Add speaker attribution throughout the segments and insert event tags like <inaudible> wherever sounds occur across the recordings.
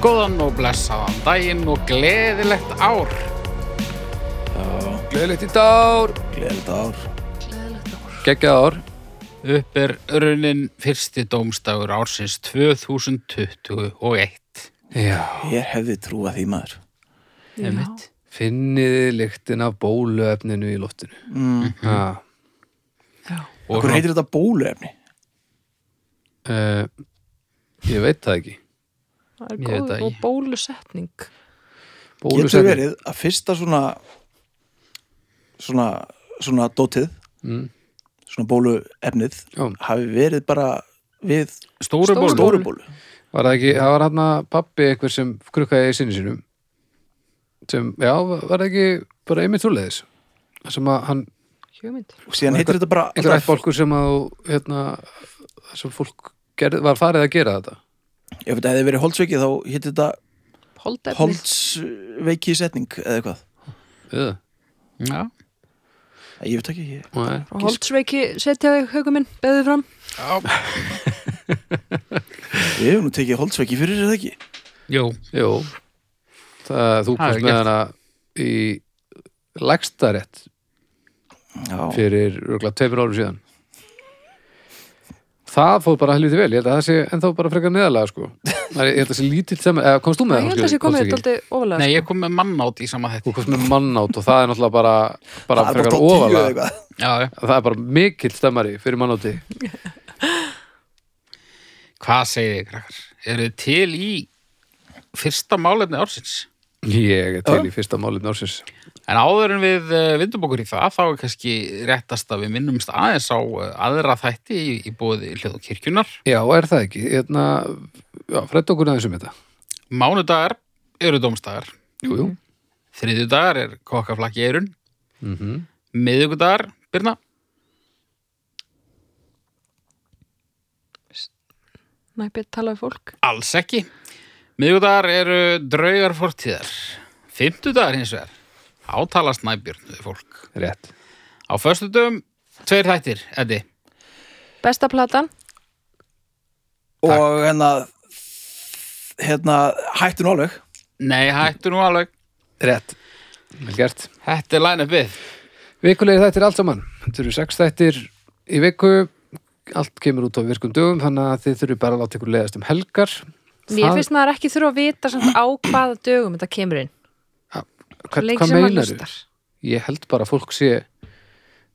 Speaker 1: Góðan og blessaðan daginn og gleðilegt ár.
Speaker 2: Gleðilegt í dár
Speaker 3: Gleðilegt ár
Speaker 2: Geggjað ár
Speaker 1: Upp er runin fyrsti dómstagur ársins 2021.
Speaker 2: Já
Speaker 3: Ég hefði trúað því maður
Speaker 1: Einmitt.
Speaker 2: Finniði lyktin af bóluefninu í loftinu
Speaker 3: mm.
Speaker 2: mm.
Speaker 1: Og
Speaker 3: Hvað
Speaker 1: svona,
Speaker 3: heitir þetta bóluefni?
Speaker 2: uh, Ég veit það ekki
Speaker 4: Það er
Speaker 1: Ég veit
Speaker 4: góð
Speaker 1: það
Speaker 4: og
Speaker 1: ekki.
Speaker 4: bólusetning.
Speaker 3: Getur
Speaker 2: Bólusetning.
Speaker 3: verið að fyrsta svona svona, svona dótið
Speaker 2: mm.
Speaker 3: svona bóluefnið
Speaker 2: Já.
Speaker 3: hafi verið bara við
Speaker 1: stóru
Speaker 4: Stóru
Speaker 1: bólu.
Speaker 4: bólu.
Speaker 3: stóru bólu
Speaker 2: Var það ekki, það var hann að pappi einhver sem krukkaði í sinni sínum sem, já, var það ekki bara einmitt svoleiðis sem að hann,
Speaker 4: Hjómynd.
Speaker 3: og síðan
Speaker 2: Og
Speaker 3: heitir þetta bara
Speaker 2: einhver
Speaker 3: alltaf-
Speaker 2: ættbólkur sem að þú, hérna, sem fólk gerð, var farið að gera þetta
Speaker 3: Ef þetta hefði verið holdsveiki þá heitir þetta
Speaker 4: Holdefni.
Speaker 3: holdsveiki setning eða eitthvað
Speaker 2: Eða,
Speaker 1: Já.
Speaker 3: Ég veit ekki, ég
Speaker 2: nei,
Speaker 4: Frá Holdsveiki setja þig haugum minn, beðið fram.
Speaker 1: Já.
Speaker 3: ég hef nú tekið holdsveiki fyrir þetta ekki
Speaker 1: Jú.
Speaker 2: jú það, þú
Speaker 1: Það er
Speaker 2: komst með
Speaker 1: gert.
Speaker 2: hana í lægstarétt
Speaker 3: Já,
Speaker 2: fyrir röglega tveimur árum síðan það fór bara helviti vel ég held að það sé ennþá bara frekar neðalega sko. Það er- ég held að það sé lítill sem eða komst þú með
Speaker 4: Ég held
Speaker 2: Áslaug?
Speaker 4: að þessi
Speaker 2: Komst
Speaker 4: komið
Speaker 2: ekki?
Speaker 4: þetta aldrei ofalega.
Speaker 1: Nei, ég kom með mann átt í sama
Speaker 2: þú
Speaker 1: þetta.
Speaker 2: komst með mann átt og það er náttúrulega bara, bara
Speaker 3: það er bara
Speaker 2: frekar
Speaker 3: tótt tíu eða
Speaker 2: ofalega
Speaker 3: eitthvað
Speaker 1: Já, já.
Speaker 2: það er bara mikill stemmari fyrir mann átti
Speaker 1: Hvað segir þið, krakkar? Eru þið til í fyrsta málefni ársins?
Speaker 2: ég er til í fyrsta málið nársins
Speaker 1: En áður en við eh, vindum okkur í það, þá er kannski réttast að við minnumst aðeins á eh, aðra þætti í, í bóði hljóðkirkjunar.
Speaker 2: já, er það ekki hérna, já, fredd okkur aðeins um þetta
Speaker 1: Mánudagar eru dómstagar.
Speaker 2: jú, jú
Speaker 1: Þriðjudagar er kokkaflakki eirun.
Speaker 2: mm
Speaker 1: Miðugudagar, Birna.
Speaker 4: Næpið talaði fólk.
Speaker 1: Alls ekki. Miðugudagar eru draugar fórtíðar. Fymtudagar hins vegar. Átala snæbjörn við fólk.
Speaker 2: rétt
Speaker 1: Á föstudum, tveir þættir, Eddi.
Speaker 4: Besta platan.
Speaker 3: Og hérna hérna, hættu nú alveg
Speaker 1: Nei, hættu nú alveg.
Speaker 2: rétt vel gert
Speaker 1: Þetta er line upið.
Speaker 2: Vikulegi þættir allt saman. Þetta eru sex þættir í viku. Allt kemur út á virkum dögum þannig að þið þurfið bara að láta ykkur leiðast um helgar.
Speaker 4: Mér finnst maður ekki þurfa að vita samt á hvaða dögum þetta kemur inn. Svo
Speaker 2: Hvað,
Speaker 4: lengi
Speaker 2: hvað
Speaker 4: sem maður
Speaker 2: meinar
Speaker 4: hlustar.
Speaker 2: Ég held bara að fólk sé,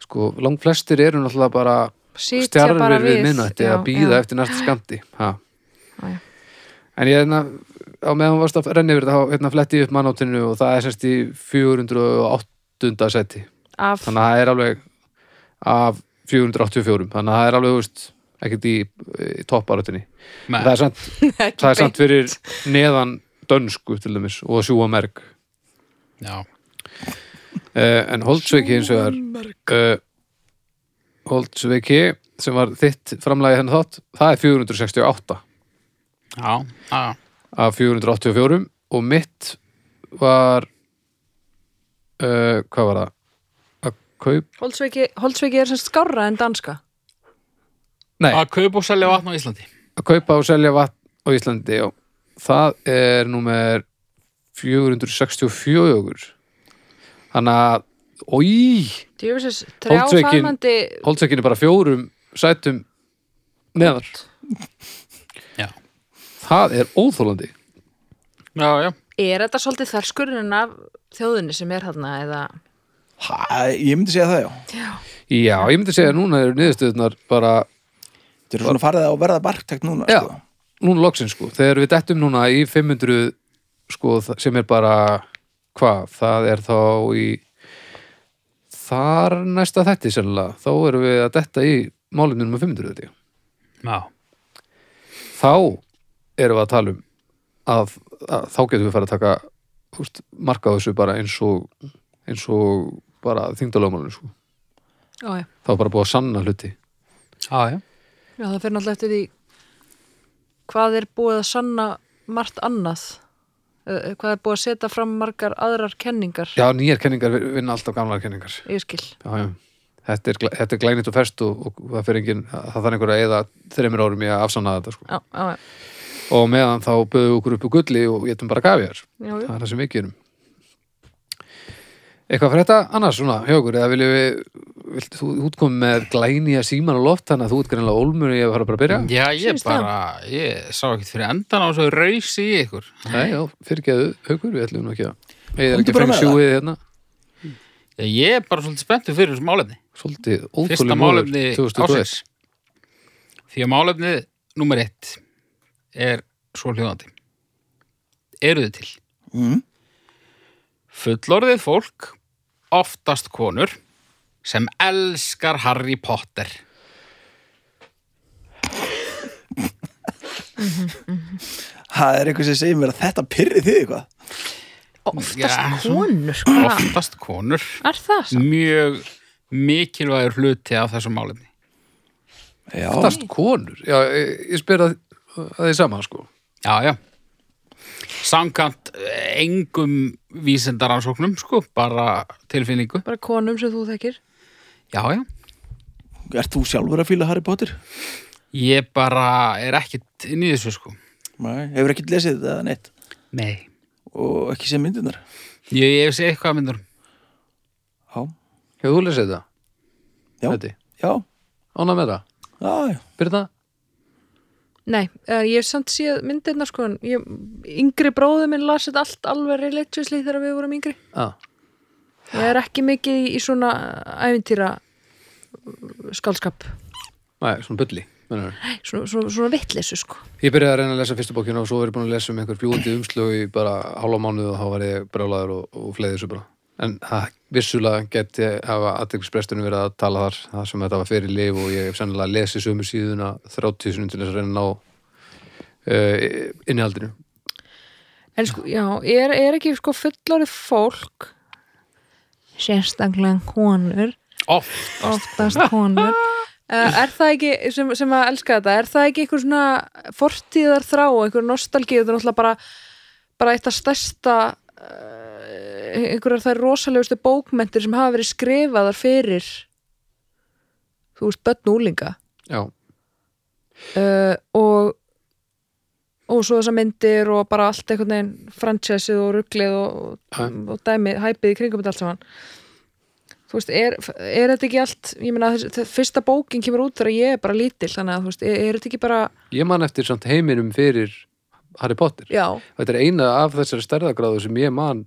Speaker 2: sko, langflestir eru náttúrulega bara
Speaker 4: Sitja
Speaker 2: stjarfir
Speaker 4: bara
Speaker 2: við
Speaker 4: við.
Speaker 2: minnætti
Speaker 4: Já,
Speaker 2: að býða
Speaker 4: já.
Speaker 2: eftir
Speaker 4: <gasps>
Speaker 2: næsta skamti. Ha.
Speaker 4: Já, já.
Speaker 2: En ég hérna, á meðan hún varst að renna yfir þetta, þá hérna fletti ég upp mannátinu og það er semst í 408. seti.
Speaker 4: Af
Speaker 2: þannig að það er alveg af 484 þannig að það er alveg, þú veist, ekkert í, í topparátinni
Speaker 1: Nei.
Speaker 2: það er, samt, það er samt fyrir neðan dönsku til dæmis og sjúamerg uh,
Speaker 1: Já.
Speaker 2: Eh, en Holtsveiki eins og það er uh, Holtsveiki sem var þitt framlagi henni þátt það er 468
Speaker 1: Já, já.
Speaker 2: af 484 og mitt var uh, hvað var það? að kaup,
Speaker 4: Holdsveiki, Holdsveiki er sem sagt skárra en danska.
Speaker 2: nei
Speaker 1: Að kaupa og selja vatn á Íslandi.
Speaker 2: að kaupa og selja vatn á Íslandi já. það er númer 464 þannig að oi,
Speaker 4: Djöfisins, þrjá
Speaker 2: Holdsveikin-
Speaker 4: farmandi
Speaker 2: holdsekkinu bara fjórum sætum neðar
Speaker 1: Já.
Speaker 2: það er óþólandi
Speaker 1: Já, já.
Speaker 4: Er þetta svolítið þverskurinn af þjóðinni sem er þarna eða
Speaker 3: Ha, ég myndi segja það, já.
Speaker 2: já, ég myndi segja að núna eru niðurstöðunar bara,
Speaker 3: Þetta er svona farið að verða barktækt núna,
Speaker 2: Já.
Speaker 3: sko.
Speaker 2: núna loksin sko þegar við dettum núna í 500 sko, þa- sem er bara hvað, það er þá í þar næsta þetti sennilega, þá erum við að detta í málefnum um 500 þetta
Speaker 1: Já.
Speaker 2: þá erum við að tala um að, að þá getum við farið að taka úst, marka á þessu bara eins og eins og bara þingdalögmálinu sko.
Speaker 4: Ó, já.
Speaker 2: þá er bara búið að sanna hluti
Speaker 1: Já, já.
Speaker 4: já, það fyrir náttúrulega eftir því hvað er búið að sanna margt annað Eh, hvað er búið að setja fram margar aðrar kenningar
Speaker 2: já, nýjar kenningar vinna alltaf gamlar kenningar
Speaker 4: ég skil,
Speaker 2: já, já. Þetta, er, glæ- þetta er glænit og ferst og, og það fyrir engin, það þarf einhver að eða þreymir árum í að afsanna þetta sko.
Speaker 4: já, já, já.
Speaker 2: og á meðan þá böðum við okkur upp úr gulli og getum bara gafjar
Speaker 4: Já, já.
Speaker 2: það er það sem við gerum eitthvað fyrir þetta annars svona hjá okkur eða viljum við vilt, þú útkomum með glænýja síman og loft þannig að þú ert greinlega ólmur og ég var að bara að byrja
Speaker 1: Já, ég
Speaker 4: Sýnist það.
Speaker 1: bara, ég sá ekkert fyrir endan á svo rausi í ykkur.
Speaker 2: Nei, já, fyrirgeðu haukur, við ætlum nú ekki að eða ekki
Speaker 3: Komdu bara
Speaker 2: fengi
Speaker 3: með
Speaker 2: sjúið hérna
Speaker 1: Ég er bara svolítið spenntur fyrir þessu málefni.
Speaker 2: svolítið
Speaker 1: Fyrsta
Speaker 2: óþúli móður
Speaker 1: málefni
Speaker 2: 2021
Speaker 1: ásins. Því að málefnið nummer eitt er svo hljóðandi. Eru þið til?
Speaker 3: mm.
Speaker 1: Fullorðið fólk, oftast konur, sem elskar Harry Potter.
Speaker 3: það er eitthvað sem segir mér að þetta pyrri þið eitthvað
Speaker 4: Oftast
Speaker 1: Já, svona. Mm.
Speaker 4: konur, sko. hvað?
Speaker 1: Oftast konur.
Speaker 4: Ah, Er það samt?
Speaker 1: Mjög mikilvægur hluti af þessu málefni.
Speaker 3: já,
Speaker 2: oftast konur, já, ég, ég spyr að að því saman sko
Speaker 1: Já, já. Samkant eh, engum vísindaransóknum, sko, bara tilfinningu.
Speaker 4: Bara konum sem þú þekkir.
Speaker 1: Já, já.
Speaker 3: ert þú sjálfur að fíla Harry Potter?
Speaker 1: Ég bara er ekkert inn í þessu, sko.
Speaker 3: Nei. hefur ekkert lesið þetta eða neitt
Speaker 1: Nei.
Speaker 3: og ekki séð myndirnar
Speaker 1: Ég hef segið eitthvað myndur.
Speaker 3: já,
Speaker 2: hefur þú lesið þetta?
Speaker 3: Já.
Speaker 2: Þetta?
Speaker 3: já,
Speaker 2: Ána með það?
Speaker 3: já, já.
Speaker 2: Byrna?
Speaker 4: Nei, uh, ég hef samt síðan myndirna sko, en ég, yngri bróður minn las þetta allt alveg religiously þegar við vorum yngri.
Speaker 2: Ah,
Speaker 4: Ég er ekki mikið í, í svona eh, æfintýra skálskap,
Speaker 2: nei, svona bulli mennur.
Speaker 4: svona, svona, svona vitleysu sko.
Speaker 2: Ég byrjaði að reyna að lesa fyrstu bókina og svo verið búin að lesa um einhver bjóðandi umslög í bara hálfa mánuð og þá var ég brjólaður og, og fleiði þessu bara. En það vissulega geti hafa aðeinsbrestunum verið að tala þar, það sem þetta var fyrir lif og ég hef sennilega lesið sömu síðuna 30 sinni til þess að reyna að ná uh, innihaldinu.
Speaker 4: En sko, já, er, er ekki sko fullorið fólk, sérstaklega konur,
Speaker 1: Oftast.
Speaker 4: oftast konur, uh, er það ekki, sem, sem að elska þetta, er það ekki einhver svona fortíðar þrá, einhver nostalgíu, þetta er náttúrulega bara, bara eitt af stærsta, uh, einhverjar þær rosalegustu bókmentir sem hafa verið skrifaðar fyrir, þú veist, börn og úlinga.
Speaker 2: Já,
Speaker 4: uh, og og svo þessar myndir og bara allt einhvern veginn franchisið og rugglið og,
Speaker 2: Ha.
Speaker 4: og dæmið, hæpið í kringum þetta allt saman þú veist, er, er þetta ekki allt ég meina, þess, þess, fyrsta bókin kemur út þegar ég er bara lítil, þannig að þú veist, er, er þetta ekki bara
Speaker 2: ég man eftir samt heiminum fyrir Harry Potter.
Speaker 4: já,
Speaker 2: Þetta er eina af þessari stærðagráðu sem ég man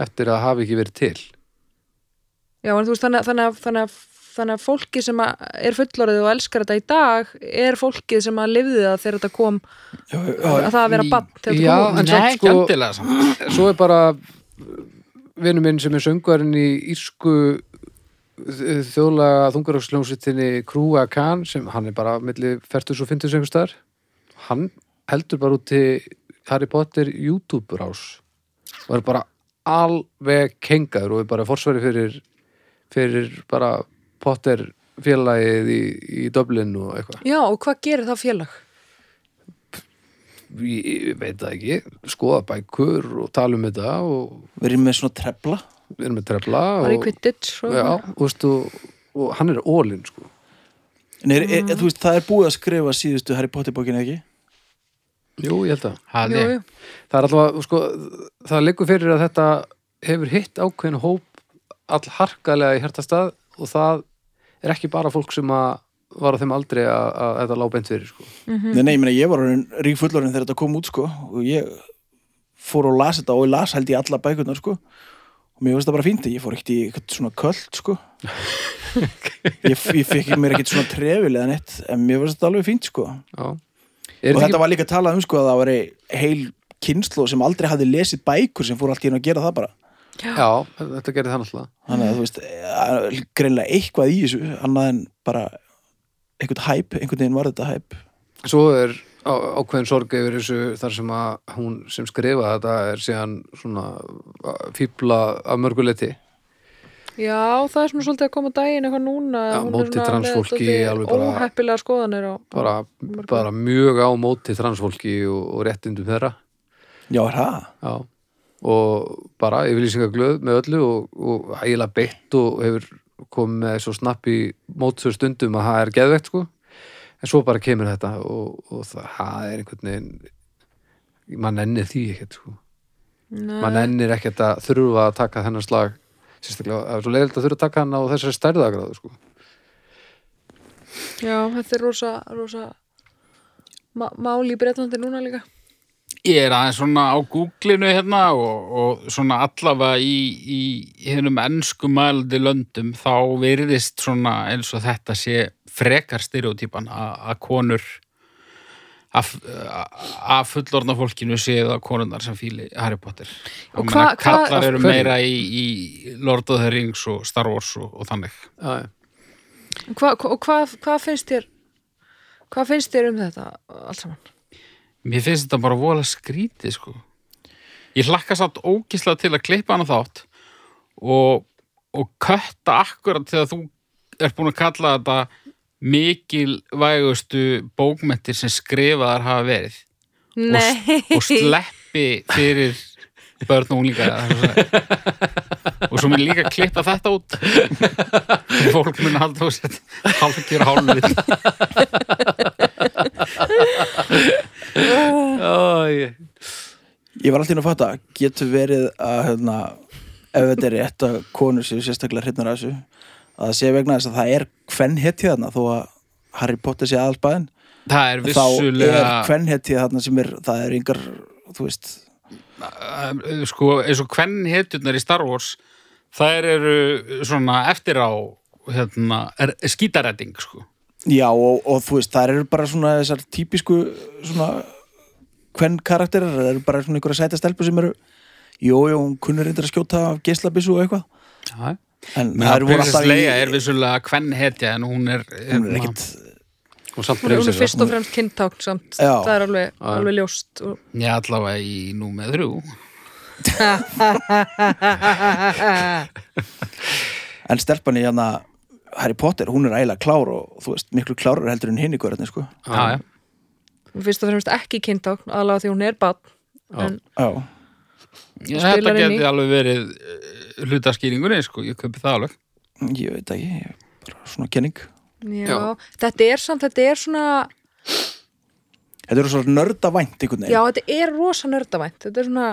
Speaker 2: eftir að hafa ekki verið til.
Speaker 4: já, en þú veist, þannig, að- þannig, að- þannig, að- þannig að fólki sem að er fullorðið og elskar þetta í dag er fólkið sem að lifði það þegar þetta kom
Speaker 3: já, já,
Speaker 4: að það að vera bann þegar
Speaker 2: Já,
Speaker 4: þetta kom út.
Speaker 2: en
Speaker 1: Nei,
Speaker 2: samt
Speaker 1: ekki
Speaker 2: sko-
Speaker 1: endilega samt.
Speaker 2: svo er bara vinnu minn sem er söngvarinn í Írsku þjóðlega þungarhagsljómsvittinni Krúa Kahn sem hann er bara milli færtus og fintus einhvers staðar hann heldur bara út til Harry Potter YouTube rás og er bara alveg kengaður og er bara forsvari fyrir fyrir bara Potter félagið í, í Dublin og eitthvað
Speaker 4: já, og hvað gerir það félag?
Speaker 2: ég ég veit það ekki, skoða bækur og tala um þetta og
Speaker 3: við erum með svona trefla
Speaker 2: við erum með trefla
Speaker 4: Það er í
Speaker 2: og,
Speaker 4: Quidditch og-
Speaker 2: Já, þú veist, og, og hann er ólinn sko.
Speaker 3: En er, er, þú veist, það er búið að skrifa síðustu Harry Potter bókina ekki?
Speaker 2: Jú, ég held að
Speaker 1: Það
Speaker 4: Jú,
Speaker 1: er
Speaker 4: jú.
Speaker 2: Það er alltaf, sko, það liggur fyrir að þetta hefur hitt ákveðin hóp all harkalega í hertastað og það er ekki bara fólk sem að var á þeim aldrei að, að þetta lá beint fyrir sko.
Speaker 3: Nei, nei, ég meina, ég var orðin rík fullorinn þegar þetta kom út, sko og ég fór og las þetta og ég las held í alla bækurnar, sko og mér finnst það bara fínt, ég fór ekkert í eitthvað svona köld,
Speaker 2: <laughs>
Speaker 3: sko ég, ég fekk mér ekkert svona trefil eða neitt, en mér finnst þetta alveg fínt, sko
Speaker 2: Já. Er
Speaker 3: og
Speaker 2: þetta
Speaker 3: þetta
Speaker 2: ekki,
Speaker 3: var líka talað um, sko, að það var heil kynslu sem aldrei hafði lesið bækur sem fór allt í henni að gera það bara
Speaker 2: já, þetta gerir það náttúrulega
Speaker 3: þannig að þú veist, að- greinlega eitthvað í þessu, annað en bara einhvern hæp, einhvern veginn var þetta hæp
Speaker 2: Svo er á- ákveðin sorg yfir þessu þar sem að hún sem skrifa þetta er síðan svona að fíbla af mörguleiti
Speaker 4: Já, það er svona svolítið að koma á daginn eitthvað núna
Speaker 2: Já,
Speaker 4: hún er
Speaker 2: móti
Speaker 4: svona
Speaker 2: transfólki,
Speaker 4: með
Speaker 2: alveg
Speaker 4: dálítið
Speaker 2: bara-
Speaker 4: Óheppilega skoðanir og
Speaker 2: bara, bara mjög á móti transfólki og, og réttindum þeirra
Speaker 3: Já, er það?
Speaker 2: Já. og bara yfirlýsingaglöð með öllu og, og ægilega beitt og hefur komið með svo snapp í mótsöð stundum að það er geðvegt sko en svo bara kemur þetta og, og það það er einhvern veginn mann ennir því ekkert sko.
Speaker 4: Mm.
Speaker 2: mann ennir ekkert að þurfa að taka þennan slag sérstaklega, það er svo leiðilegt að þurfa að taka hann á þessari stærðagráðu sko.
Speaker 4: Já, þetta er rosa, rosa má- mál í Bretlandi núna líka
Speaker 1: Ég er aðeins svona á Google-inu hérna og, og svona allavega í, í hennum ennskumældi löndum þá virðist svona eins og þetta sé frekar stereotypan að konur að að fullorna fólkinu séu það konurnar sem fíli Harry Potter
Speaker 4: Og
Speaker 1: Ég
Speaker 4: hva-
Speaker 1: meina,
Speaker 4: hva-
Speaker 1: kallar eru
Speaker 2: Af hverju?
Speaker 1: meira í, í Lord of the Rings og Star Wars og, og þannig
Speaker 2: já, já.
Speaker 4: hva, hva, og hvað hva finnst þér hvað finnst þér um þetta allt saman?
Speaker 1: Mér finnst þetta bara vola skrítið sko. Ég hlakka satt ógislega til að klippa hana þátt og, og kötta akkurat þegar þú ert búin að kalla þetta mikilvægustu bókmentir sem skrifaðar hafa verið
Speaker 4: Nei,
Speaker 1: og sleppi fyrir börn og unglinga það er svo að- og svo mér líka klippa þetta út fólk mun halda og setja halvkjör hálfið
Speaker 2: Ó, ég-
Speaker 3: Ég var alltaf inn að fatta, getur verið að hérna, ef þetta er rétt að konur séu sérstaklega hrifnar af þessu að það sé vegna þess að það er hvern hetið þarna þó að Harry Potter sé aðalbæðin
Speaker 1: það er
Speaker 3: þá er
Speaker 1: vissulega
Speaker 3: hvern hetið þarna sem er, það er yngar þú veist,
Speaker 1: Uh, sko, eins og hvern hetjurnar í Star Wars þær eru svona eftir á hérna, er, skítaræting sko.
Speaker 3: já og, og þú veist það eru bara svona þessar típisku svona hvern karakterar það eru bara svona einhverja sæta stelpur sem eru jú, jú, hún kunnur reyndar að skjóta af geislabissu og eitthvað en þær voru
Speaker 1: Prinsess
Speaker 3: alltaf í-
Speaker 1: Leia er vissulega hvern hetja en hún er,
Speaker 3: hún er
Speaker 1: hérna,
Speaker 3: ekkit,
Speaker 2: og samt
Speaker 4: hún er, hún er
Speaker 2: bremsir það.
Speaker 4: fyrst og fremst kynntákn samt
Speaker 3: Já.
Speaker 4: það er alveg, alveg ljóst og,
Speaker 1: já, allavega í númer þrjú
Speaker 3: en stelpan í hérna Harry Potter, hún er ægilega klár og þú veist, miklu klárar heldur en hinn í hverjarnir sko
Speaker 1: já, já.
Speaker 4: hún er fyrst og fremst ekki kynntákn aðlega því hún er bann en
Speaker 3: já,
Speaker 1: Já,
Speaker 4: Spilar
Speaker 1: þetta
Speaker 4: inn í.
Speaker 1: geti alveg verið uh, hlutaskýringunni, sko, ég köpi það alveg
Speaker 3: ég veit ekki ég er bara svona kenning
Speaker 4: já,
Speaker 2: Já.
Speaker 4: þetta er samt, þetta er svona
Speaker 3: þetta eru svona nördavænt einhvern
Speaker 4: já,
Speaker 3: veginn
Speaker 4: þetta er rosa nördavænt þetta er svona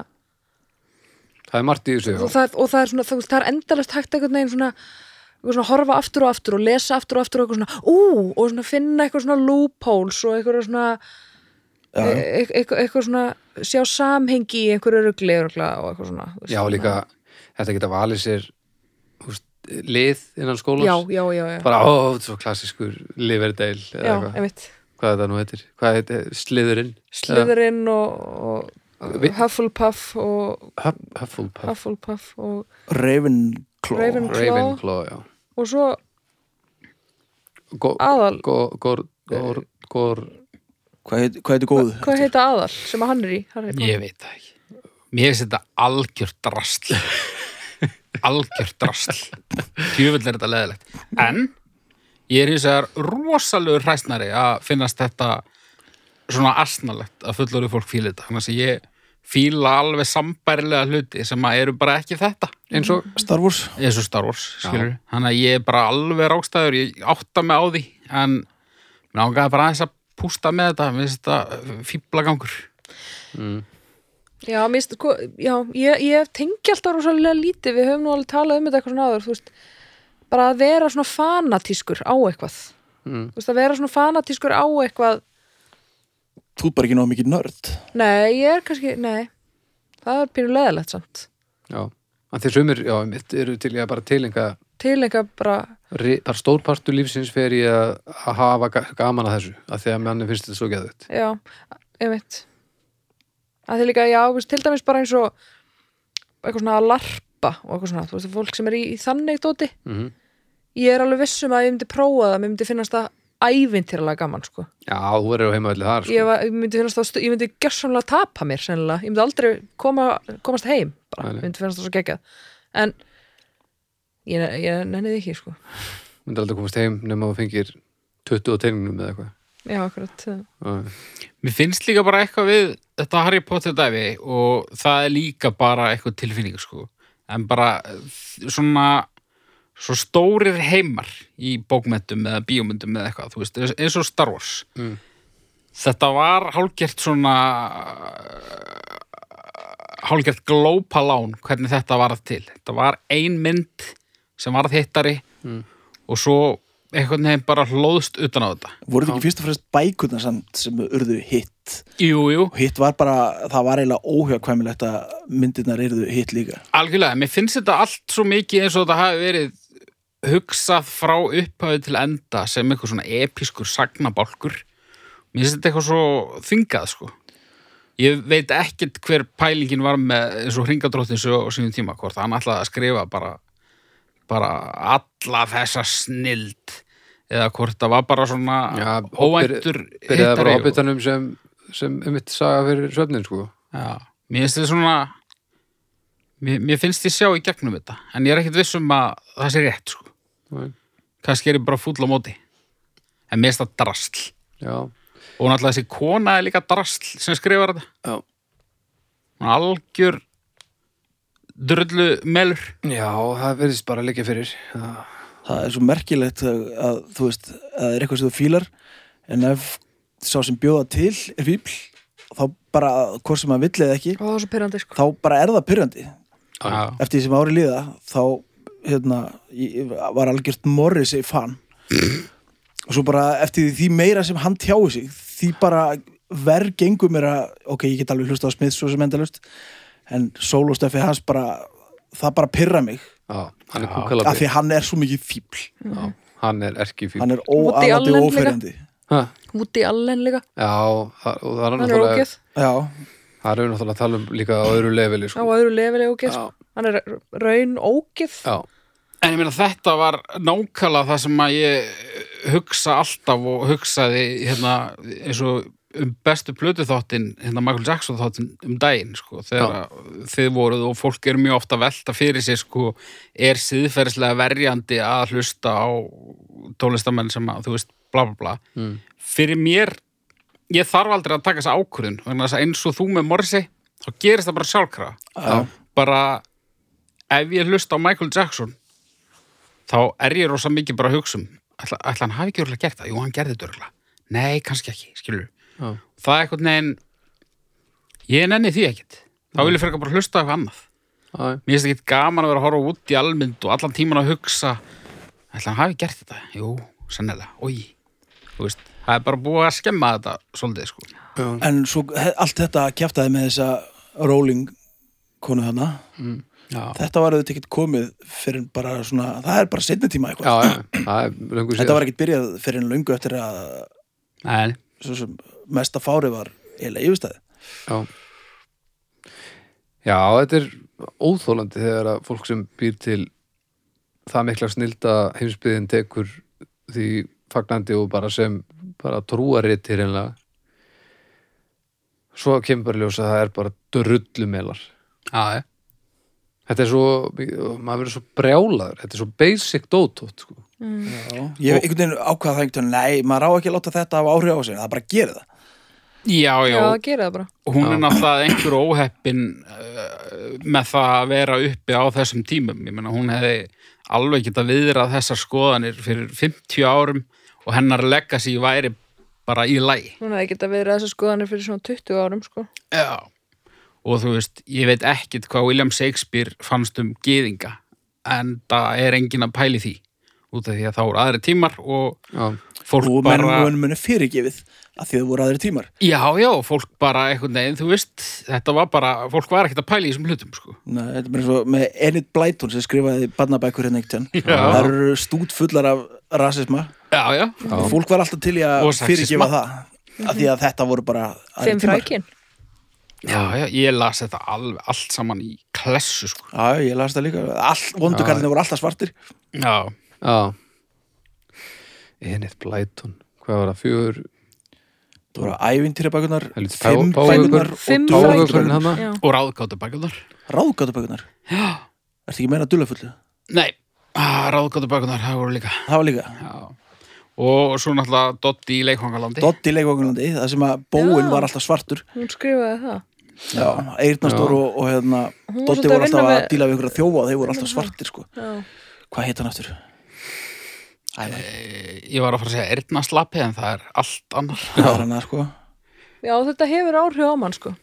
Speaker 2: það er margt í þessu
Speaker 4: og
Speaker 2: já.
Speaker 4: það, og það er svona, þú veist, það er endalast hægt einhvern veginn svona, eitthvað svona horfa aftur og aftur og lesa aftur og aftur og eitthvað svona ú, og svona finna eitthvað svona loopholes og eitthvað svona e
Speaker 3: já,
Speaker 4: e eitthvað, eitthvað svona sjá samhengi í einhverju rugli og eitthvað svona þú veist,
Speaker 2: já, líka þetta geta valið sér úst, lið innan skólans
Speaker 4: já, já, já, já,
Speaker 2: bara, ó, svo klassískur Liverdale eða
Speaker 4: já
Speaker 2: eitthvað,
Speaker 4: einmitt
Speaker 2: hvað þetta nú heitir hvað heitir, Slytherin
Speaker 4: Slytherin og, og
Speaker 2: Vi-
Speaker 4: Hufflepuff og
Speaker 2: Huff- Hufflepuff,
Speaker 4: Hufflepuff og,
Speaker 3: Ravenclaw
Speaker 4: Raven-
Speaker 2: Ravenclaw já.
Speaker 4: og svo
Speaker 2: Go-
Speaker 4: Aðal.
Speaker 2: go- gor- gor- gor-
Speaker 3: hvað heit- hvað heitir góð?
Speaker 4: hvað heita aðal sem að hann er í Harry Potter?
Speaker 1: ég veit það ekki mér finnst þetta algjör drasl algjör drasl djöfull er þetta leðilegt en ég er hins vegar rosalegur hræsnari að finnast þetta svona asnalegt að fullorðu fólk fíla þetta þannig að ég fíla alveg sambærilega hluti sem að eru bara ekki þetta
Speaker 2: eins og
Speaker 3: Star Wars
Speaker 1: eins og Star Wars, skilur þannig að ég er bara alveg rákstæður, ég átta mig á því en mér ángaði bara aðeins að pústa með þetta, mér finnst þetta fíblagangur
Speaker 4: Já, mist, hva, já ég, ég tengi alltaf rosalega lítið, við höfum nú alveg talað um þetta eitthvað svona áður, þú veist, bara að vera svona fanatískur á eitthvað.
Speaker 2: Mm.
Speaker 4: Þú veist, að vera svona fanatískur á eitthvað,
Speaker 3: þú er bara ekki náðu mikið nörd
Speaker 4: nei, ég er kannski, nei, það er pínu leðilegt samt.
Speaker 2: já, en þeir sumir, já, mitt eru til ég að bara tilenga
Speaker 4: Til eitthvað bara,
Speaker 2: ri- bara stórpartur lífsins fer ég að að hafa ga- gaman að þessu að því að manni finnst þetta svo geðut
Speaker 4: já, einmitt. Að því líka, já, þú veist, til dæmis bara eins og eitthvað svona að larpa og eitthvað svona, þú veist, fólk sem er í, í þannig dóti,
Speaker 2: mm -hmm.
Speaker 4: ég er alveg vissum að ég myndi prófa það, mér myndi finnast það ævintýralega gaman, sko.
Speaker 2: já, þú verður á heimaðalli þar
Speaker 4: ég,
Speaker 2: sko.
Speaker 4: var, ég myndi finnast það, stu- ég myndi gjörsamlega tapa mér sennilega, ég myndi aldrei koma, komast heim bara,
Speaker 2: Nei, nei.
Speaker 4: ég myndi finnast það svo geggjað en ég, ég nennið ekki sko
Speaker 2: myndir aldrei komast heim nema þú fengir 20 og teiningnum eða eitthvað
Speaker 4: já, akkurat,
Speaker 2: Já,
Speaker 1: Mér finnst líka bara eitthvað við þetta Harry Potter dæfi og það er líka bara eitthvað tilfinning sko. en bara eh, svona svo stórir heimar í bókmentum eða bíómyndum eða eitthvað, þú veist, eins- eins og Star Wars
Speaker 2: Mm.
Speaker 1: þetta var hálgert svona hálgert glópalán hvernig þetta varð til þetta var ein mynd sem varð hittari
Speaker 2: Mm.
Speaker 1: og svo einhvern veginn bara hlóðst utan á þetta
Speaker 3: voru þetta ekki fyrst og fremst bækurnar samt sem urðu hitt
Speaker 1: jú, jú,
Speaker 3: og hitt var bara, það var eiginlega óhjákvæmilegt að myndirnar urðu hitt líka
Speaker 1: algjörlega, mér finnst þetta allt svo mikið eins og þetta hafi verið hugsað frá upphafi til enda sem eitthvað svona episkur sagnabálkur mér finnst þetta eitthvað svo þingað sko ég veit ekkert hver pælingin var með eins og hringadróttin svo á sínum tíma hvort hann ætlaði að skrifa bara bara alla þessa snild eða hvort það var bara svona
Speaker 2: Já,
Speaker 1: óæntur
Speaker 2: Byrjaði bara á
Speaker 1: hittari og-
Speaker 2: hobbitanum sem, sem um mitt saga fyrir svefnin, sko.
Speaker 1: Já, mér finnst þetta svona mér, mér finnst ég sjá í gegnum þetta en ég er ekkert viss um að það sé rétt sko.
Speaker 2: Nei.
Speaker 1: kannski er ég bara fúll á móti en mér finnst það drasl
Speaker 2: Já,
Speaker 1: og náttúrulega þessi kona er líka drasl sem skrifar þetta
Speaker 2: Já.
Speaker 1: Hún er algjör drullu melur
Speaker 2: Já, það verðist bara líka fyrir. Já.
Speaker 3: það er svo merkilegt að, að þú veist, að það er eitthvað sem þú fílar en ef sá sem bjóða til er fíbl, þá bara hvort sem maður vill eða ekki,
Speaker 4: það var svo pyrrandi sko
Speaker 3: þá bara er það pyrrandi
Speaker 1: Já.
Speaker 3: eftir því sem ári líða þá hérna, ég ég var algjört Morris í fan og svo bara eftir því meira sem hann tjáu sig því bara verð gengur mér að ok, ég get alveg hlusta á Smith svo sem endalust en sólostöfi hans bara það bara pyrra mig
Speaker 2: Já, hann er
Speaker 1: Já.
Speaker 3: af
Speaker 2: kúkalabi.
Speaker 3: því hann er svo mikið fíbl
Speaker 2: Já, hann er erki fyrir.
Speaker 3: hann er
Speaker 4: Woody
Speaker 3: óaðandi
Speaker 4: Allen
Speaker 3: og
Speaker 4: líka.
Speaker 3: óferjandi
Speaker 2: Ha?
Speaker 4: Woody Allen líka,
Speaker 2: Já, það- og það er
Speaker 4: hann er
Speaker 2: náttúrulega,
Speaker 4: ógeð
Speaker 3: já,
Speaker 2: það er náttúrulega að tala um líka á öðru leveli,
Speaker 4: á
Speaker 2: sko.
Speaker 4: öðru lefilega ógeð
Speaker 2: Já.
Speaker 4: sko. hann er raun ógeð
Speaker 2: Já,
Speaker 1: En ég meina þetta var nákvæmlega það sem að ég eh, hugsa alltaf og hugsaði hérna eins og um bestu plötu þáttinn, hérna Michael Jackson þáttinn um daginn, sko, þegar þið voruð og fólk er mjög ofta velta fyrir sér, sko, er síðferðislega verjandi að hlusta á tólestamenn sem að, þú veist, bla bla bla.
Speaker 2: Mm.
Speaker 1: Fyrir mér, ég þarf aldrei að taka þessa ákvörðun, vegna þess að eins og þú með Morrissey, þá gerist það bara sjálfkrafa
Speaker 3: já.
Speaker 1: bara ef ég hlusta á Michael Jackson þá er ég rosa mikið bara að hugsa um ætla, ætla hann hafi ekki örgulega gert það, jú hann gerði þetta örgulega nei, kannski ekki, skilur
Speaker 2: já,
Speaker 1: það er eitthvað neginn ég nenni því ekkit þá vil ég fyrir bara hlusta á eitthvað annað
Speaker 2: já, já.
Speaker 1: mér finnst ekkit gaman að vera að horfa út í almynd og allan tíman að hugsa ætla hann hafi gert þetta, jú, sennilega oi, þú veist það er bara búið að skemma þetta svolítið sko
Speaker 3: en svo he- allt þetta kjæftaði með þessa rolling konu þarna
Speaker 1: Já.
Speaker 3: þetta var auðvitað ekkert komið fyrir bara svona, það er bara setna tíma eitthvað
Speaker 2: Já, já, það er löngu
Speaker 3: þetta
Speaker 2: síðan.
Speaker 3: var ekkert byrjað fyrir en löngu eftir að
Speaker 1: Nei,
Speaker 3: svo sem mesta fári var eiginlega yfirstæði
Speaker 2: Já. Já, þetta er óþólandi þegar að fólk sem býr til það mikla snilda heimsbyðin tekur því fagnandi og bara sem bara trúarittir einlega svo kemur bara í ljós að það er bara drullumelar
Speaker 1: já, já.
Speaker 2: þetta er svo, maður verður svo brjálaður þetta er svo basic dótótt sko.
Speaker 3: ég einhvern veginn ákvaða það einhvern veginn nei, maður á ekki að láta þetta hafa áhrif á sig það er bara að gera það
Speaker 1: Já,
Speaker 4: já,
Speaker 1: já,
Speaker 4: það gerir það bara
Speaker 1: hún
Speaker 2: Já.
Speaker 1: er náttúrulega einhver óheppin uh, með það að vera uppi á þessum tímum ég meina hún hefði alveg geta viðrað þessar skoðanir fyrir 50 árum og hennar legacy væri bara í lægi
Speaker 4: hún hefði getað verið þessar skoðanir fyrir svona 20 árum sko.
Speaker 1: Já. og þú veist, ég veit ekkit hvað William Shakespeare fannst um gyðinga en það er engin að pæli því út af því að þá eru aðri tímar og
Speaker 2: já,
Speaker 1: fólk
Speaker 3: og
Speaker 1: bara
Speaker 3: mennum munni fyrirgefið að því það voru aðri tímar
Speaker 1: Já, já, fólk bara einhvern veginn, þú veist þetta var bara, fólk var ekkert að pæli í þessum hlutum sko.
Speaker 3: Nei, þetta er bara svo með Enid Blyton sem skrifaði barnabækur hérna einhvern veginn.
Speaker 1: Já.
Speaker 3: það eru stút fullar af rasisma
Speaker 1: Já, já,
Speaker 3: og fólk var alltaf til í að
Speaker 1: Og sexisma.
Speaker 3: fyrirgefa það af því að þetta voru bara aðrir
Speaker 4: fimm
Speaker 3: tímar.
Speaker 4: frækin
Speaker 1: Já, já, ég las þetta alveg allt saman í klessu, sko.
Speaker 3: Já, ég las það líka. All, vondukarlinni voru alltaf svartir.
Speaker 1: Já,
Speaker 2: já Enid Blyton hvað var það, fjögur
Speaker 3: Það voru ævintýrabækunar,
Speaker 2: Helvítis,
Speaker 3: fimm
Speaker 2: páfa- páfagaukur.
Speaker 3: bækunar
Speaker 4: Fimm
Speaker 3: og
Speaker 4: frækin.
Speaker 3: dúllafullar.
Speaker 2: Páfagaukurinn hana
Speaker 4: Já.
Speaker 1: og ráðgáttabækunar.
Speaker 3: Ráðgátubækunar. Ertu ekki meina dullafullu?
Speaker 1: Nei, ah, ráðgáttabækunar, það voru líka.
Speaker 3: Það var líka.
Speaker 1: Já. Og svo náttúrulega Dotti í leikvangalandi.
Speaker 3: Dotti í leikvangunlandi, það sem að bóin
Speaker 4: Já.
Speaker 3: var alltaf svartur.
Speaker 4: hún skrifaði það
Speaker 3: Já. Eirnastór og, og hérna,
Speaker 4: Hún var
Speaker 3: Dotti
Speaker 4: svolítið að
Speaker 3: voru alltaf að
Speaker 4: vinna með-
Speaker 3: díla við ykkur að þjófa og þeir voru alltaf svartir, sko.
Speaker 4: já.
Speaker 3: hvað heit hann aftur? Æ, nei,
Speaker 1: Ég var að fara að segja erðnaslappi en það er allt annar.
Speaker 3: það er hann að sko
Speaker 4: Já, þetta hefur áhrif á mann, sko.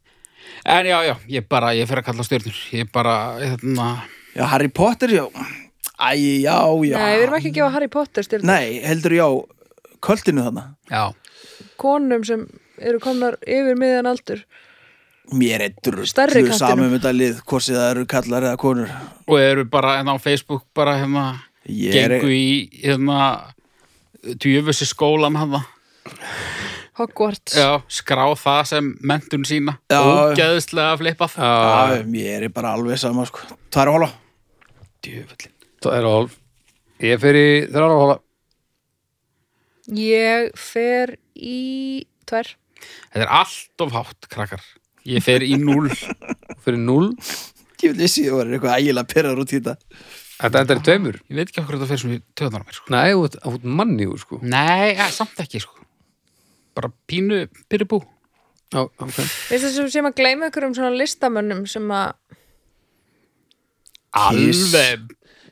Speaker 1: <laughs> En já, já, ég bara, ég fer að kalla stjörnur. Ég bara, hérna,
Speaker 3: Já, Harry Potter, já Æ, já, já
Speaker 4: Nei, við erum ekki að gefa Harry Potter styrna.
Speaker 3: Nei, heldur já, kvöldinu þarna
Speaker 1: já,
Speaker 4: Konum sem eru komnar yfir miðan aldur.
Speaker 3: Mér er
Speaker 4: Stærri
Speaker 3: drullu
Speaker 4: kantinum.
Speaker 3: samum þetta lið, hvort sem það eru kallar eða konur
Speaker 1: og eru bara, hérna, á Facebook bara, hérna,
Speaker 3: Ég er-
Speaker 1: gengu í, hérna, djöfusi skólan hann
Speaker 4: Hogwarts.
Speaker 1: Já, skrá það sem mentun sína.
Speaker 3: Já.
Speaker 1: Ógeðslega flippað.
Speaker 3: Já, mér er bara alveg sama sko. Tvær og hóla
Speaker 1: Djöfullin.
Speaker 2: Það er hálf Ég fer í þrjára hóla
Speaker 4: Ég fer í tvær.
Speaker 1: Þetta er allt of hátt, krakkar. Ég fer í núl.
Speaker 2: Fyrir 0
Speaker 3: Ég vissi það var eitthvað ægilega pyrrar út í þetta
Speaker 2: Þetta endar í tveimur
Speaker 1: Ég veit ekki okkur þetta fer sem við töðanum mér, sko.
Speaker 2: Nei, þú ert- þú ert mannjúr sko
Speaker 1: Nei, ja, samt ekki, sko. Bara pínu pyrribú.
Speaker 2: Já, ok
Speaker 4: Veist þessum sem að gleyma ykkur um svona listamönnum sem að
Speaker 3: Kiss.
Speaker 1: Alveg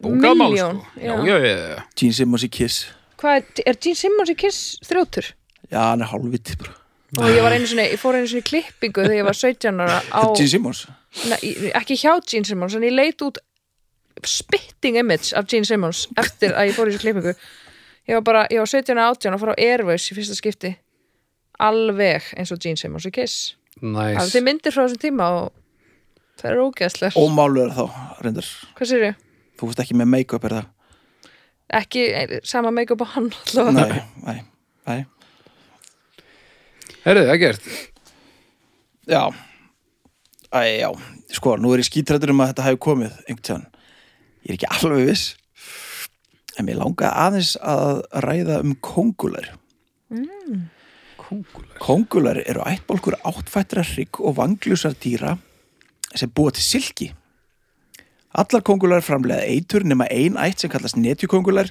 Speaker 1: bókamál, sko.
Speaker 4: Milljón,
Speaker 1: Já,
Speaker 4: já.
Speaker 1: já, já, já.
Speaker 3: Gene Simmons í Kiss
Speaker 4: Hvað er, er Gene Simmons í Kiss þrjóttur?
Speaker 3: Já, hann er hálfviti bara
Speaker 4: Og ég var einu sinni, ég fór einu sinni í klippingu þegar ég var 17 ára á,
Speaker 3: Gene Simmons
Speaker 4: na, í- ekki hjá Gene Simmons, en ég leit út spitting image af Gene Simmons eftir að ég fór í þessu klippingu. Ég var bara, ég var 17 ára 18 og fór á Airways í fyrsta skipti. Alveg eins og Gene Simmons í Kiss. Það er
Speaker 2: Næs
Speaker 4: þið myndir frá þessum tíma og það er ógeðslegar.
Speaker 3: Ómálur þá, reyndar
Speaker 4: Hvað sér ég?
Speaker 3: Þú veist ekki með make-up er það
Speaker 4: Ekki eh, sama make-up á hann allavega.
Speaker 3: Nei, nei, nei
Speaker 2: Herðu, það er gert
Speaker 3: Já Æ, já, sko, nú er ég skítrættur um að þetta hafi komið einhvern tíðan Ég er ekki alveg viss En mér langaði aðeins að ræða um kóngulær
Speaker 2: Kóngular
Speaker 3: Kóngulær eru ættbólkur áttfættra hrygg og vangljusar dýra sem búa til silki. Allar kóngulær framlega eitur nema ein ætt sem kallast netjukóngulær.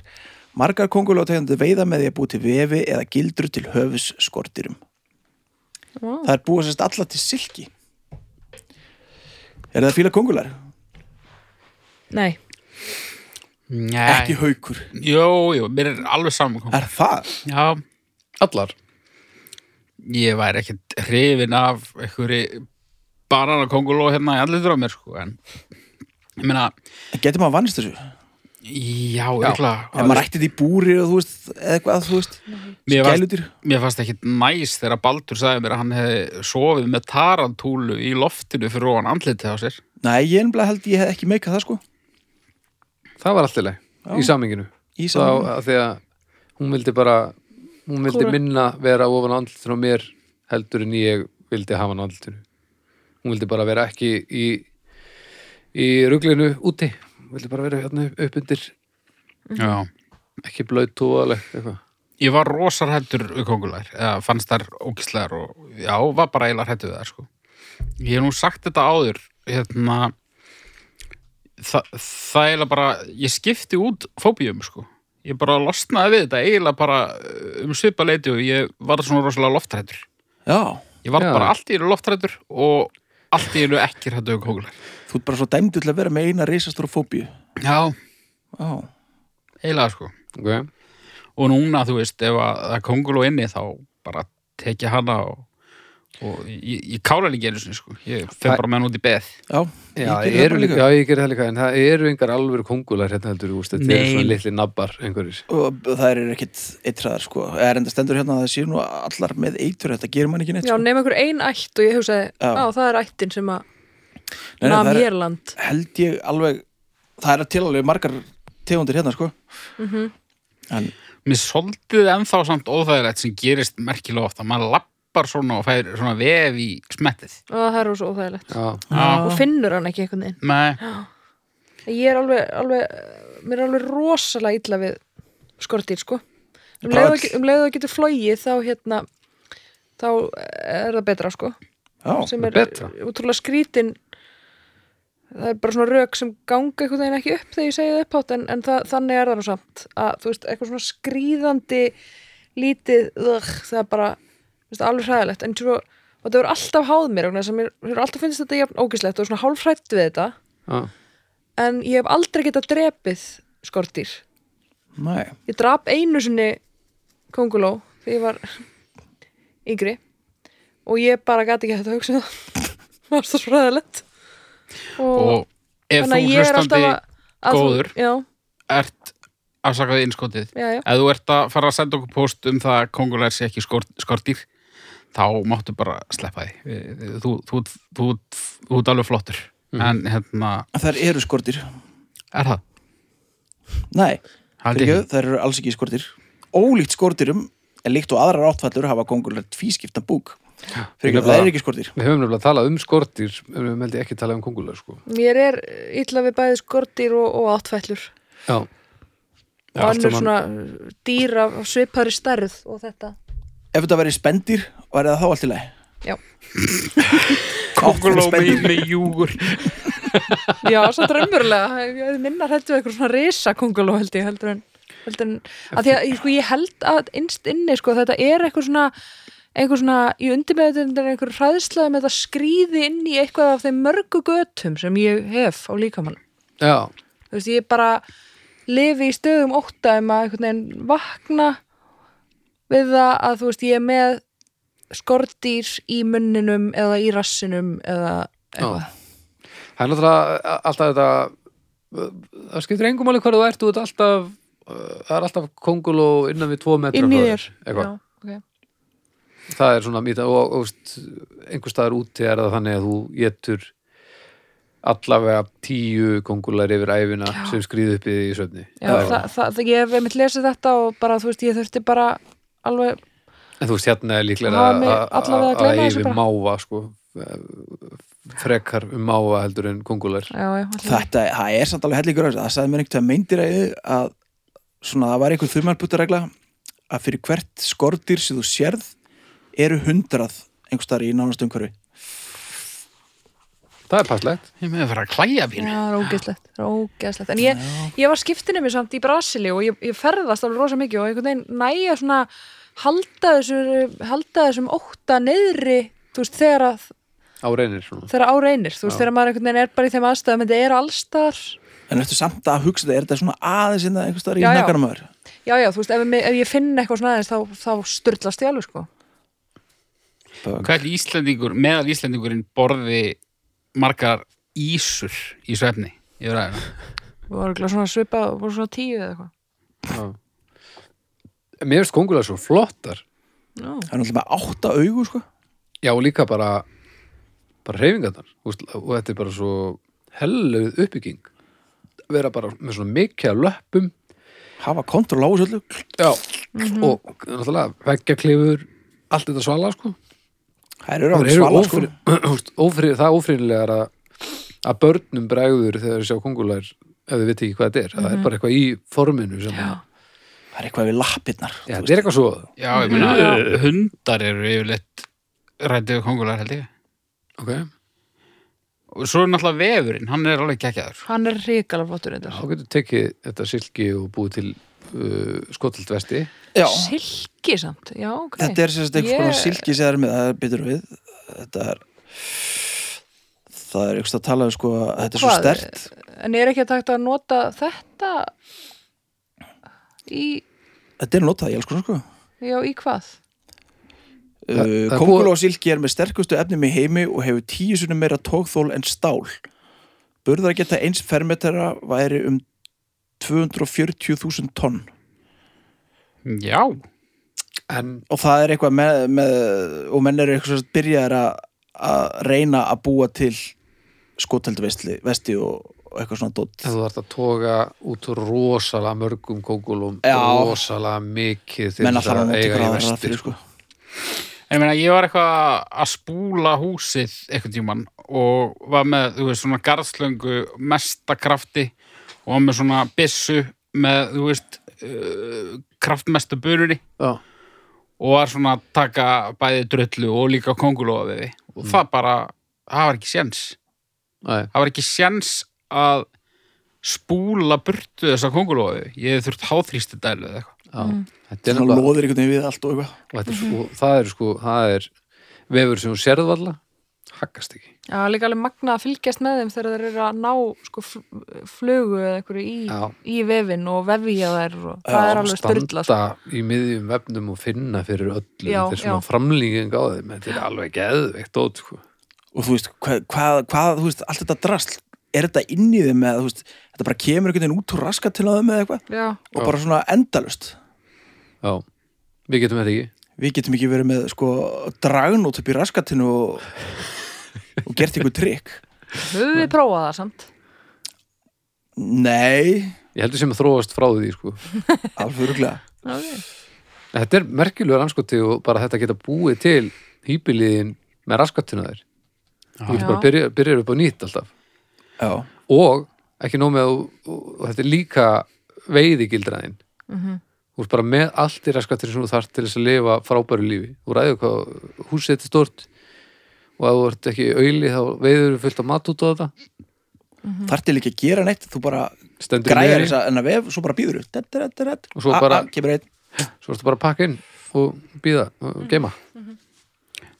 Speaker 3: Margar kóngulær tegjandi veiða með því að búa til vefi eða gildru til höfus skortirum.
Speaker 4: Vá.
Speaker 3: Það er búa sérst allar til silki. Er það fíla kóngulær?
Speaker 4: Nei.
Speaker 1: Nei.
Speaker 3: Ekki haukur.
Speaker 1: Jú, jú, mér er alveg saman.
Speaker 3: Er það?
Speaker 1: Já,
Speaker 2: Allar
Speaker 1: ég væri ekkert hrifin af einhverju bananakonguló hérna í allir á mér, sko, en ég meina,
Speaker 3: Getur maður vannist þessu?
Speaker 1: já, örgulega
Speaker 3: Ef maður ætti þetta í búri og þú veist, eða eitthvað, þú veist,
Speaker 1: Mér varst-
Speaker 3: gælutir.
Speaker 1: mér fannst ekkert næs þegar Baldur sagði mér að hann hefði sofið með tarantúlu í loftinu fyrir ofan andlitið á sér
Speaker 3: Nei, ég ennblega held ég hef ekki meikað það sko.
Speaker 2: Það var alltaf leið Í saminginu
Speaker 3: Í
Speaker 2: Þá
Speaker 3: saman.
Speaker 2: að því að hún vildi bara Hún vildi
Speaker 4: Kúra.
Speaker 2: minna vera ofan á andlutinu á mér heldur en ég vildi hafa hann á andlutinu Hún vildi bara vera ekki í í ruglinu úti Hún vildi bara vera hérna upp undir
Speaker 1: Já
Speaker 2: ekki blöð tóðaleg eitthvað
Speaker 1: Ég var rosar hættur við kongulær eða fannst þær ógislegar og já, var bara eiginlega hættu við þær sko Ég hef nú sagt þetta áður hérna þa það eiginlega bara ég skipti út fóbíum sko ég bara losnaði við þetta eiginlega bara uh, um svipa leiti og ég var svona rosalega loftrættur
Speaker 3: Já.
Speaker 1: Ég var
Speaker 2: Já.
Speaker 1: bara allt í einu loftrættur og allt í einu ekki hættu við kongulær
Speaker 3: Þú ert bara svo dæmdur til að vera með eina reisastóra fóbíu.
Speaker 1: Já,
Speaker 3: Já.
Speaker 1: eiginlega sko
Speaker 2: okay.
Speaker 1: og núna þú veist ef að það er konguló inni þá bara tekja hana og, og ég, ég kála líka einu sinni sko ég fer
Speaker 2: Það-
Speaker 1: bara með hann út í beð
Speaker 3: Já.
Speaker 2: Já,
Speaker 3: gerði
Speaker 2: ég
Speaker 3: það
Speaker 2: eru
Speaker 3: bara
Speaker 2: líka, já, ég gerði það líka en það eru engar alvöru kongular hérna heldur úst, þetta eru
Speaker 1: Nei.
Speaker 2: svona litli nabbar einhverjir
Speaker 3: Og það eru ekkit eittraðar sko. Er enda stendur hérna að það séu nú allar með eitur, þetta gerir mann ekki neitt.
Speaker 4: Já,
Speaker 3: Sko.
Speaker 4: nema einhver ein ætt og ég hugsaði,
Speaker 3: Já.
Speaker 4: á, það er ættin sem að
Speaker 3: Nei, nei,
Speaker 4: nam
Speaker 3: það er-
Speaker 4: hér land.
Speaker 3: Held ég alveg, það er til alveg margar tegundir hérna sko. Mm -hmm.
Speaker 1: mér er svolítið ennþá samt óþægilegt sem gerist merkilega ofta maður lappar svona og fær svona vef í smettið
Speaker 4: Og það er svo óþægilegt.
Speaker 2: Já,
Speaker 1: Já.
Speaker 4: Og finnur hann ekki einhvern veginn.
Speaker 1: Nei,
Speaker 4: Ég er alveg, alveg, mér er alveg rosalega illa við skortýr, sko. Um leið,
Speaker 3: Bara
Speaker 4: og,
Speaker 3: öll-
Speaker 4: um leið og getur flogið, þá hérna, þá er það betra, sko.
Speaker 3: Já.
Speaker 4: Sem er
Speaker 2: betra.
Speaker 4: útrúlega skrítin, það er bara svona rök sem ganga einhvern veginn ekki upp þegar ég segi það upphátt, en, en það, þannig er það nú samt. Að, þú veist, eitthvað svona skríðandi, lítið, ugh, það er bara, þú veist, alveg hræðilegt. En svo, og það verður alltaf háð mér, og þess að mér, mér hefur alltaf finnst þetta jafn ógislegt og svona hálfrætt við þetta
Speaker 2: já,
Speaker 4: en ég hef aldrei getað drepið skortýr
Speaker 3: Nei,
Speaker 4: ég drap einu sinni konguló þegar ég var yngri og ég bara gæti ekki hægt að hugsa um það <laughs> það var svo fræðilegt
Speaker 1: og ef þú
Speaker 4: þannig að ég er
Speaker 1: hlustandi
Speaker 4: alltaf að, að þú-
Speaker 1: góður.
Speaker 4: já,
Speaker 1: ert afsakaði innskotið
Speaker 4: já, já,
Speaker 1: ef þú ert að fara að senda okkur post um það að kongulær sé ekki skort, skortýr þá máttu bara sleppa því Eh, þú, þú, þú, þú, þú ert alveg flottur en hérna,
Speaker 3: þær eru skortir
Speaker 1: er það?
Speaker 3: Nei,
Speaker 1: Haldi
Speaker 3: Fyrirgefðu,
Speaker 1: ekki.
Speaker 3: þær eru alls ekki skortir Ólíkt skortirum, en líkt og aðrar áttfællur hafa kongulega tvískipta búk Fyrirgefðu,
Speaker 2: Nefnilega-
Speaker 3: þær eru ekki skortir
Speaker 2: Við höfum nefnilega talað um skortir, en við meldi ekki talað um kongulega, sko.
Speaker 4: mér er illa við bæði skortýr og, og áttfællur
Speaker 2: Já.
Speaker 4: og annur svona dýr af af svipaðri stærð og þetta
Speaker 3: Ef þetta væri spendir, væri það þá allt í lagi
Speaker 4: Já.
Speaker 1: Kónguló
Speaker 3: Áttfæll spendýr.
Speaker 1: með júgur
Speaker 4: Já, samt raunverulega, ég hefði minna hættu eitthvað svona risa konguló held ég heldur en, heldur en að því að ég, sko, ég held að innst inni sko þetta er eitthvað svona einhver svona, ég undirmeðutin einhver hræðslaði með þetta skrýði inn í eitthvað af þeim mörgu götum sem ég hef á líkamann.
Speaker 2: Já,
Speaker 4: Þú veist, ég bara lifi í stöðum ótta um að einhvern veginn vakna við það að þú veist, ég er með skordýr í munninum eða í rassinum eða eitthvað.
Speaker 2: það er náttúrulega alltaf þetta, eh, það skiptir engum alveg hvar þú ert, þú ert alltaf, uh, það er alltaf konguló innan við tvo metra
Speaker 4: Inn í
Speaker 2: frá
Speaker 4: þér.
Speaker 2: Eitthvað.
Speaker 4: Já, ok.
Speaker 2: það er svona mýta og, og veist, einhver staðar úti er það þannig að þú getur allavega tíu kongular yfir æfina
Speaker 4: Já.
Speaker 2: sem skrýðu upp í því í söfni
Speaker 4: Já, það, það, það, ég hef einmitt lesið þetta og bara, þú veist, ég þurfti bara alveg,
Speaker 2: en þú veist hérna er líklega
Speaker 4: Hafa mig
Speaker 2: að- að
Speaker 4: allavega að gleyma
Speaker 2: að
Speaker 4: þessu
Speaker 2: yfir
Speaker 4: bara.
Speaker 2: máva sko, frekar um máva heldur en kongular
Speaker 4: já, já, allir,
Speaker 3: Þetta, það er samt alveg hellingur á þessu Það sagði mér einhvern veginn meindiræði að svona, það var einhver þumalbúttaregla að fyrir hvert skortir sem þú sérð eru hundrað einhvers staðar í nánast umhverfi
Speaker 2: það er passlegt
Speaker 1: Ég með að fara að klæja
Speaker 4: já,
Speaker 1: pínu
Speaker 4: það er ógeðslegt, það er ógeðslegt. En ég, ég var skiptinu mér samt í Brasili og ég, ég ferðast alveg rosa mikið og einhvern veginn næja svona halda, þessu, halda þessum ótta neyðri, þú veist, þegar að
Speaker 2: á reynir svona
Speaker 4: þegar á reynir, þú veist,
Speaker 2: Já.
Speaker 4: þegar maður einhvern veginn er bara í þeim aðstæðum, þetta er allstar
Speaker 3: En eftir samt að hugsa þetta, er þetta svona aðeins innan einhvers staðar í
Speaker 4: Já, já.
Speaker 3: nakkanum aður?
Speaker 4: já, já, þú veist, ef, mig- ef ég finn eitthvað svona aðeins, þá, þá styrlast ég alveg, sko
Speaker 1: Hvað er Íslendingur, meðal Íslendingurinn borði margar ísur í svefni yfir aðeins
Speaker 4: við varum örugglega svona svipað, voru svona tíu eða eitthvað
Speaker 2: Já. mér finnst kongular svo flottar
Speaker 3: Það
Speaker 4: Já.
Speaker 3: er náttúrulega með átta augu, sko
Speaker 2: já og líka bara bara reyfingarnar úst, og þetta er bara svo helluð uppbygging vera bara með svona mikið af löppum
Speaker 3: Hafa kontrol á þessu öllu
Speaker 2: já, og
Speaker 4: Mhm.
Speaker 2: náttúrulega veggjaklifur allt þetta svala sko
Speaker 3: Það eru
Speaker 2: Þeir
Speaker 3: alveg
Speaker 2: eru
Speaker 3: svala, sko
Speaker 2: ófri, <clears throat> úst, ófri, það er ófriðlegar að, að börnum bregður þegar þeir sjá kongular ef þau viti ekki hvað þetta er það er bara eitthvað í forminu sem að,
Speaker 3: Það er eitthvað við lappirnar
Speaker 2: já,
Speaker 3: þú
Speaker 2: þetta er eitthvað svo
Speaker 1: Já, ég <laughs> meina, hundar eru yfirleitt rættið kongular held ég
Speaker 2: ok,
Speaker 1: og svo er náttúrulega vefurinn, hann er alveg geggjaður
Speaker 4: hann er ríkala flottur reyndar
Speaker 2: þá getur tekið þetta silki og búið til uh, skotilt vesti
Speaker 3: veist. Já,
Speaker 4: Silki samt, já, ok.
Speaker 3: þetta er sérst eitthvað yeah.
Speaker 4: Ég-
Speaker 3: silki sem það er með, það er bitur við Þetta er Það er eitthvað að tala um, sko, að þetta er svo
Speaker 4: hvað?
Speaker 3: stert
Speaker 4: En er ekki takt að nota þetta í,
Speaker 3: Þetta er notað í alls konar sko
Speaker 4: já, í hvað?
Speaker 2: það
Speaker 3: uh,
Speaker 2: er
Speaker 3: Konguló silki er með sterkustu efnum í heimi og hefur tíu sunni meira tókþól en stál Burðar geta eins fermetera væri um 240.000 tonn
Speaker 1: Já,
Speaker 2: en
Speaker 3: og það er eitthvað með, með og menn eru eitthvað sem byrjaðir að, að reyna að búa til skoteldu vesti, vesti og, og eitthvað svona dótt
Speaker 2: En þú þarft að toga út úr rosalega mörgum kókulum,
Speaker 3: Já.
Speaker 2: rosalega mikið til
Speaker 3: menn
Speaker 2: þess
Speaker 3: alltaf að
Speaker 2: að
Speaker 3: nota
Speaker 2: eiga
Speaker 3: ykkur
Speaker 2: í
Speaker 3: aðra
Speaker 2: vestir.
Speaker 3: fyrir sko
Speaker 1: En ég meina, ég var eitthvað að spúla húsið eitthvað tímann og var með, þú veist, svona garðslöngu mesta krafti og var með svona byssu með, þú veist, uh, kraftmestu burunni
Speaker 2: Já,
Speaker 1: og var svona að taka bæði drullu og líka kongulóafiði og það bara, það var ekki séns.
Speaker 2: nei,
Speaker 1: Það var ekki séns að spúla burtu þessa kongulóafiði. Ég hefði þurft háþrýsti dælu eða eitthvað.
Speaker 2: já. Þetta er
Speaker 3: svona
Speaker 2: nefnilega,
Speaker 3: loðir einhvern veginn við allt og eitthvað
Speaker 2: og þetta er svo, það er sko, það er vefur sem hún sérðvalla haggast ekki
Speaker 4: Já, líka alveg magna að fylgjast með þeim þegar þeir eru að ná sko, fl- flugu eða einhverju í,
Speaker 2: Já.
Speaker 4: í vefin og vefja þær og
Speaker 3: Já,
Speaker 4: það er alveg
Speaker 2: standa
Speaker 4: styrla sko.
Speaker 2: í miðjum vefnum og finna fyrir öllu
Speaker 4: Já,
Speaker 2: þetta er svona
Speaker 4: já.
Speaker 2: framlýging á þeim þetta er alveg geðveikt ót sko.
Speaker 3: og þú veist, hvað, hvað, hvað þú veist, allt þetta drasl, er þetta inn í þeim eða þú veist, þetta bara kemur einhvern veginn út úr raskat til á þeim eða eitthvað
Speaker 4: Já,
Speaker 3: og bara svona endalust
Speaker 2: já, við getum þetta ekki
Speaker 3: við getum ekki verið með sko dragnót upp í raskatinu og, og gert einhver trikk
Speaker 4: höfum við prófað það samt
Speaker 3: nei,
Speaker 2: ég heldur sem að þróast frá því sko.
Speaker 3: alveg öruglega
Speaker 4: okay.
Speaker 2: þetta er merkilegur anskoti og bara þetta geta búið til hýpiliðin með raskatuna þær þú getur
Speaker 4: Já.
Speaker 2: bara byrja, byrjar upp á nýtt alltaf
Speaker 3: já,
Speaker 2: og ekki nóg með að- og þetta er líka veiði gildraðin þú ert bara með allt í raskatir sem þú þarft til þess að lifa frábæru lífi þú ræður hvað húsið þetta er stort og ef þú ert ekki auðli þá veiður þú fullt af mat út á þetta
Speaker 3: þarf til ekki að gera neitt þú bara
Speaker 2: stendur í
Speaker 3: græjar
Speaker 2: meðri,
Speaker 3: þess að enna vef, svo bara býður og
Speaker 2: Og svo bara-
Speaker 3: Ah, kemur einn
Speaker 2: svo ertu bara að pakka inn og býða og geima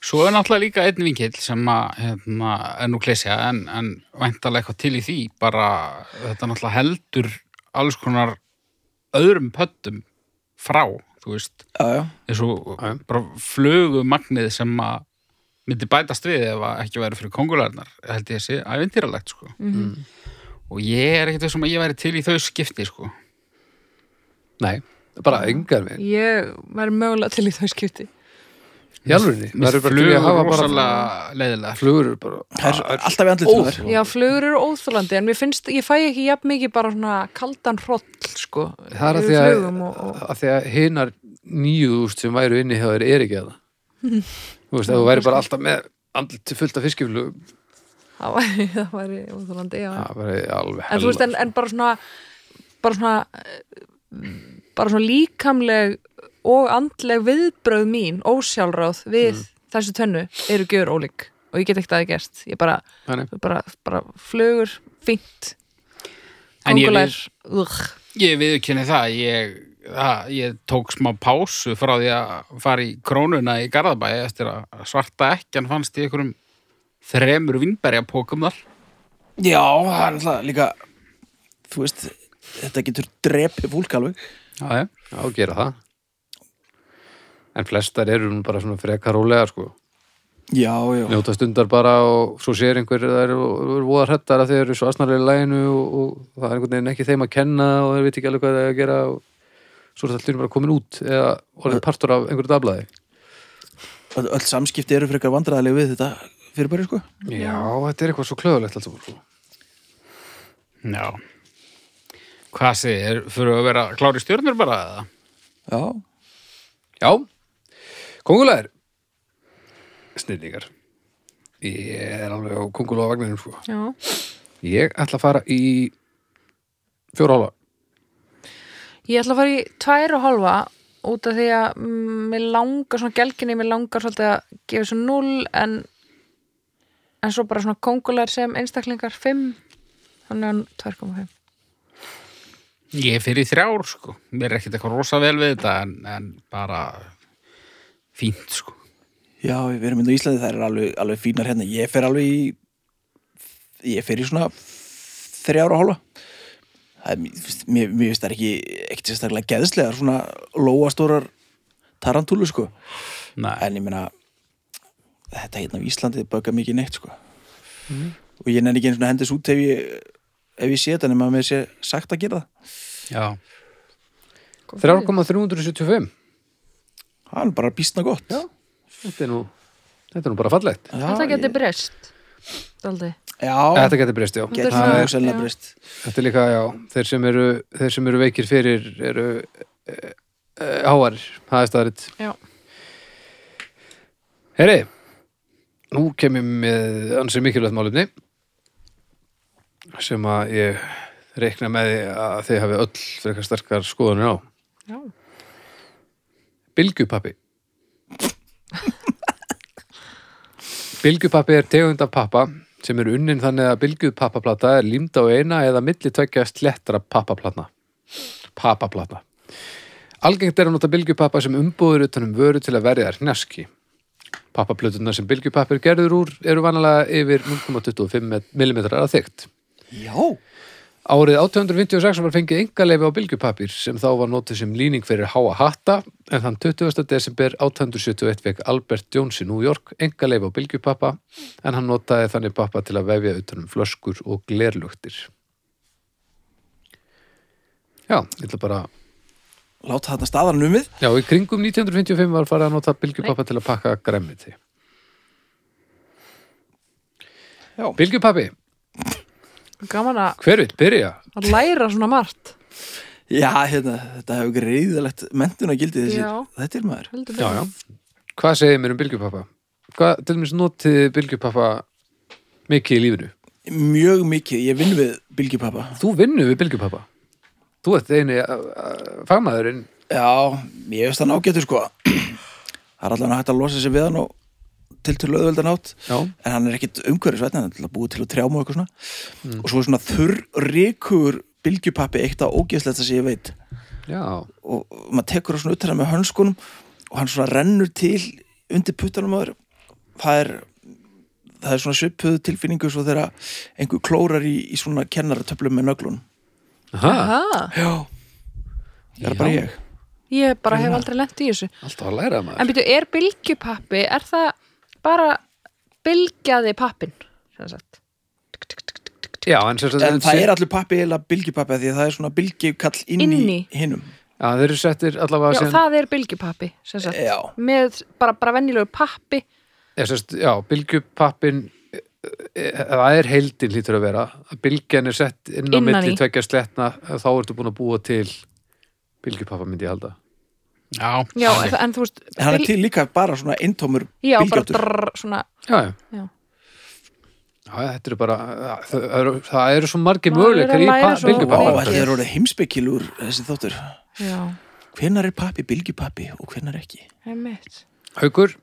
Speaker 1: Svo er náttúrulega líka einn vinkill sem að, hérna, er nú klesja en, en væntalega eitthvað til í því bara þetta náttúrulega heldur alls konar öðrum pöttum frá, þú veist
Speaker 3: já, já,
Speaker 1: eins og
Speaker 2: Já, já.
Speaker 1: bara flugumagnið sem að myndi bætast við ef að ekki væri fyrir kongularnar held ég að sé ævintýralegt sko
Speaker 2: Mm.
Speaker 1: og ég er ekkert þessum að ég væri til í þau skipti sko
Speaker 2: nei, bara engar við
Speaker 4: Ég væri mögulega til í þau skipti
Speaker 2: í alvörinni, það
Speaker 1: Mér
Speaker 2: eru bara til í
Speaker 1: flugur
Speaker 2: að hafa bara
Speaker 1: rosalega leiðilega
Speaker 2: flugur eru bara
Speaker 3: það er alltaf í andlitinu þar
Speaker 4: Já, flugur eru óþólandi en mér finnst, ég fæ ekki jafn mikið bara svona kaldan hroll sko
Speaker 2: það er að
Speaker 4: yfir
Speaker 2: því að,
Speaker 4: flugum og, og,
Speaker 2: að, því að hinar nýjúðust sem væru inni hjá þér er ekki að
Speaker 4: <laughs>
Speaker 2: það þú veist, ef þú væri bara alltaf með andlut fullt af fiskiflugum
Speaker 4: það væri, það væri óþólandi, já
Speaker 2: það væri alveg
Speaker 4: en þú veist, en, en bara svona bara svona eh, bara svona líkamleg og andleg viðbröð mín ósjálfráð við
Speaker 1: Mm.
Speaker 4: þessu tönnu eru gjör ólík og ég get ekkert að það gerst ég bara,
Speaker 2: Þannig.
Speaker 4: bara, bara flugur fínt,
Speaker 1: En ég
Speaker 4: kongulær ugh,
Speaker 1: Ég viðurkenni það, ég, það, ég tók smá pásu frá því að fara í krónuna í Garðabæi eftir að svarta ekkjan fannst í einhverjum þremur vinnberjapókum þar.
Speaker 3: já, það er alltaf líka þú veist, þetta getur drepið fólk alveg
Speaker 1: Já, já.
Speaker 2: já, gera það en flestar eru nú bara svona frekar rólega sko,
Speaker 3: já, já,
Speaker 2: njóta stundar bara og svo sér einhver það eru er voða hrettar að þeir eru svo asnarlega í læginu og, og það er einhvern veginn ekki þeim að kenna og þeir veit ekki alveg hvað þeir eiga að gera og svo er þetta allir bara komin út eða orðin partur af einhverju dablaði
Speaker 3: Öll, öll samskipti eru frekar vandræðilega við þetta fyrirbæri sko
Speaker 2: já, þetta er eitthvað svo klöðulegt alltaf sko.
Speaker 1: Já. Hvað segir, fyrir að vera klári stjörnur bara eða?
Speaker 3: já,
Speaker 2: Já, kongulegar Snillingar Ég er alveg á kongulega vagninum sko.
Speaker 4: já,
Speaker 2: Ég ætla að fara í fjóra hóla
Speaker 4: ég ætla að fara í tvær og halva út af því að mm, mér langar svona gelginni, mér langar svolítið að gefa svo null en en svo bara svona kongulær sem einstaklingar 5 þannig að 2,5
Speaker 1: Ég er fyrir þrjár, sko. Mér er ekkert eitthvað rosa vel við þetta en, en bara fínt, sko.
Speaker 3: já, við erum inn á Íslandi það er alveg, alveg fínar hérna, ég fer alveg í ég fer í svona þrjára hálfa það er, mér finnst- mér mér finnst það ekki ekkert sérstaklega geðslegar svona lóastórar tarantúlu sko
Speaker 1: Nei.
Speaker 3: en ég meina þetta hérna á Íslandi böggar mikið neitt sko og ég nenni ekki einu svona hendis út ef ég ef ég sé þetta nema að mér sé sagt að gera það
Speaker 1: Já.
Speaker 2: 3,375
Speaker 3: það er bara býstna gott já,
Speaker 2: þetta er, nú, þetta er nú bara fallegt
Speaker 4: Þetta
Speaker 3: ég-
Speaker 4: getur breyst Daldi
Speaker 3: já,
Speaker 2: Þetta getur breyst, já
Speaker 4: Þetta er
Speaker 3: það
Speaker 4: svona-
Speaker 3: er sennilega
Speaker 4: já.
Speaker 3: breyst
Speaker 2: Þetta er líka, já, þeir sem eru, þeir sem eru veikir fyrir eru e, e, háar, það er staðaritt
Speaker 4: Já.
Speaker 2: Heyri, nú kem ég með ansið mikilvægt málumni sem að ég reikna með því að þið hafi öll frekar sterkar skoðanir á
Speaker 4: Já.
Speaker 2: Bilgjupappi Bilgjupappi er tegund af pappa sem er unnin þannig að bilgjupappaplata er límd á eina eða milli tvekja slettra pappaplatna pappaplata Algengt er að nota bilgjupappa sem umbúður utan um vöru til að verja þær hnjaski Pappaplöturnar sem bylgjupapir gerður úr eru vanalega yfir 0,25 mm að þykkt.
Speaker 3: Já,
Speaker 2: Árið 1856 var fengið engaleifi á bylgjupapir sem þá var notið sem líning fyrir háa hatta en þann 20. desember 1871 fekk Albert Jones í New York engaleifi á bylgjupappa en hann notaði þannig pappa til að vefja utanum flöskur og glerlugtir. Já, ég ætla bara
Speaker 3: láta þetta staðar numið
Speaker 2: Já, í kringum 1955 var farið að nota bylgjupappa til að pakka græmiti.
Speaker 3: Já.
Speaker 2: Bylgjupappi,
Speaker 4: Gaman að,
Speaker 2: hver vil byrja?
Speaker 4: að læra svona margt
Speaker 3: Já, hérna, þetta hefur ekki reyðilegt mentuna gildið þessi,
Speaker 4: Já.
Speaker 3: þetta er maður
Speaker 4: Heldur
Speaker 2: Já,
Speaker 4: betur.
Speaker 2: já. Hvað segir mér um bylgjupappa? Hvað, til dæmis, notið þið bylgjupappa mikið í lífinu?
Speaker 3: Mjög mikið, ég vinn við bylgjupappa
Speaker 2: Þú vinnur við bylgjupappa. Þú ert eini uh, uh, fagmaðurinn.
Speaker 3: Já, ég veist það nágættur sko <clears throat> Það er allan hægt að losa sér við hann og til til auðveldan átt
Speaker 2: Já.
Speaker 3: en hann er ekkit umhverfisvætn hann er til að búi til að trjáma og eitthvað svona
Speaker 2: Mm.
Speaker 3: og svo er svona þurr rekur bylgjupappi eitt að ógeðslegt sem ég veit
Speaker 2: Já.
Speaker 3: og og maður tekur það svona utan með hönskunum og hann svona rennur til undir puttanum aður það er, það er svona svipuð tilfinningu svo þegar einhver klórar í, í svona kennaratöflum með nöglunum
Speaker 2: Aha,
Speaker 4: Aha,
Speaker 3: Já Það er bara
Speaker 2: Já.
Speaker 3: ég
Speaker 4: ég bara hef aldrei lent í þessu
Speaker 2: alltaf að læra
Speaker 4: En
Speaker 2: maður.
Speaker 4: byrju, er bylgjupappi, er það bara bylgjaði pappin? sem sagt?
Speaker 2: Já, en sem sagt,
Speaker 3: En það
Speaker 2: sé-
Speaker 3: er allir pappi eða bylgjupappi af því að það er svona bylgjukall inn, í
Speaker 4: Inni.
Speaker 3: hinnum
Speaker 2: Já, þeir eru settir allavega
Speaker 4: Já,
Speaker 2: sem...
Speaker 4: það er bylgjupappi, sem sagt.
Speaker 3: Já.
Speaker 4: Með bara, bara venjulegu pappi.
Speaker 2: Já, sérst, já bylgjupappin það er heildin hlýtur að vera að bylgjan er sett inn á
Speaker 4: Innan
Speaker 2: milli
Speaker 4: í.
Speaker 2: tveggja sletna þá ertu búin að búa til bylgjupappa myndi ég halda
Speaker 1: Já,
Speaker 4: Já, en, en þú veist,
Speaker 3: En hann er
Speaker 4: byl-
Speaker 3: til líka bara svona eintómur
Speaker 4: já, bara
Speaker 3: bylgjóttur
Speaker 4: drr, svona,
Speaker 2: já, já,
Speaker 4: já.
Speaker 2: já þetta eru bara það, það eru, það eru svo margir
Speaker 4: Maður er að
Speaker 2: möguleikar í
Speaker 4: læra svo
Speaker 3: Vá,
Speaker 2: bylgjupappa
Speaker 3: þetta er orðið heimspekilur þessi þóttur
Speaker 4: Já,
Speaker 3: Hvenær er pappi bylgjupappi og hvenær ekki?
Speaker 4: einmitt.
Speaker 2: Haukur,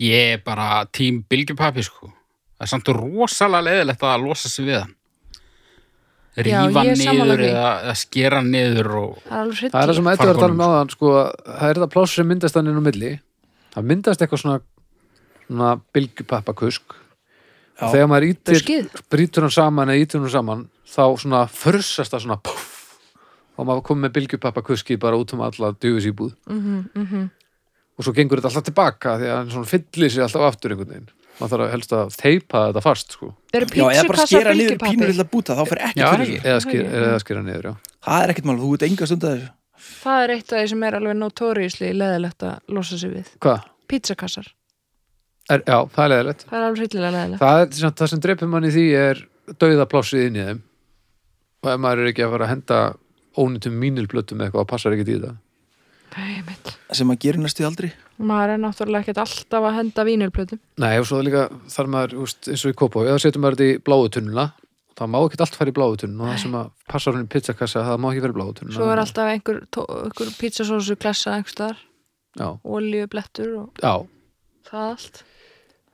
Speaker 1: ég er bara tím bylgjupappi sko. Það er samt rosalega leiðilegt að losa sig við hann.
Speaker 4: Já,
Speaker 1: Rífa
Speaker 4: ég er sammála
Speaker 1: niður
Speaker 4: því.
Speaker 1: eða, eða skera niður og...
Speaker 4: Það er alveg
Speaker 2: það er það
Speaker 4: hryllilegt.
Speaker 2: sem eitthvað var að tala um
Speaker 1: Fargólfum.
Speaker 2: áðan sko, það er það pláss sem myndast þannig inn á milli það myndast eitthvað svona, svona bylgjupappakusk
Speaker 3: Já.
Speaker 2: og þegar maður ítir
Speaker 4: Buskið.
Speaker 2: brýtur hann saman eða ítur hann saman þá svona försast það svona puff, og maður komið með bylgjupappakuski bara út um alla djöfis íbúð
Speaker 4: Mhm,
Speaker 2: og svo gengur þetta alltaf tilbaka því að hann svona fyllir sér alltaf aftur einhvern veginn maður þarf að helst að teipa þetta fast sko.
Speaker 4: Eru
Speaker 3: Já, eða bara
Speaker 4: pítsukassa
Speaker 3: skera niður pínur
Speaker 4: bylgjupappi?
Speaker 3: illa búta, þá fyrir ekki
Speaker 1: Já,
Speaker 3: fyrir
Speaker 1: ekki.
Speaker 3: þessu.
Speaker 2: eða, skýr, eða skýra niður já.
Speaker 3: Það er ekkert mál, þú ert enga stund að þessu
Speaker 4: Það er eitt af því sem er alveg notóriðisli leðilegt að losa sig við.
Speaker 2: Hvað?
Speaker 4: Pítsukassar,
Speaker 2: Er, já, það er leðilegt
Speaker 4: það er alveg hryllilega leðilegt.
Speaker 2: það, er, sem- það sem dreipir mann í því er dauðaplássið inn í þeim og ef maður er ekki að fara að henda ónýttum mínilblötum eða eitthvað, passar ekki í það
Speaker 4: Einmitt.
Speaker 3: sem að gera næstu aldrei
Speaker 4: Maður er náttúrulega ekkert alltaf að henda vínilplötum.
Speaker 2: Nei, og svo líka þarf maður, úst, eins og í kópa eða setjum maður þetta í bláu tunnuna það má ekki allt fara í bláu tunnuna og það sem að passar hún í pizzakassa, það má ekki fara í bláu tunnuna
Speaker 4: Svo er alltaf einhver, tó- einhver pizzasósu klessa einhverstaðar,
Speaker 2: Já,
Speaker 4: oljublettur og
Speaker 2: já,
Speaker 4: það allt.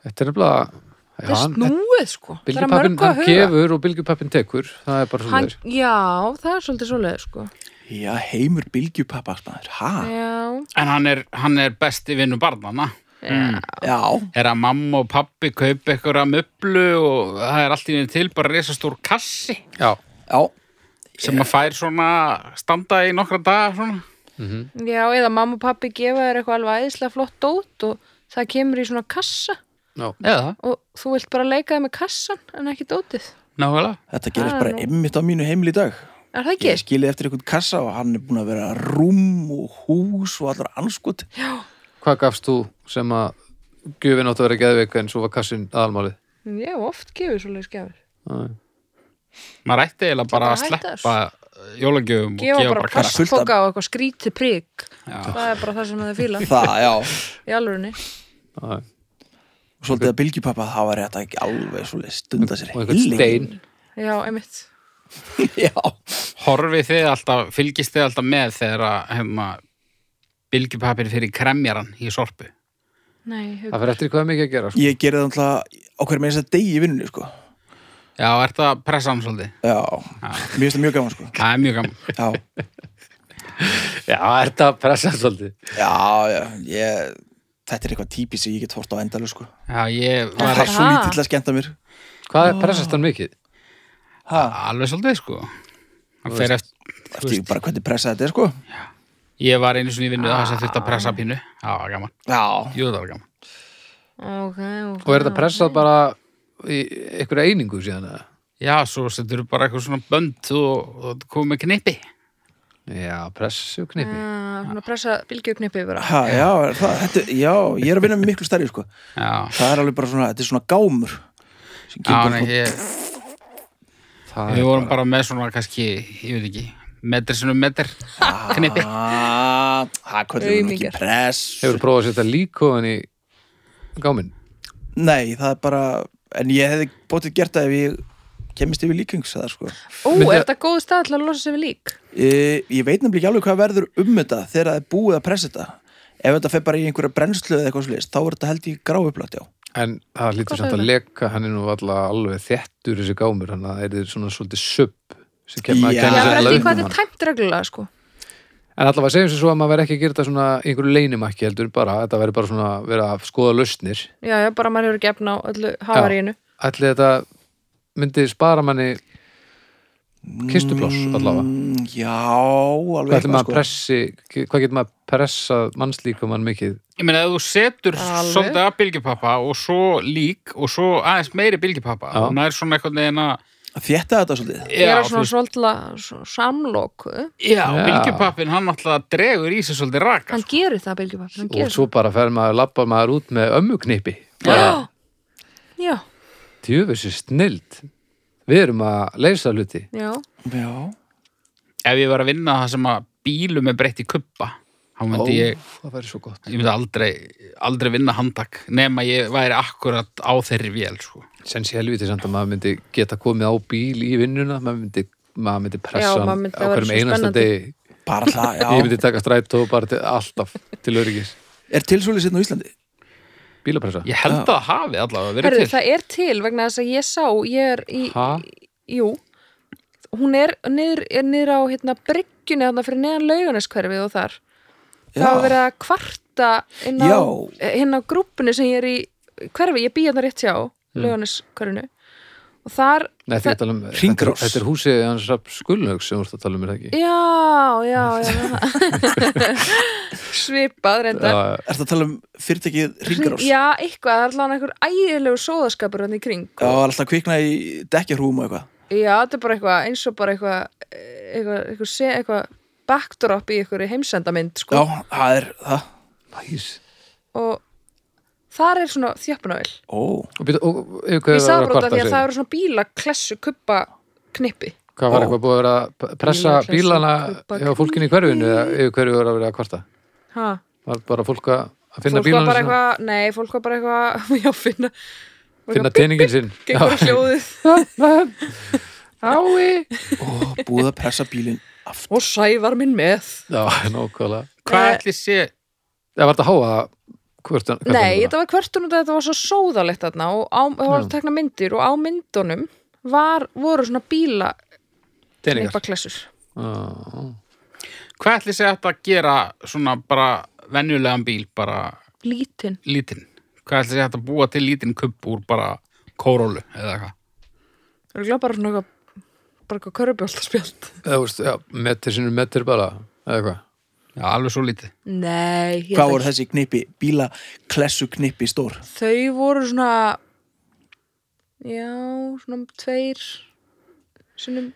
Speaker 2: þetta er nefnilega Já,
Speaker 4: Það er
Speaker 2: hann-
Speaker 4: snúið sko. Það er að
Speaker 2: Bylgjupappinn,
Speaker 4: mörgu að
Speaker 2: hann
Speaker 4: huga.
Speaker 2: gefur og bylgjupappinn tekur það er bara
Speaker 4: Hann,
Speaker 2: svona
Speaker 4: já, það er svolítið svoleið sko.
Speaker 3: Já, heimur bylgjupappa, maður,
Speaker 2: Ah.
Speaker 3: ha?
Speaker 4: Já,
Speaker 1: En hann er, hann er besti vinnu barnana. Mm.
Speaker 3: Já,
Speaker 1: Er að mamma og pappi kaupa eitthvað að möblu og það er allt í einu til bara risastór kassi
Speaker 2: Já,
Speaker 3: já,
Speaker 1: sem að fær svona standa í nokkra daga svona.
Speaker 4: já, eða mamma og pappi gefa þér eitthvað alveg æðislega flott dót og það kemur í svona kassa
Speaker 2: já,
Speaker 1: Eða,
Speaker 4: og þú vilt bara leika þig með kassan en ekki dótið.
Speaker 1: nákvæmlega.
Speaker 3: þetta gerist
Speaker 4: Það er
Speaker 3: bara
Speaker 4: nú-
Speaker 3: einmitt á mínu heimil í dag
Speaker 4: Er það
Speaker 3: Ég
Speaker 4: ekki?
Speaker 3: skilið eftir einhvern kassa og hann er búin að vera rúm og hús og allra anskot
Speaker 2: hvað gafst þú sem að gjöfin átt að vera geðveika en svo var kassin aðalmálið
Speaker 4: Ég hef oft gefið svoleið skefur.
Speaker 2: Æ.
Speaker 1: Maður ætti eiginlega bara
Speaker 4: bara
Speaker 1: að
Speaker 4: hætta
Speaker 1: sleppa jólagjöfum og
Speaker 4: Gefa bara,
Speaker 1: gefa bara kassa.
Speaker 4: plastpoka og eitthvað skrítið prík.
Speaker 1: Já.
Speaker 4: Það er bara það sem þið fíla
Speaker 3: Það, já
Speaker 4: <laughs> í alvörunni.
Speaker 2: Já.
Speaker 3: Svolítið að bylgjupappa, það var þetta ekki alveg svolítið stunda sér
Speaker 2: og einhvern stein
Speaker 4: Já, einmitt.
Speaker 3: stein <laughs> Já,
Speaker 1: Horfið þið alltaf, fylgist þið alltaf með þegar að hefma bylgjupapir fyrir kremjaran í sorpu.
Speaker 4: Nei, hug-
Speaker 2: það fyrir eftir hvað er mikið að gera sko.
Speaker 3: ég gerði það alltaf á hverju með þess að degi í vinnunni, sko
Speaker 1: Já, er það pressan svolítið?
Speaker 3: Já, mér finnst það mjög gaman, sko
Speaker 1: Það er mjög <laughs> gaman.
Speaker 3: Já,
Speaker 2: Já, er þetta pressað svolítið
Speaker 3: já, já, ég þetta er eitthvað típis sem ég get hort á endalu sko
Speaker 1: Já, ég
Speaker 3: það
Speaker 1: var
Speaker 3: er svo
Speaker 4: Ha?
Speaker 3: lítill að skemmta mér
Speaker 2: Hvað er pressast hann mikið?
Speaker 3: ha,
Speaker 1: alveg svolítið, sko. Hann fer eftir,
Speaker 3: Ah, eftir bara hvernig pressa þetta er sko
Speaker 1: ég var einu svona í vinnu þess að þurfti að pressa pínu. Já, það var gaman.
Speaker 3: já,
Speaker 1: Ah. Jú, það var gaman.
Speaker 4: Ok, ok.
Speaker 2: Og er þetta pressað bara í einhverja einingu síðan eða?
Speaker 1: Já, svo setur þú bara eitthvað svona bönd og, og komið með knippi.
Speaker 2: Já, pressu knipi
Speaker 4: Já, svona pressa bylgjöknipi bara.
Speaker 3: ha, já, er það, þetta, já ég er að vinna með miklu stærri sko
Speaker 1: Já,
Speaker 3: það er alveg bara svona, þetta er svona gámur sem
Speaker 1: já,
Speaker 3: gengur
Speaker 1: nei,
Speaker 3: svona-
Speaker 1: ég,
Speaker 4: Ah.
Speaker 2: Það
Speaker 1: við
Speaker 2: er
Speaker 1: vorum bara með svona kannski, ég veit ekki, metri sinum metr knippi.
Speaker 3: Ah, það kallar hún ekki
Speaker 4: Aumingar.
Speaker 3: press
Speaker 2: Hefur prófað að setja líkóðan í gáminn?
Speaker 3: Nei, það er bara en ég hefði bótið gert það ef ég kemist yfir líkings það sko
Speaker 4: Ó,
Speaker 2: Myndi-
Speaker 4: er þetta góð stað til að losa sér við lík?
Speaker 3: ég, ég veit nefnilega ekki alveg hvað verður um þetta þegar það er búið að pressa þetta ef þetta fer bara í einhverja brennslu eða eitthvað sliðist þá er þetta held ég gráuplagt já
Speaker 2: En það lítur
Speaker 4: Hvað
Speaker 2: samt að
Speaker 4: sagði?
Speaker 2: leka hann er nú alltaf alveg þéttur þessi gámur hann að er þið svona svolítið sub sem kemur að
Speaker 3: Já.
Speaker 4: Já,
Speaker 3: Þessi
Speaker 4: það er
Speaker 2: kenna sér
Speaker 4: eftir
Speaker 2: lögnum
Speaker 4: hvað
Speaker 2: hann
Speaker 4: þetta er tæmt reglulega, sko.
Speaker 2: En allavega segjum sér svo að maður veri ekki að gera þetta svona í einhverju leinimakki heldur bara þetta veri bara svona verið að skoða lausnir
Speaker 4: Já, já, bara maður hefur ekki efna á öllu havaríinu.
Speaker 2: Ætli þetta myndi spara manni kistupláss allavega
Speaker 3: mm, Já, alveg sko.
Speaker 2: Hvað ætli
Speaker 1: sko.
Speaker 2: maður pressi, hvað getur maður pressað mannslíkumann mikið?
Speaker 1: Ég meina, ef þú setur
Speaker 4: Alveg.
Speaker 1: svolítið af bylgjupappa og svo lík og svo aðeins meiri bylgjupappa
Speaker 2: Já.
Speaker 1: og nær svona eitthvað neina
Speaker 3: Þétta þetta svolítið
Speaker 4: Ég er svona svolítið samlóku.
Speaker 1: já,
Speaker 2: Já.
Speaker 1: bylgjupappin hann alltaf dregur í sig svolítið raka sko.
Speaker 4: Hann gerir það, bylgjupappi. Hann
Speaker 2: Og
Speaker 4: gerir
Speaker 2: svo bara fer maður, labba maður út með ömmuknipi
Speaker 4: það. Já, já,
Speaker 2: Tjöfessi snild Við erum að leysa hluti
Speaker 4: já.
Speaker 3: Já,
Speaker 1: ef ég var að vinna það sem að bílum er breytt í kubba þá
Speaker 2: Ó,
Speaker 1: myndi ég,
Speaker 2: Það væri svo gott
Speaker 1: ég myndi aldrei aldrei vinna handtak nema ég væri akkurat á þeirri vél sko.
Speaker 2: Sens í helviti samt að maður myndi geta komið á bíl í vinnuna maður myndi, maður myndi pressa
Speaker 4: Já, maður
Speaker 2: hann
Speaker 4: myndi-
Speaker 2: á
Speaker 4: það væri
Speaker 2: hverjum
Speaker 4: svo
Speaker 2: einasta
Speaker 4: spennandi.
Speaker 2: degi
Speaker 3: bara
Speaker 2: <laughs>
Speaker 3: það, já
Speaker 2: Ég myndi taka strætó bara til, alltaf til öryggis
Speaker 3: Er tilsvölið sérna á Íslandi?
Speaker 2: Bílapressa
Speaker 1: ég held að það hafi allavega verið
Speaker 4: Herðu,
Speaker 1: til
Speaker 4: það er til vegna þess að ég sá, ég er í,
Speaker 2: Ha?
Speaker 4: jú, hún er niður, er niður á hérna bryggjunni þarna fyrir neðan lauguneskverfið og þar.
Speaker 3: Já.
Speaker 4: Það var verið að kvarta inn á,
Speaker 3: Já.
Speaker 4: inn á grúpunni sem ég er í hverfi, ég býja þarna rétt hjá
Speaker 3: Mm.
Speaker 4: lauguneskverfinu og þar,
Speaker 2: Nei, því að tala um
Speaker 3: Hringrás.
Speaker 2: Þetta er húsið hans rapp skulnögs sem þú ert að tala um er það ekki
Speaker 4: já, já, já, <laughs> svipað reyndar.
Speaker 2: Já,
Speaker 3: Er það að tala um fyrirtækið Ringarás?
Speaker 4: Já, eitthvað, það er allan einhver ægilegu sóðaskapur hann í kring
Speaker 3: Já, það er alltaf kvikna í dekkjarhúm og eitthvað
Speaker 4: Já, þetta er bara eitthvað eins og bara eitthvað eh, eitthvað, eitthvað, se, eitthvað backdrop í einhverju heimsendamynd sko.
Speaker 3: Já, það er það
Speaker 2: Næs
Speaker 4: og þar er svona þjöppunavil
Speaker 3: Ó,
Speaker 2: Og býta, og yfir
Speaker 4: ég
Speaker 2: hvað
Speaker 4: sagði bara
Speaker 2: var að
Speaker 4: út af
Speaker 2: kvarta
Speaker 4: því að
Speaker 2: sig?
Speaker 4: það eru svona bíla klessu kuppa knippi
Speaker 2: Hvað var eitthvað búið að vera að pressa
Speaker 4: Bílaklessu,
Speaker 2: bílana
Speaker 4: kubba,
Speaker 2: hjá fólkinu í hverfinu eða yfir hverju var að vera að kvarta?
Speaker 4: ha.
Speaker 2: Var bara fólk að að
Speaker 4: fólk
Speaker 2: finna
Speaker 4: var
Speaker 2: bílana
Speaker 4: bara
Speaker 2: sinna?
Speaker 4: eitthvað nei, fólk var bara eitthvað <laughs> já, finna,
Speaker 2: Finna teningin sinn?
Speaker 4: gengur á hljóðið
Speaker 2: <laughs> Ái!
Speaker 3: ó, búið að pressa bílinn aftur
Speaker 4: og sævar minn með
Speaker 2: <laughs> Já, nákvæmlega.
Speaker 1: hvað
Speaker 4: Eh,
Speaker 1: ætli sé
Speaker 2: Það var þetta háa hvert hann...
Speaker 4: Nei, þetta var hvertun og þetta var svo sóðalegt þarna og á, það var
Speaker 2: Já.
Speaker 4: að tekna myndir og á myndunum var, voru svona bíla
Speaker 2: Teningar.
Speaker 4: knippa klessur
Speaker 1: hvað ætli sé hægt að gera svona bara venjulegan bíl bara
Speaker 4: lítinn
Speaker 1: lítinn hvað ætli sé hægt að búa til lítinn kubb úr bara kórólu eða eitthvað
Speaker 4: Það eru bara svona eitthvað bara eitthvað körubjóltaspjöld
Speaker 2: Það veist, já, metri sinni metri bara, eða hvað.
Speaker 1: já, alveg svo lítið
Speaker 4: Nei, ég
Speaker 3: Hvað
Speaker 4: held
Speaker 3: voru þessi knipi, bíla klessu knipi stór?
Speaker 4: ekki. Þau voru svona já, svona tveir sinnum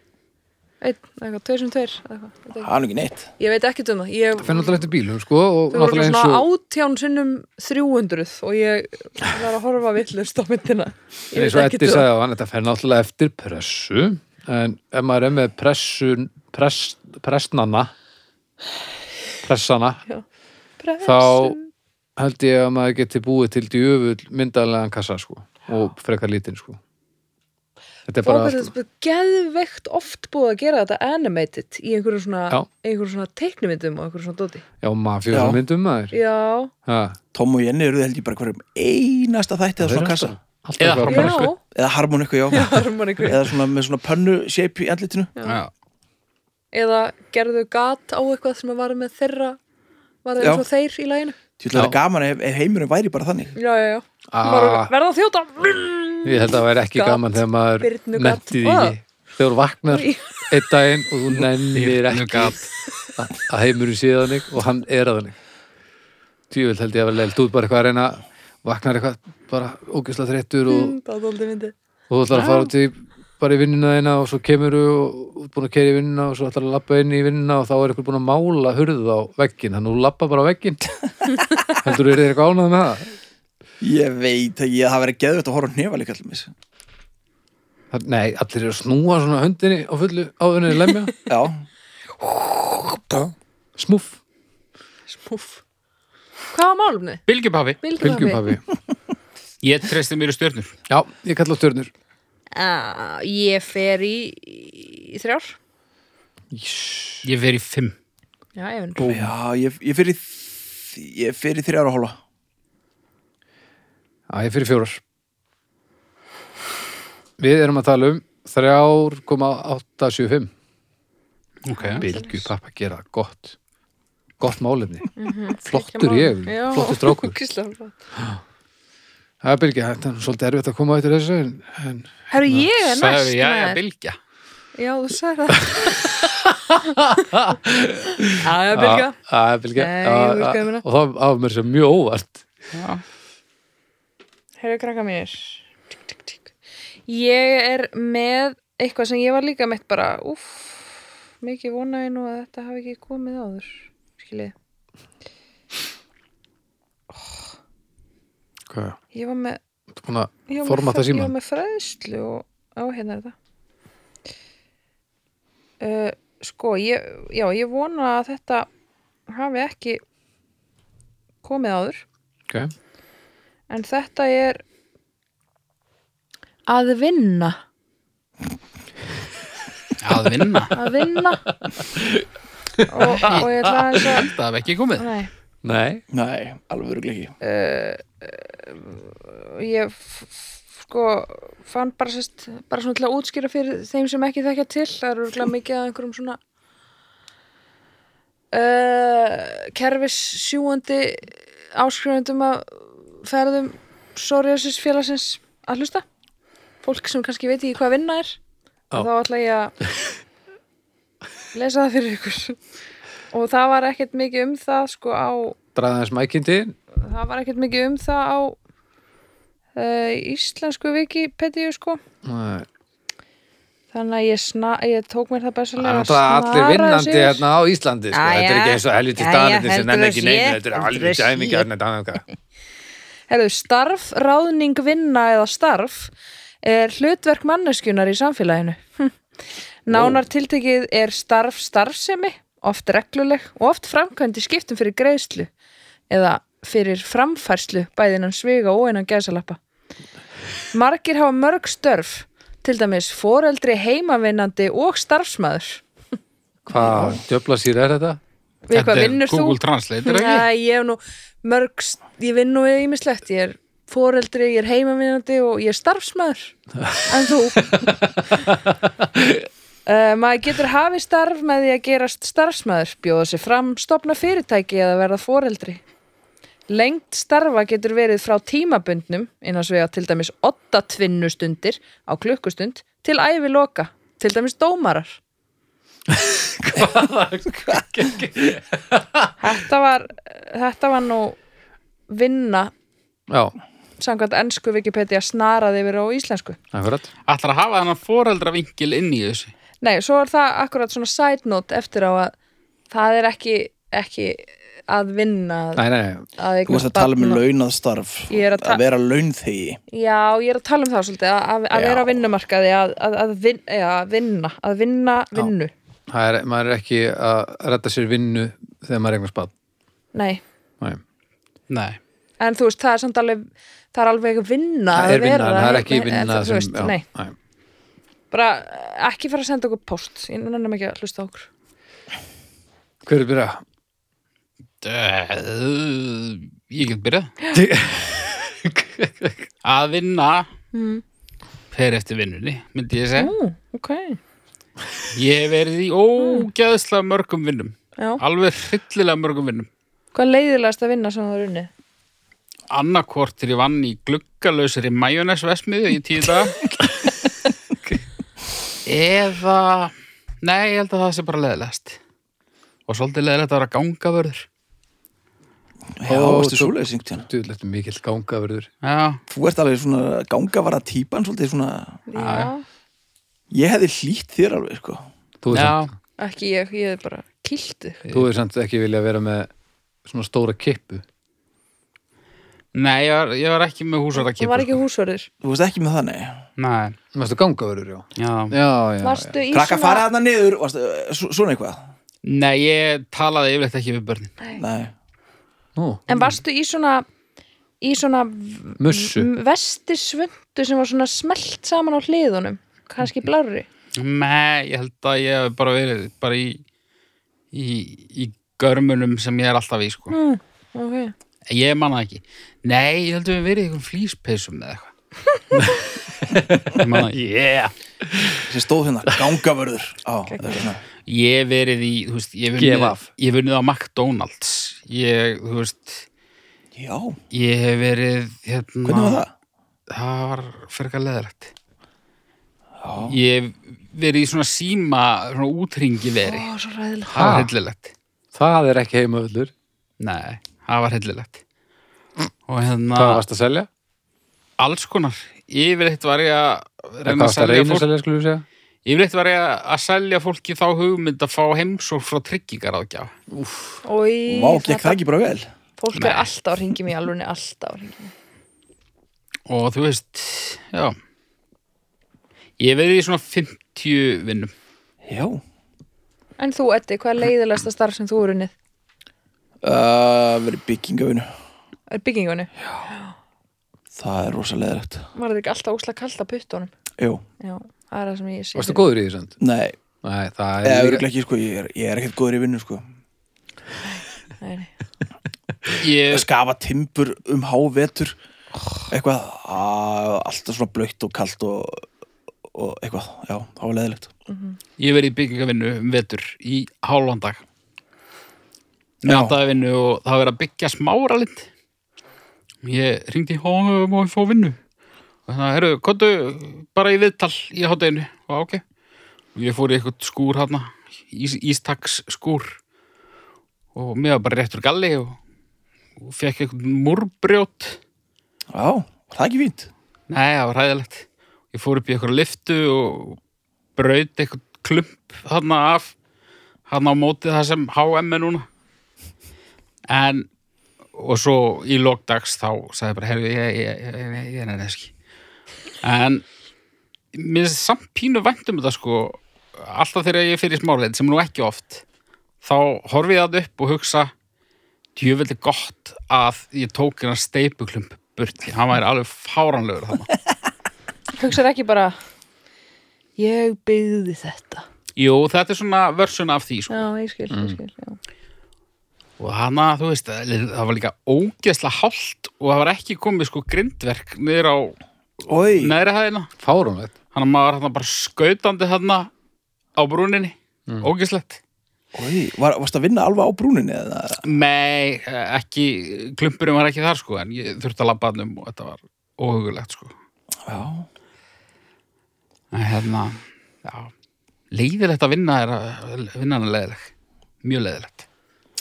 Speaker 4: einn, eitthvað, tveir sem tveir eða eitthvað, ég veit ekki.
Speaker 3: Það er nú ekki neitt
Speaker 4: Ég veit ekki um það ég,
Speaker 2: Það finn náttúrulega eftir bílum, sko, og
Speaker 4: Þau voru
Speaker 2: náttúrulega eins
Speaker 4: svona
Speaker 2: og...
Speaker 4: átján sinnum 300 og ég var að horfa villust á myndina Ég
Speaker 2: eins
Speaker 4: veit
Speaker 2: og
Speaker 4: ekki
Speaker 2: Eddi
Speaker 4: um það
Speaker 2: sagði á hann, þetta fær náttúrulega eftir pressu, en ef maður er með pressun, press, pressnanna, pressana, þá
Speaker 4: Pressun.
Speaker 2: held ég að maður geti búið til djöfull myndanlegan kassa, sko, og frekar lítinn, sko. Þetta er
Speaker 4: Bara,
Speaker 2: bara...
Speaker 4: þetta er geðveikt oft búið að gera þetta animated í einhverjum svona,
Speaker 2: Já.
Speaker 4: einhverjum svona teiknumyndum og einhverjum svona dóti
Speaker 2: Já, mafjósa
Speaker 3: Já.
Speaker 2: myndum maður.
Speaker 4: Já,
Speaker 2: Ha,
Speaker 3: Tom og Jenny eru held ég bara hverjum einasta þætti eða svona kassa
Speaker 2: Alltaf
Speaker 1: Eða
Speaker 2: eitthvað-
Speaker 1: harmonikku.
Speaker 4: já,
Speaker 1: Harmonikku.
Speaker 3: eða harmoniku, já
Speaker 4: harmoniku
Speaker 3: eða svona með svona pönnu shape í andlitinu
Speaker 1: já.
Speaker 4: eða gerðu gat á eitthvað sem var með þeirra var það eins og þeir í læginu
Speaker 3: Því ætla
Speaker 2: Já.
Speaker 3: þetta gaman ef, ef heimurinn væri bara þannig.
Speaker 4: já, já, já. Bara
Speaker 2: Ah,
Speaker 4: verða að þjóta
Speaker 2: ég held að það væri ekki
Speaker 4: Gat.
Speaker 2: gaman þegar maður
Speaker 4: Birnugat.
Speaker 2: nennti því ekki. Þegar þú vaknar
Speaker 4: Í-
Speaker 2: einn daginn og þú nennir
Speaker 1: Nú
Speaker 2: ekki
Speaker 1: gat.
Speaker 2: að að heimurinn sé þannig og hann er þannig. Tjúvill held ég að vera leilt út bara eitthvað að reyna vaknar eitthvað bara ógeðslega þreyttur og,
Speaker 4: Það er aldrei myndið
Speaker 2: og þú ætlar að fara út í bara í vinnuna þeina og svo kemur og og búin að keri í vinnuna og svo ætlar að labba inn í vinnuna og þá er eitthvað búin að mála hurðu á veggin þannig að þú labba bara á veggin heldur þú er eitthvað ánað með það
Speaker 3: Ég veit að ég það verið geðvægt að horfa nefalík allir mis.
Speaker 2: Það- Nei, allir eru að snúa svona höndinni á fullu áðunni lemja,
Speaker 3: Já,
Speaker 2: smúff,
Speaker 4: Smúf Hvað var málumni?
Speaker 1: Bylgjupaffi.
Speaker 4: Bylgjupappi
Speaker 2: fylgjupappi.
Speaker 1: Ég treysti mér í stjörnur.
Speaker 2: Já, ég kalla á stjörnur.
Speaker 4: uh, Ég fer í, í þrjár
Speaker 1: Ég fer í fimm.
Speaker 4: Já, ég vinn
Speaker 3: já ég, ég fyrir ég fyrir þrjára hóla.
Speaker 2: Já, ég er fyrir fjórar. Við erum að tala um 3,875.
Speaker 1: Ok.
Speaker 2: Bylgjupappa gera það gott. Gott málefni. Flottur ég, flottur
Speaker 4: <laughs>
Speaker 2: strákur.
Speaker 4: Herru,
Speaker 2: Það er bylgja, þetta er svolítið erfitt að koma á eftir þessu en, en
Speaker 4: ég er næst
Speaker 1: já, já,
Speaker 4: maður.
Speaker 1: bylgja.
Speaker 4: Já, þú sagði
Speaker 2: <laughs>
Speaker 4: það Já, já, bylgja
Speaker 2: Já, Það er bylgja.
Speaker 4: Nei,
Speaker 2: Já,
Speaker 4: ég virkaði
Speaker 2: já,
Speaker 4: mér það.
Speaker 2: Og það var mér sem mjög óvart.
Speaker 4: Herru, krakka mér tík, tík, tík. Ég er með eitthvað sem ég var líka meitt bara Úff, mikið vonaði nú að þetta hafi ekki komið áður Skiljið
Speaker 2: Hvað?
Speaker 4: Ég var með
Speaker 2: Þú búin að
Speaker 4: Ég var með, fræ-
Speaker 2: Formata
Speaker 4: ég var
Speaker 2: símann.
Speaker 4: með fræðslu og á hérna er þetta uh, sko ég, já, ég vona að þetta hafi ekki komið áður
Speaker 2: Ok.
Speaker 4: en þetta er að vinna
Speaker 1: Að vinna.
Speaker 4: að vinna og, og ég ætla aðeins að
Speaker 1: Það hef ekki komið.
Speaker 4: altså, nei,
Speaker 2: Nei,
Speaker 3: Nei, alveg örugglega ekki.
Speaker 4: Eh, ég f- f- sko fann bara, sest, bara svona til að útskýra fyrir þeim sem ekki þekkja til það eru örugglega mikið að einhverjum svona uh, kerfis sjúandi áskrifundum að ferðum Soriasis félagsins að hlusta fólk sem kannski veit ekki hvað vinna er
Speaker 2: Já.
Speaker 4: og þá ætla ég að lesa það fyrir ykkur og það var ekkert mikið um það sko á
Speaker 2: draða þess mækindi.
Speaker 4: það var ekkert mikið um það á uh, íslensku Wikipedia sko
Speaker 2: Nei.
Speaker 4: þannig að ég, sna, ég tók mér það
Speaker 2: Það er
Speaker 4: bæsilega
Speaker 2: náttúrulega allir vinnandi hérna á Íslandi sko.
Speaker 4: Já,
Speaker 2: Þetta er
Speaker 4: já.
Speaker 2: ekki eins og helviti
Speaker 4: Já, já,
Speaker 2: staðandi sem
Speaker 4: heldur
Speaker 2: nenni
Speaker 4: þú
Speaker 2: ekki
Speaker 4: sé,
Speaker 2: neina Þetta er
Speaker 4: heldur þú
Speaker 2: helviti
Speaker 4: sé.
Speaker 2: æmingi hérna
Speaker 4: <laughs>
Speaker 2: danaðka
Speaker 4: Herðu, starf, ráðning, vinna eða starf er hlutverk manneskjunar í samfélaginu. Hm. Nánar tiltekið er starf starfsemi, oft regluleg og oft framkvæmdi skiptum fyrir greiðslu eða fyrir framfærslu bæðinan sviga og innan gæsalappa. Margir hafa mörg störf, til dæmis foreldri, heimavinnandi og starfsmaður.
Speaker 2: Hvað djöfla sér er þetta?
Speaker 4: Við hvað
Speaker 1: er
Speaker 4: vinnur þú?
Speaker 1: Google Translate, er það ekki?
Speaker 4: Nei, ég hef nú mörg, ég vinn nú við ímislegt, ég er foreldri, ég er heimavinnandi og ég er starfsmaður en
Speaker 1: <laughs>
Speaker 4: þú uh, maður getur hafið starf með því að gerast starfsmaður bjóða sér fram, stopna fyrirtæki eða verða foreldri lengt starfa getur verið frá tímabundnum innans við að til dæmis 8 tvinnustundir á klukkustund til ævi loka, til dæmis dómarar þetta var þetta var nú vinna
Speaker 2: Já,
Speaker 4: samkvæmt ennsku Wikipedia snaraði yfir á íslensku.
Speaker 2: akkurat
Speaker 1: Ætlar að hafa þennan foreldravinkil inn í þessu.
Speaker 4: Nei, svo er það akkurat svona side note eftir á að það er ekki, ekki að vinna að-
Speaker 2: Nei, nei, nei,
Speaker 4: að
Speaker 3: Þú varst að tala um launað starf.
Speaker 4: Ég er að ta-
Speaker 3: Að vera launþegi.
Speaker 4: Já, ég er að tala um það svolítið að, að, að
Speaker 3: Já.
Speaker 4: vera á vinnumarkaði að, að, að, vin, já, að vinna, að vinna vinnu.
Speaker 2: það er, maður er ekki að redda sér vinnu þegar maður er eitthvað spad
Speaker 4: Nei,
Speaker 2: Nei,
Speaker 1: Nei.
Speaker 4: en þú veist, það er samt alveg það er alveg vinna
Speaker 2: það
Speaker 4: að
Speaker 2: er vinna,
Speaker 4: vera-
Speaker 2: en það er ekki
Speaker 4: Nei,
Speaker 2: vinna
Speaker 4: þú
Speaker 2: sem,
Speaker 4: veist,
Speaker 2: já,
Speaker 4: Nei,
Speaker 2: nei.
Speaker 4: bara eh, ekki fara að senda okkur post, ég nefnum ekki að hlusta á okkur.
Speaker 2: Hver er byrja?
Speaker 1: Döð, ég get
Speaker 4: <gasps>
Speaker 1: byrjað að vinna
Speaker 4: Mm.
Speaker 1: fer eftir vinnunni myndi ég segja
Speaker 4: Ú, ok,
Speaker 1: ég hef verið í ógæðslega mörgum vinnum
Speaker 4: já,
Speaker 1: alveg hryllilega mörgum vinnum
Speaker 4: Hvað leiðilegast að vinna sem þú er unni?
Speaker 1: annarkvort þegar ég vann í gluggalausari majónesvesmiðu í tíu dag eða nei, ég held að það sé bara leðilegast og svolítið leðilegt að vera gangavörður
Speaker 3: Já,
Speaker 2: Ó,
Speaker 3: veistu
Speaker 2: þú-
Speaker 3: svoleiðis einhvern tímann?
Speaker 2: Duðlegt mikill gangaverður.
Speaker 1: já,
Speaker 3: Þú ert alveg svona gangavara típan svolítið svona,
Speaker 4: Já,
Speaker 3: ég hefði hlýtt þér alveg sko.
Speaker 2: Þú er,
Speaker 1: já,
Speaker 2: samt,
Speaker 4: ekki ég, ég er bara kiltu
Speaker 2: þú er samt ekki vilja vera með svona stóra kippu.
Speaker 1: nei ég var, ég var ekki með
Speaker 4: Það var
Speaker 1: húsvarðarkipur
Speaker 4: ekki húsverður
Speaker 3: Þú veist ekki með það, nei
Speaker 1: nei,
Speaker 2: Mestu gangaverður, já.
Speaker 1: já,
Speaker 2: Já, já.
Speaker 4: Varstu í
Speaker 3: Krakka fara þarna niður, varstu, eh, svo- svona eitthvað
Speaker 1: nei, ég talaði yfirleitt ekki við börnin
Speaker 3: Nei,
Speaker 2: Nú,
Speaker 4: En varstu í svona í svona
Speaker 2: mussu.
Speaker 4: Mm. vestisvöndu sem var svona smelt saman á hliðunum kannski blárri
Speaker 1: nei, ég held að ég hef bara verið bara í í, í görmunum sem ég er alltaf í sko.
Speaker 4: mm, okay.
Speaker 1: ég manna ekki nei, ég held að við verið í einhverjum flýspeysum eða eitthvað ég manna ekki yeah.
Speaker 3: sem stóð <laughs> hérna, gangavörður Á, það er svona
Speaker 1: Ég hef verið í, þú veist, ég hef
Speaker 2: Gef
Speaker 1: unnið,
Speaker 2: af.
Speaker 1: ég hef unnið á McDonalds. Ég, þú veist,
Speaker 3: Já, hvernig
Speaker 1: ég hef verið, hérna...
Speaker 3: var það?
Speaker 1: Það var frekar leðrætt.
Speaker 3: Já,
Speaker 1: Ég hef verið í svona síma, svona útringi veri.
Speaker 4: Ó, svo ræðilegt
Speaker 1: Það var
Speaker 2: Ha?
Speaker 1: hryllilegt.
Speaker 2: Það er ekki heimavöllur.
Speaker 1: Nei, það var hryllilegt. Og
Speaker 2: Hvað
Speaker 1: hérna,
Speaker 2: varst að selja?
Speaker 1: alls konar. Yfirleitt var ég að
Speaker 2: Hvað
Speaker 1: reyna að
Speaker 2: varst að
Speaker 1: selja
Speaker 2: reyna að
Speaker 1: fólk.
Speaker 2: selja, skulum við segja?
Speaker 1: Yfirleitt var ég að selja fólki þá hugmynd að fá heimsók frá tryggingar
Speaker 4: Ói,
Speaker 3: Vá, gekk það ekki bara vel
Speaker 4: Fólk
Speaker 1: Nei.
Speaker 4: er alltaf að ringi mér alveg alltaf að ringi
Speaker 1: Og þú veist, já. Ég hef verið í svona 50 vinnum.
Speaker 3: Já
Speaker 4: En þú, Eddi, hvað er leiðilegasta starf sem þú er unnið?
Speaker 3: uh, Verið byggingavinu
Speaker 4: Er byggingunni?
Speaker 3: Það er rosa leðrætt
Speaker 4: Var þetta ekki alltaf óslega kallt að puttunum?
Speaker 3: Jú,
Speaker 4: Já, það er það sem ég sé
Speaker 2: Varstu
Speaker 4: fyrir.
Speaker 2: góður í því samt?
Speaker 3: nei,
Speaker 2: Nei, það
Speaker 3: eða
Speaker 2: er
Speaker 3: örgulega ekki sko, ég er, ég er ekkert góður í vinnu sko
Speaker 4: Nei, nei.
Speaker 1: Ég,
Speaker 3: Skafa timbur um hávetur Eitthvað, á, alltaf svona blöitt og kalt og, og eitthvað, já, það var leðilegt
Speaker 1: ég hef verið í byggingavinnu um vetur í hálfan dag. Með
Speaker 3: Já.
Speaker 1: alltaf vinnu og það var verið að byggja smára lind. Ég ringdi, hó, má ég um fá vinnu? Og þannig að, herru, kontu bara í viðtal í hátteginu. Og ok. Og ég fór í eitthvað skúr hana, ís, ístaks skúr. Og mér var bara réttur galli og, og fekk eitthvað múrbrjót.
Speaker 3: Já, var það ekki fínt?
Speaker 1: Nei, það var hræðilegt. Ég fór upp í eitthvað liftu og braut eitthvað klump hann af, hann á mótið það sem HM er núna. En, og svo í lokdags þá sagði ég bara, herru, ég, ég, ég, ég, ég er nefnir ekki. En, mér er samt pínu vænt um þetta sko, alltaf þegar ég fyrir smárleid, sem er nú ekki oft, þá horfi ég það upp og hugsa, djöfildi gott að ég tók hérna steipuklump burt, því hann væri alveg fáranlegur þarna.
Speaker 4: Hugsar ekki bara Ég byggði þetta
Speaker 1: Jú, þetta er svona vörsuna af því sko.
Speaker 4: Já, ég skil, ég skil já.
Speaker 1: og hana, þú veist, það var líka ógeðslega hált og það var ekki komið sko grindverk niður á
Speaker 3: Oi,
Speaker 1: neðri hæðina
Speaker 2: fárumlegt.
Speaker 1: hann að maður hann bara skautandi hann á brúninni, ógeðslegt
Speaker 3: oi, var, varst að vinna alveg á brúninni eða?
Speaker 1: Nei, ekki klumpurinn var ekki þar sko en ég þurfti að labba hann um og þetta var óhugulegt sko
Speaker 3: Já,
Speaker 1: en hérna, já leiðilegt að vinna er að vinna hann er leiðileg, mjög leiðilegt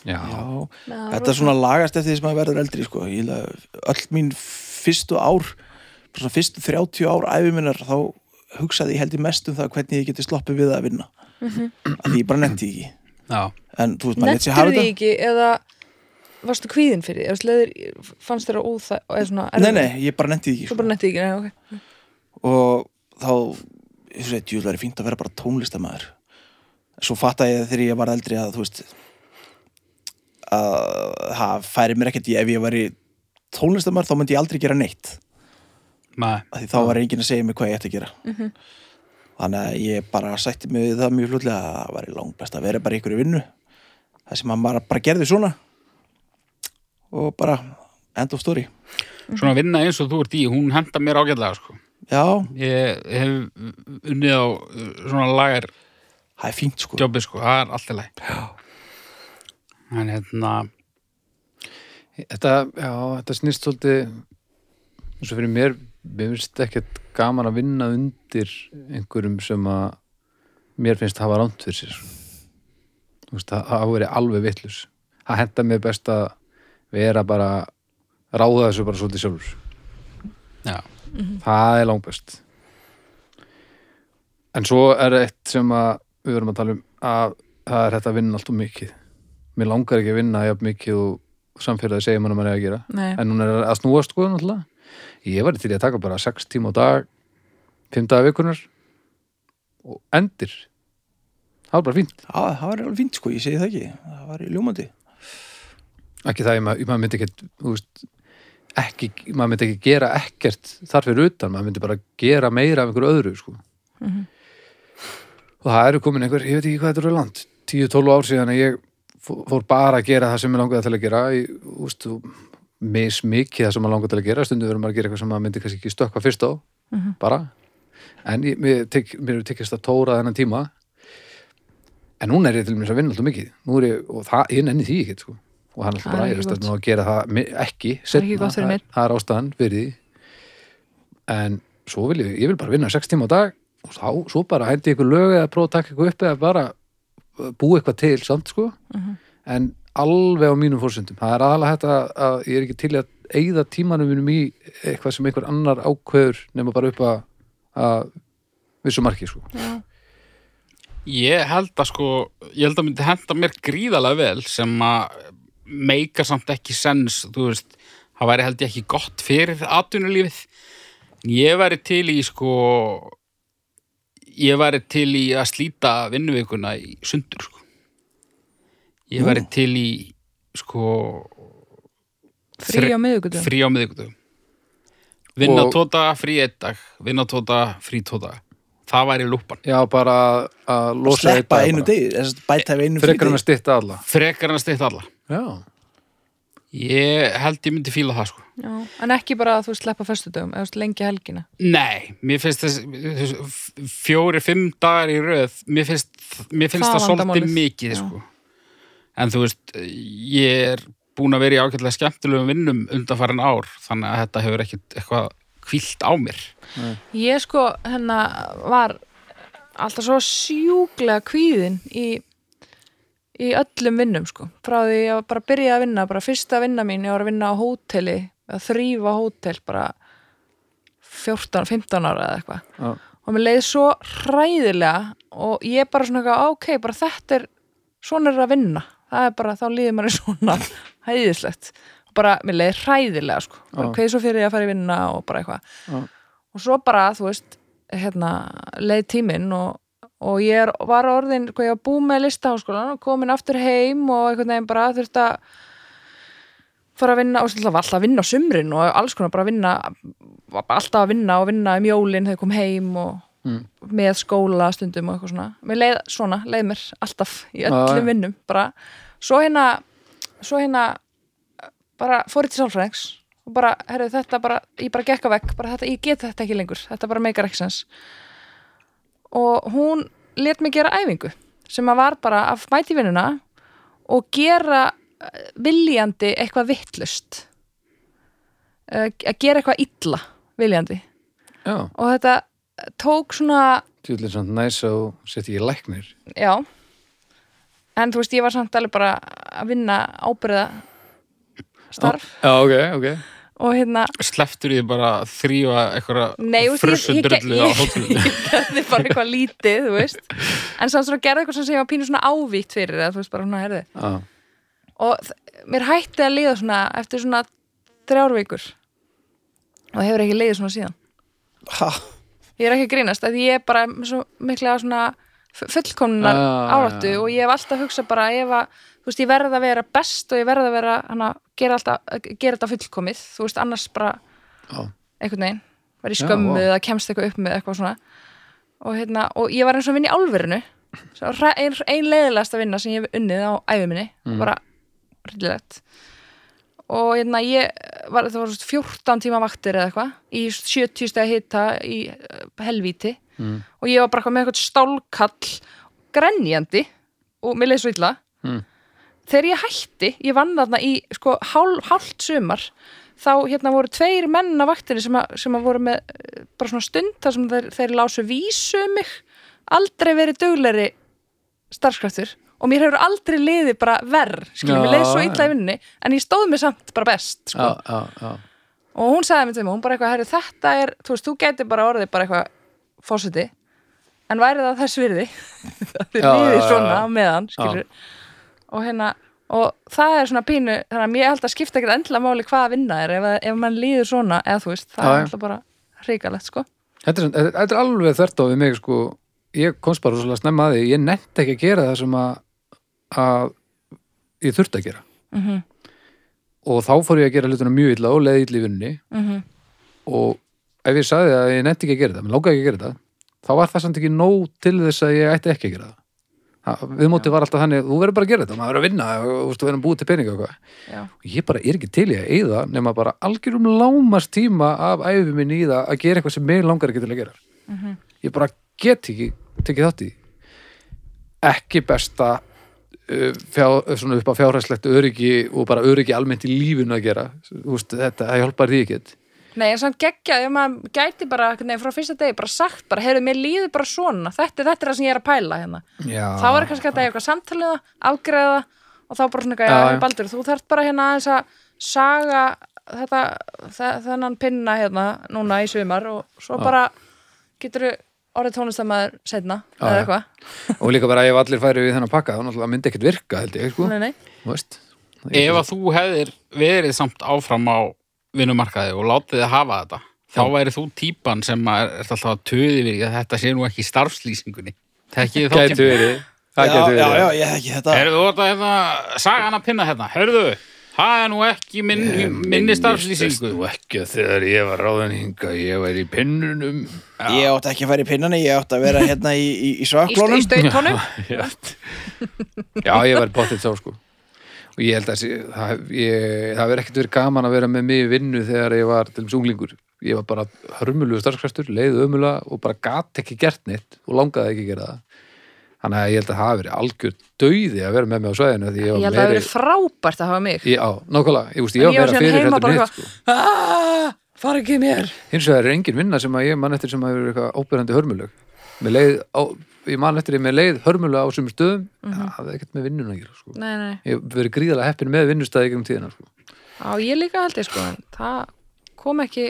Speaker 2: Já.
Speaker 3: já
Speaker 4: Já,
Speaker 3: Þetta er svona lagast eftir því sem að verður eldri sko. Ég ætla, Öll mín fyrstu ár bara svona fyrstu 30 ár æfiminnar þá hugsaði ég held í mest um það hvernig ég geti sloppið við að vinna að því ég bara nefndi ekki
Speaker 1: Já,
Speaker 3: en þú veist, maður leti sér
Speaker 4: Nettur
Speaker 3: hafa
Speaker 4: því
Speaker 3: þetta
Speaker 4: ekki eða varstu kvíðin fyrir því? Eða sleðir, fannst þér að óþæ eða svona
Speaker 3: Nei,
Speaker 4: erfitt?
Speaker 3: nei, ég bara nefndi ekki
Speaker 4: Þú
Speaker 3: sko.
Speaker 4: bara nettu ekki, nei, ok
Speaker 3: og þá ég þú veist, djúlega er fínt að vera bara tónlistamæður svo fatta ég þegar ég var eldri að þú veist að það færi mér ekkert í ef ég væri tónlistamæður þá myndi ég aldrei gera neitt
Speaker 1: maður
Speaker 3: að því þá var enginn að segja mér hvað ég ætti að gera
Speaker 4: Mhm.
Speaker 3: þannig að ég bara sætti mig við það mjög fljótlega að það væri langt best að vera bara í ykkur í vinnu það sem að maður bara gerði svona og bara end of story
Speaker 1: svona vinna eins og þú ert í, hún henda mér ágætlega sko.
Speaker 3: já,
Speaker 1: ég hef unnið á uh, svona lagar
Speaker 3: það er fínt sko
Speaker 1: jobbi sko, það er allt í lagi en hérna
Speaker 2: Þetta, já, þetta snýst svolítið eins og fyrir mér, mér finnst ekkert gaman að vinna undir einhverjum sem að mér finnst hafa rámt fyrir sér Þú veist, það hafa verið alveg vitlaus það henda mér best að vera bara ráða þessu bara svolítið sjálfur
Speaker 1: Já.
Speaker 2: það er langbest en svo er eitt sem að við verum að tala um að það er þetta að vinna allt og mikið mér langar ekki að vinna jafn mikið og samfélagi segja mann að maður er að gera
Speaker 4: Nei.
Speaker 2: en hún er að snúast sko náttúrulega ég var til í að taka bara 6 tíma á dag 5 dagar vikunar og endir það var bara fínt
Speaker 3: Já, það var alveg fínt sko, ég segi það ekki það var ljómandi
Speaker 2: ekki það, ég ma- maður myndi ekkert þú veist, ekki, maður myndi ekki gera ekkert þar fyrir utan, maður myndi bara gera meira af einhverju öðru sko.
Speaker 4: Mhm.
Speaker 2: og það eru komin einhver, ég veit ekki hvað þetta eru land 10-12 ár síðan að ég fó- fór bara að gera það sem ég langaði til að gera ég, úst, mis mikið það sem maður langaði til að gera, stundum verður maður að gera eitthvað sem maður myndi kannski ekki stökkva fyrst á
Speaker 4: Mhm.
Speaker 2: bara, en ég, mér, tek, mér er tekist að tóra þennan tíma en núna er ég til mér að vinna alltaf mikið Nú er ég, og það, ég nenni því ekki sko. og hann er
Speaker 4: Það
Speaker 2: alltaf
Speaker 4: er
Speaker 2: bara,
Speaker 4: ekki
Speaker 2: ég veist
Speaker 4: gott.
Speaker 2: að nú að gera það mi- ekki,
Speaker 4: Það er ekki
Speaker 2: seinna.
Speaker 4: gott fyrir
Speaker 2: það,
Speaker 4: neinn.
Speaker 2: það er ástæðan fyrir því en svo vil ég, ég vil bara vinna 6 tíma á dag og þá, svo bara hendi ykkur lög eða prófa að taka ykkur upp eða bara uh, búa eitthvað til samt sko
Speaker 4: Mhm.
Speaker 2: en alveg á mínum fórsöndum það er aðalega þetta að ég er ekki til í að eigða tímanum mínum í eitthvað sem einhver annar ákveður nema bara upp að, að vissu marki sko
Speaker 1: Ég held að sko, ég held að myndi henda mér gríðalega vel sem að meika samt ekki sens, þú veist, það væri held ég ekki gott fyrir atvinnulífið. Ég væri til í sko, ég væri til í að slíta vinnuvikuna í sundur sko. Ég
Speaker 3: Nú.
Speaker 1: væri til í sko
Speaker 4: frí á miðugutum
Speaker 1: frí á miðvikudögum. Vinna
Speaker 2: Og-
Speaker 1: og... tóta, frí einn dag, vinna tóta, frí tóta. Það væri lúpan.
Speaker 2: já bara að- að losa einn
Speaker 3: sleppa
Speaker 2: dag
Speaker 3: einu
Speaker 2: bara.
Speaker 3: degi, þess að bæta við einu
Speaker 2: frekar
Speaker 3: frídegi.
Speaker 2: um en að stytta alla
Speaker 1: Frekar en að stýtt alla.
Speaker 2: já,
Speaker 1: Ég held ég myndi fíla það sko.
Speaker 4: Já, en ekki bara að þú sleppa föstudögum eða þú veist, lengja helgina
Speaker 1: Nei, mér finnst þess, þess fjóri, fimm dagar í röð, mér finnst, mér finnst
Speaker 4: Það
Speaker 1: það, svolítið
Speaker 4: vandamálið.
Speaker 1: mikið
Speaker 4: Já.
Speaker 1: sko. En þú veist, ég er búin að vera í ágætlega skemmtilegum vinnum undanfærin ár, þannig að þetta hefur ekkit eitthvað kvílt á mér.
Speaker 4: Ég sko hérna var alltaf svo sjúklega kvíðin í, í öllum vinnum sko. Frá því ég bara byrjaði að vinna, bara fyrsta vinna mín, ég var að vinna á hóteli, að þrýfa hótel bara 14, 15 ára eða eitthvað.
Speaker 2: já.
Speaker 4: Og mér leiði svo hræðilega og ég bara svona eitthvað, ok, bara þetta er, svona er að vinna. Það er bara, þá líður manni <laughs> svona hæðislegt. Bara, mér leiði hræðilega sko. Bara,
Speaker 2: Já.
Speaker 4: hvað er svo fyrir ég að fara í vinna og bara eitthvað
Speaker 2: já.
Speaker 4: og svo bara, þú veist, hérna, leið tíminn og, og ég er, var orðin, hvað ég var búið með listaháskólan og komin aftur heim og einhvern veginn bara þurfti að fara að vinna, og svo var alltaf að vinna á sumrin og alls konar bara að vinna, var bara alltaf að vinna og vinna um jólin þegar ég kom heim og
Speaker 2: Mm.
Speaker 4: með skóla stundum og eitthvað svona. Mér leið svona, leið mér alltaf í
Speaker 2: Já, já.
Speaker 4: öllum vinnum, bara, svo hérna, svo hérna, bara fór ég til sálfræðings og bara, herrðu, þetta bara, ég bara gekk að vekk bara þetta, ég get þetta ekki lengur, þetta bara meikar ekki sens og hún let mig gera æfingu sem að var bara að mæti vinnuna og gera eh, viljandi eitthvað vittlust að gera eitthvað illa viljandi
Speaker 2: já.
Speaker 4: og þetta tók svona
Speaker 2: Tjúlinn samt næs og setja ég læknir.
Speaker 4: já en þú veist, ég var samt alveg bara að vinna ábyrða starf
Speaker 2: Já, ok, ok.
Speaker 4: og hérna
Speaker 1: Sleftur ég bara að þrýfa
Speaker 4: Nei,
Speaker 1: eitthvað
Speaker 4: þú veist, ég- ég-
Speaker 1: frusundrullu á
Speaker 4: ég-
Speaker 1: hótelinu.
Speaker 4: ég gerði bara eitthvað lítið, þú veist en samt svona gerði eitthvað sem ég var pínu svona ávíkt fyrir að þú veist bara svona herði
Speaker 2: Já,
Speaker 4: og þ- mér hætti að liða svona eftir svona þrjár vikur og hefur ekki liðið svona síðan
Speaker 3: Ha,
Speaker 4: ég er ekki að grínast að ég er bara með svo mikla svona fu- fullkomnar
Speaker 2: Ah, Já,
Speaker 4: áratu
Speaker 2: já.
Speaker 4: og ég hef alltaf hugsað bara ef að, þú veist, ég verð að vera best og ég verð að vera hana, gera, alltaf, gera þetta fullkomið þú veist, annars bara
Speaker 2: já.
Speaker 4: einhvern veginn, var í
Speaker 2: Já,
Speaker 4: skömmu
Speaker 2: vá.
Speaker 4: eða kemst eitthvað upp með eitthvað svona og, hérna, og ég var eins og að vinna í álverinu Svo hra- ein, ein leiðilegast að vinna sem ég hef unnið á æfiminni
Speaker 2: Mhm.
Speaker 4: bara rillilegt og hérna, ég var, það var svona 14 tíma vaktir eða eitthvað í 70 stegi hita í eh, helvíti
Speaker 2: Mm.
Speaker 4: og ég var bara eitthvað með eitthvað stálkall grenjandi og mér leið svo illa
Speaker 2: Mm.
Speaker 4: þegar ég hætti, ég vann þarna í sko hál, hálft sumar þá hérna voru tveir menn á vaktinni sem að, sem að voru með eh, bara svona stund þar sem þeir, þeir lásu vísu um mig aldrei verið dugleri starfskraftur og mér hefur aldrei liðið bara verð, skilur, mér
Speaker 2: Já,
Speaker 4: leið svo
Speaker 2: já.
Speaker 4: illa í vinninni en ég stóð mér samt bara best sko
Speaker 2: já, já, já.
Speaker 4: og hún sagði mér til mig, hún bara eitthvað, herri þetta er þú veist, þú gæti bara orðið bara eitthvað fósiti, en væri það þess virði <laughs> það er
Speaker 2: Já, já,
Speaker 4: lífið
Speaker 2: já,
Speaker 4: svona
Speaker 2: já.
Speaker 4: á meðan, skilur og hérna, og það er svona pínu þannig að mér held að skipta ekkert endla máli hvað að vinna er, ef, ef mann líður svona eða þú veist, það
Speaker 2: Já,
Speaker 4: er
Speaker 2: já.
Speaker 4: alltaf bara hrikalegt, sko
Speaker 2: Þetta, er, svona- þetta, þetta er alveg þvert á við mig sko. ég komst bara svolítið að snemma að því ég nefnt ekki að gera það sem að, að ég þurfti að gera
Speaker 4: Mhm.
Speaker 2: og þá fór ég að gera hlutina mjög illa og leði illa í vinnunni
Speaker 4: Mhm.
Speaker 2: og ef ég sagði að ég nefnt ekki að gera það mér lókaði ekki að gera það þá var það samt ekki nóg til þess að ég ætti ekki að gera það Ha, viðmótið var alltaf þannig, þú verður bara að gera þetta maður verður að vinna, og, þú veist, þú verður að búið til peninga og hvað
Speaker 4: já,
Speaker 2: og ég bara er ekki til í að eyða nema bara algjörum lámast tíma af æfum minni í það að gera eitthvað sem mig langar ekki til að gera
Speaker 4: Mhm.
Speaker 2: ég bara get ekki tekið þátt í því. ekki besta uh, fjá, svona upp á fjárhæslegt öryggi og bara öryggi almennt í lífinu að gera Þú veist, þetta það hjálpar því ekki
Speaker 4: nei, en samt geggja ef maður gæti bara, nei, frá fyrsta degi bara sagt bara, heyrðu, mér líður bara svona þetta, þetta er það sem ég er að pæla hérna
Speaker 2: Já,
Speaker 4: þá er kannski hægt að ég eitthvað samtalið það, afgreða það og þá bara svona eitthvað,
Speaker 2: Já,
Speaker 4: já,
Speaker 2: já.
Speaker 4: Baldur, þú þarft bara hérna aðeins að saga þetta, þe- þennan pinna hérna núna í sumar og svo bara getur orðið tónlistamæður setna
Speaker 2: Já,
Speaker 4: eða
Speaker 2: já.
Speaker 4: eitthvað,
Speaker 2: og líka bara ef allir færi við þennan pakka þá náttúrulega myndi ekkert virka held ég sko.
Speaker 4: nei, nei
Speaker 2: Þú veist, það er
Speaker 1: Ef að þú hefðir verið samt áfram á vinnumarkaði og látið þið hafa þetta þá væri þú típan sem að er ert alltaf að töði við að þetta sé nú ekki í starfslýsingunni Tekkið þá
Speaker 2: gæti verið það
Speaker 3: já,
Speaker 2: gæti verið
Speaker 3: já,
Speaker 2: Eh,
Speaker 3: já, ég hef ekki þetta
Speaker 1: Herðu þú þetta hérna, sagan að pinna hérna Herðu, það er nú ekki minn, minni starfslýsingu
Speaker 2: Nú ekki að þegar ég var ráðan hinga ég væri í pinnunum
Speaker 3: Ég átti ekki að fara í pinnunni, ég átti að vera hérna í, í, í
Speaker 4: í, st-
Speaker 3: svakklónum
Speaker 4: í stautónum,
Speaker 2: Já, ég væri bóttið sá sko og ég held að sé- það, ég- það verið ekkert verið gaman að vera með mig í vinnu þegar ég var til þess unglingur ég var bara hörmulugu starfskræftur, leið ömulega og bara gat ekki gert neitt og langaði ekki að gera það þannig að ég held að það hafi verið algjör dauði að vera með mig á svæðinu því ég
Speaker 4: ég held
Speaker 2: var
Speaker 4: að það
Speaker 2: meiri
Speaker 4: verið frábært að hafa mig
Speaker 2: ég, á, nákvæmlega, ég, veist,
Speaker 4: En
Speaker 2: ég
Speaker 4: ég var
Speaker 2: var meira
Speaker 4: síðan
Speaker 2: fyrir
Speaker 4: heima
Speaker 2: heldur
Speaker 4: bara
Speaker 2: neitt
Speaker 4: eitthvað,
Speaker 2: sko.
Speaker 4: aaaah, fara ekki mér
Speaker 2: hins vegar er engin vinna sem að ég man eftir sem að vera eitthvað óbyrjandi hörmuleg Mér leið, á, ég man eftir ég með leið hörmulega á sem stöðum
Speaker 4: Mhm.
Speaker 2: það er ekkert með vinnuna að gera sko.
Speaker 4: nei, nei,
Speaker 2: ég hef verið gríðalega heppin með vinnustæði gegnum tíðina sko.
Speaker 4: á ég líka held ég sko en það kom ekki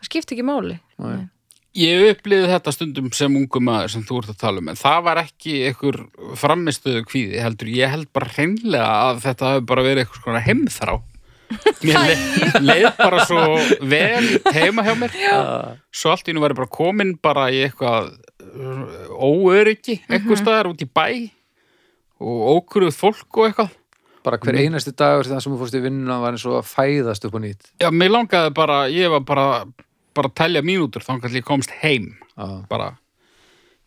Speaker 4: það skipti ekki máli
Speaker 2: Nei.
Speaker 1: Ég upplýði þetta stundum sem ungu maður sem þú ert að tala um en það var ekki einhver framistuðu kvíði heldur, ég held bara hreinlega að þetta hafi bara verið eitthvað svona heimþrá Mér le leið bara svo vel heima hjá mér Já. svo allt í nú væri bara komin bara í eitthvað uh, óöryggi eitthvað staðar út í bæ og ókuruð fólk og eitthvað
Speaker 2: bara
Speaker 1: Mm.
Speaker 2: hver einasti dagur þegar sem þú fórst í vinnuna var eins og að fæðast upp á nýtt
Speaker 1: Já, mér langaði bara, ég var bara bara að telja mínútur þannig að ég komst heim
Speaker 2: Já.
Speaker 1: bara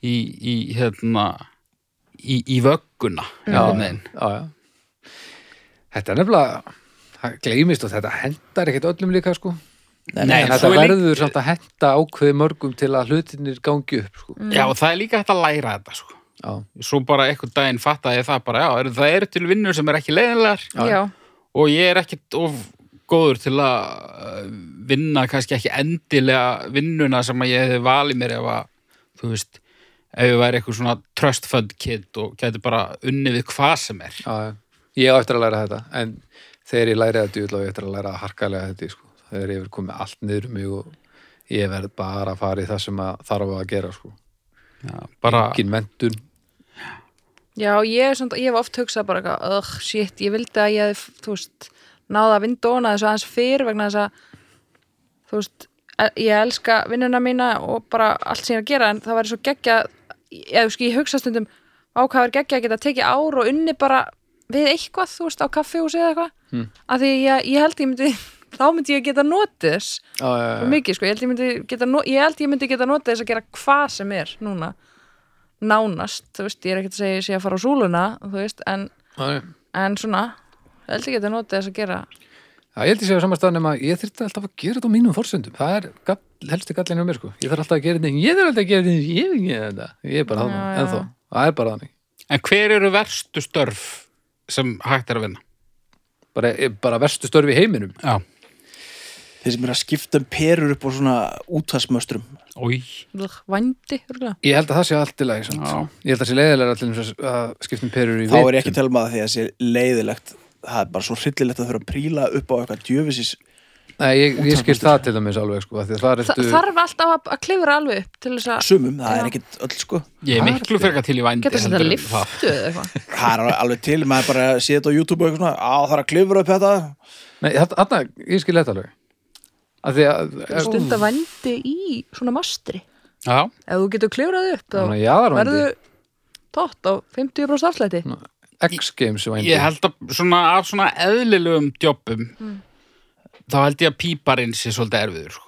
Speaker 1: í, í hérna í, í vögguna
Speaker 2: Já,
Speaker 1: einhvern veginn.
Speaker 2: já, já. þetta er nefnilega það gleymist og þetta hendar ekkert öllum líka sko.
Speaker 1: Nei,
Speaker 2: en
Speaker 1: en
Speaker 3: hérna,
Speaker 2: þetta
Speaker 1: svo er líka-
Speaker 2: verður samt að henda ákveði mörgum til að hlutinir gangi upp sko.
Speaker 1: Já, og það er líka hægt að læra þetta sko.
Speaker 2: já,
Speaker 1: svo bara eitthvað daginn fattaði ég það bara, já, er, það eru til vinnur sem er ekki leiðinlegar
Speaker 4: já,
Speaker 1: og ég er ekkit of góður til að uh, vinna kannski ekki endilega vinnuna sem að ég hefði valið mér ef að, þú veist ef ég væri eitthvað svona trust fund kid og gæti bara unnið við hvað sem er
Speaker 2: já, já. ég á eftir að læra þetta en þegar ég læri þetta djúðla og ég eftir að læra harkalega þetta í, sko. þegar ég verið komið allt niður um mig og ég verð bara að fara í það sem að þarf að gera sko.
Speaker 1: já, bara,
Speaker 2: engin mentun
Speaker 4: Já, ég, er samt, ég hef oft hugsað bara eitthvað, ögh, shit, ég vildi að ég hefði, þú veist, náða að vindóna þessu aðeins fyrr vegna þess að, þú veist, e- ég elska vinnuna mína og bara allt sem ég er að gera, en það væri svo geggja, ég, ég, ég hugsa stundum á hvað er geggja að geta tekið ár og unni bara við eitthvað, þú veist, á kaffihúsi eða eitthvað, mm. að því ég, ég held ég myndi, <laughs> þá myndi ég geta notið þess,
Speaker 2: já, já, já.
Speaker 4: svo mikið sko, ég held ég myndi geta, no- ég held ég myndi geta notið þess að gera hvað sem er núna nánast, þú veist, ég er ekkert að segja sé að fara á súluna, þú veist, en,
Speaker 2: Já, já.
Speaker 4: en svona, ég held ég geta notið þess að gera
Speaker 2: Já, ég held ég sé á samastaðan um að ég þyrfti alltaf að gera þetta á mínum forsöndum. Það er gall, helsti gallinu á mér, sko. Ég þarf alltaf að gera þetta, en ég þarf alltaf að gera þetta, en ég vil ekki gera þetta. Ég er bara þannig,
Speaker 4: Já, já.
Speaker 2: ennþá. Það er bara þannig.
Speaker 1: en hver eru verstu störf sem hægt er að vinna
Speaker 2: bara, eh, bara verstu störfi í heiminum
Speaker 1: Já,
Speaker 3: Þeir sem eru að skipta um perur upp á svona útvarsmöstrum.
Speaker 1: ói
Speaker 4: Ugh, vændi, örgulega
Speaker 2: ég held að það sé allt í lagi samt.
Speaker 1: Já.
Speaker 2: ég held að það sé leiðilega allir að skiptum perur í
Speaker 3: Þá er ég ekki
Speaker 2: vitum.
Speaker 3: að tala maður því að það sé leiðilegt. Það er bara svo hryllilegt að þurfa að príla upp á eitthvað djöfisis.
Speaker 2: Nei, ég, ég skil það til dæmis alveg sko, af því að það er
Speaker 4: Þa, Þarf alltaf að, að klifra alveg upp til þess að
Speaker 3: Sumum, það
Speaker 4: Já.
Speaker 3: er ekkit öll sko.
Speaker 1: Ég er
Speaker 2: Það er
Speaker 1: miklu
Speaker 2: ekki-
Speaker 1: frekar til í vændi
Speaker 4: geta að setja
Speaker 1: heldur en það.
Speaker 4: liftu eða
Speaker 2: <laughs>
Speaker 4: eitthvað
Speaker 3: Það er alveg til, maður bara sé þetta á YouTube og eitthvað svona, á það er að klifra upp þetta.
Speaker 2: Nei, þarna, ég skil þetta alveg að því að
Speaker 4: stunda vændi í svona mastri
Speaker 1: Já,
Speaker 4: ef þú getur klifrað upp
Speaker 2: Svona
Speaker 4: þá
Speaker 2: jaðarvændi.
Speaker 4: verður tótt á 50% afslæti
Speaker 2: X Games um. vændi
Speaker 1: ég held að svona, af svona eðlilegum djópum
Speaker 4: Mm.
Speaker 1: þá held ég að píparinn sé svolítið erfiður sko.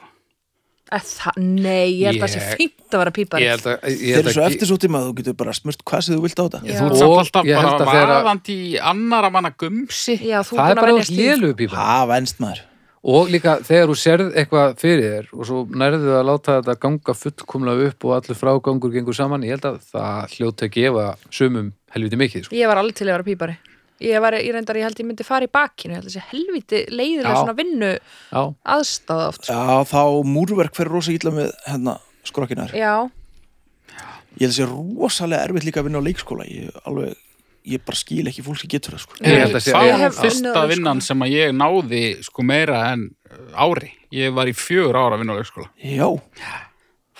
Speaker 4: Eh, það- Nei, ég held að það sé
Speaker 1: Ég-
Speaker 4: fínt að vera pípari
Speaker 2: Ég held að, ég
Speaker 3: Þeir
Speaker 2: held
Speaker 3: eru svo
Speaker 2: að,
Speaker 3: eftir svo tíma að þú getur bara smurt hvað sem þú vilt á þetta.
Speaker 4: Já.
Speaker 1: Þú ert samt
Speaker 2: Og
Speaker 1: alltaf
Speaker 2: ég held
Speaker 1: bara
Speaker 2: að þegar að-
Speaker 1: vaðandi í annara manna gumsi
Speaker 4: Já, þú
Speaker 2: það
Speaker 4: búin að
Speaker 2: er bara
Speaker 4: venjast
Speaker 2: út
Speaker 4: því.
Speaker 2: lélugu pípa
Speaker 3: Það venst maður.
Speaker 2: og líka þegar þú serð eitthvað fyrir þér og svo nærðu að láta þetta ganga fullkomlega upp og allur frágangur gengur saman, ég held að það hljóti að gefa sumum helviti mikið sko.
Speaker 4: Ég var aldrei til að vera pípari Ég var, ég reyndar, ég held ég myndi fara í bakinu Ég held að þessi helviti leiðilega
Speaker 2: Já.
Speaker 4: svona vinnu
Speaker 2: Já,
Speaker 4: aðstáð oft sko.
Speaker 3: Já, þá múrverk fer rosa ítla með hérna skrokkinar.
Speaker 4: Já,
Speaker 3: Ég held að sé rosalega erfitt líka að vinna á leikskóla. Ég alveg, ég bara skil ekki fólk sem getur það sko.
Speaker 2: Ég held að sé-
Speaker 1: það
Speaker 2: ég
Speaker 1: var
Speaker 4: hef unnið sko. á
Speaker 1: fyrsta
Speaker 4: leikskóla.
Speaker 1: vinnan sem að ég náði sko meira en uh, ári ég var í fjögur ára að vinna á leikskóla
Speaker 3: Já,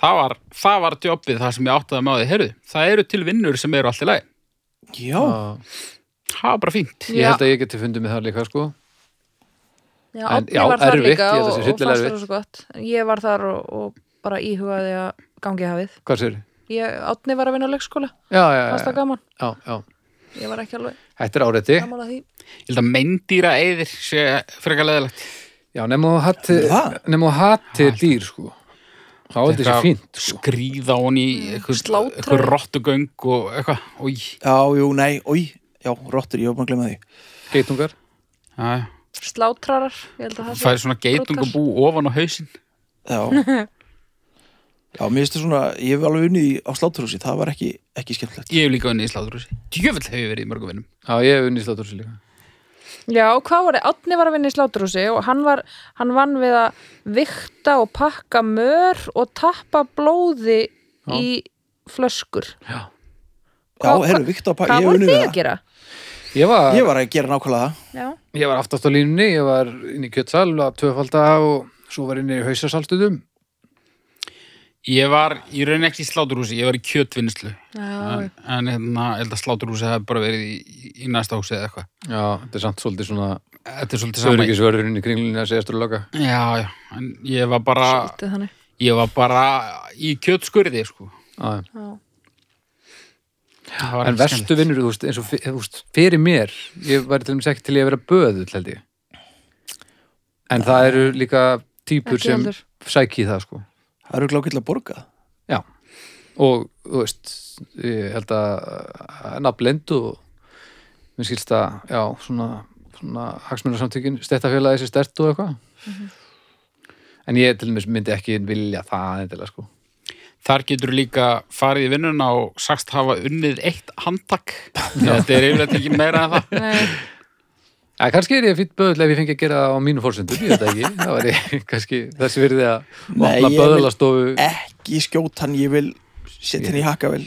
Speaker 1: það var, það var djópið það sem ég áttaði með á því heyrðu, það eru til vinnur sem eru allt í lagi
Speaker 3: já.
Speaker 2: Á,
Speaker 1: það var bara fínt
Speaker 2: ég held
Speaker 4: já,
Speaker 2: að ég geti fundið með það líka sko.
Speaker 4: já,
Speaker 2: en-
Speaker 4: Árni
Speaker 2: já,
Speaker 4: var þar
Speaker 2: erfitt,
Speaker 4: líka
Speaker 2: ég held
Speaker 4: og,
Speaker 2: að sé
Speaker 4: og fannst
Speaker 2: hryllilega
Speaker 4: það
Speaker 2: erfitt.
Speaker 4: svo gott En Ég var þar og, og bara íhugaði að gangi í hafið
Speaker 2: Hvað sér?
Speaker 4: ég, Átni var að vinna á leikskóla,
Speaker 2: Já, já,
Speaker 4: fannst það
Speaker 2: já,
Speaker 4: gaman
Speaker 2: já, já.
Speaker 4: Ég var ekki alveg
Speaker 2: Þetta er áreiti.
Speaker 4: gaman að því
Speaker 1: ég held að meindýra eðir sé frekar leðilegt
Speaker 2: Já, nema þú hatti,
Speaker 3: Það?
Speaker 2: nema þú hatti dýr sko. Þá er þetta
Speaker 1: Eitthvað
Speaker 2: sér fínt sko.
Speaker 1: skrýða hon í
Speaker 4: Mm,
Speaker 1: eitthvað,
Speaker 4: Slátra.
Speaker 1: eitthvað rottugöng og eitthvað Új,
Speaker 3: Já, jú, nei, oi, já, rottur, ég var bara að glemma því.
Speaker 2: Geitungar.
Speaker 1: já,
Speaker 4: Slátrarar, ég held að það
Speaker 1: færi svona geitungabú ofan á hausinn
Speaker 3: Já,
Speaker 4: <laughs>
Speaker 3: já mér finnst það svona, ég hef alveg unnið í- á sláturhúsi, það var ekki, ekki skemmtilegt.
Speaker 1: ég hef líka unnið í sláturhúsi djöfell hef ég verið í mörgum vinnum
Speaker 2: Já, ég hef unnið slátur sér líka.
Speaker 4: Já, hvað var þið? Átni var að vinna í sláturhúsi og hann, var, hann vann við að vikta og pakka mör og tappa blóði í flöskur.
Speaker 3: Já,
Speaker 4: Hvað-
Speaker 3: herru, Viktor, Pá-
Speaker 4: Hvað
Speaker 3: ég hef
Speaker 4: voru
Speaker 3: unnið
Speaker 4: þið
Speaker 3: við
Speaker 4: að
Speaker 3: það.
Speaker 4: gera?
Speaker 2: Ég var,
Speaker 3: Ég var að gera nákvæmlega það.
Speaker 4: Já.
Speaker 2: ég var aftast á línunni, ég var inn í kjötsal að tvöfalda og svo var inn í hausasalstuðum.
Speaker 1: ég var í raun ekki í sláturhúsi ég var í kjötvinnslu
Speaker 4: Já.
Speaker 1: en, en hérna, ég held að sláturhúsi hef bara verið í, í næsta húsi eða eitthvað
Speaker 2: Já, þetta er samt svolítið svona
Speaker 1: þetta er svolítið sama
Speaker 2: Söryggisvörðurinn í kringlunni að segjast úr loka.
Speaker 1: já, já, en ég var bara
Speaker 4: Svolítið þannig.
Speaker 1: ég var bara í kjötskurði sko.
Speaker 2: Já, já.
Speaker 4: Já.
Speaker 1: Það var
Speaker 2: En
Speaker 1: ekki skemmtilegt.
Speaker 2: verstu vinnur, þú veist, eins og fyr- þú veist, fyrir mér, ég var til dæmis ekki til ég að vera böðull, held ég. En það eru líka típur
Speaker 4: Ekki
Speaker 2: sem
Speaker 4: heldur.
Speaker 2: sæki í það, sko.
Speaker 3: Það eru glákill að borga.
Speaker 2: Já. Og, þú veist, ég held að nafnlend og mér skilst að, já, svona, svona hagsmunarsamtökin, stettafélagi sér stert og eitthvað.
Speaker 4: Mhm.
Speaker 2: En ég til dæmis myndi ekki vilja það, endilega, sko.
Speaker 1: Þar getur líka farið í vinnuna og sagst hafa unnið eitt handtak þetta er yfirleitt ekki meira en það
Speaker 4: Nei,
Speaker 2: Ja, kannski er ég fýtt böðl ef ég fengi að gera það á mínu fórsöndur, ég veit það ekki. Það var ég, <laughs> kannski þessi virði að
Speaker 3: Nei,
Speaker 2: opna
Speaker 3: ég vil-
Speaker 2: böðlastofu.
Speaker 3: Ekki skjóta hann, ég vil setja hann í hakavel.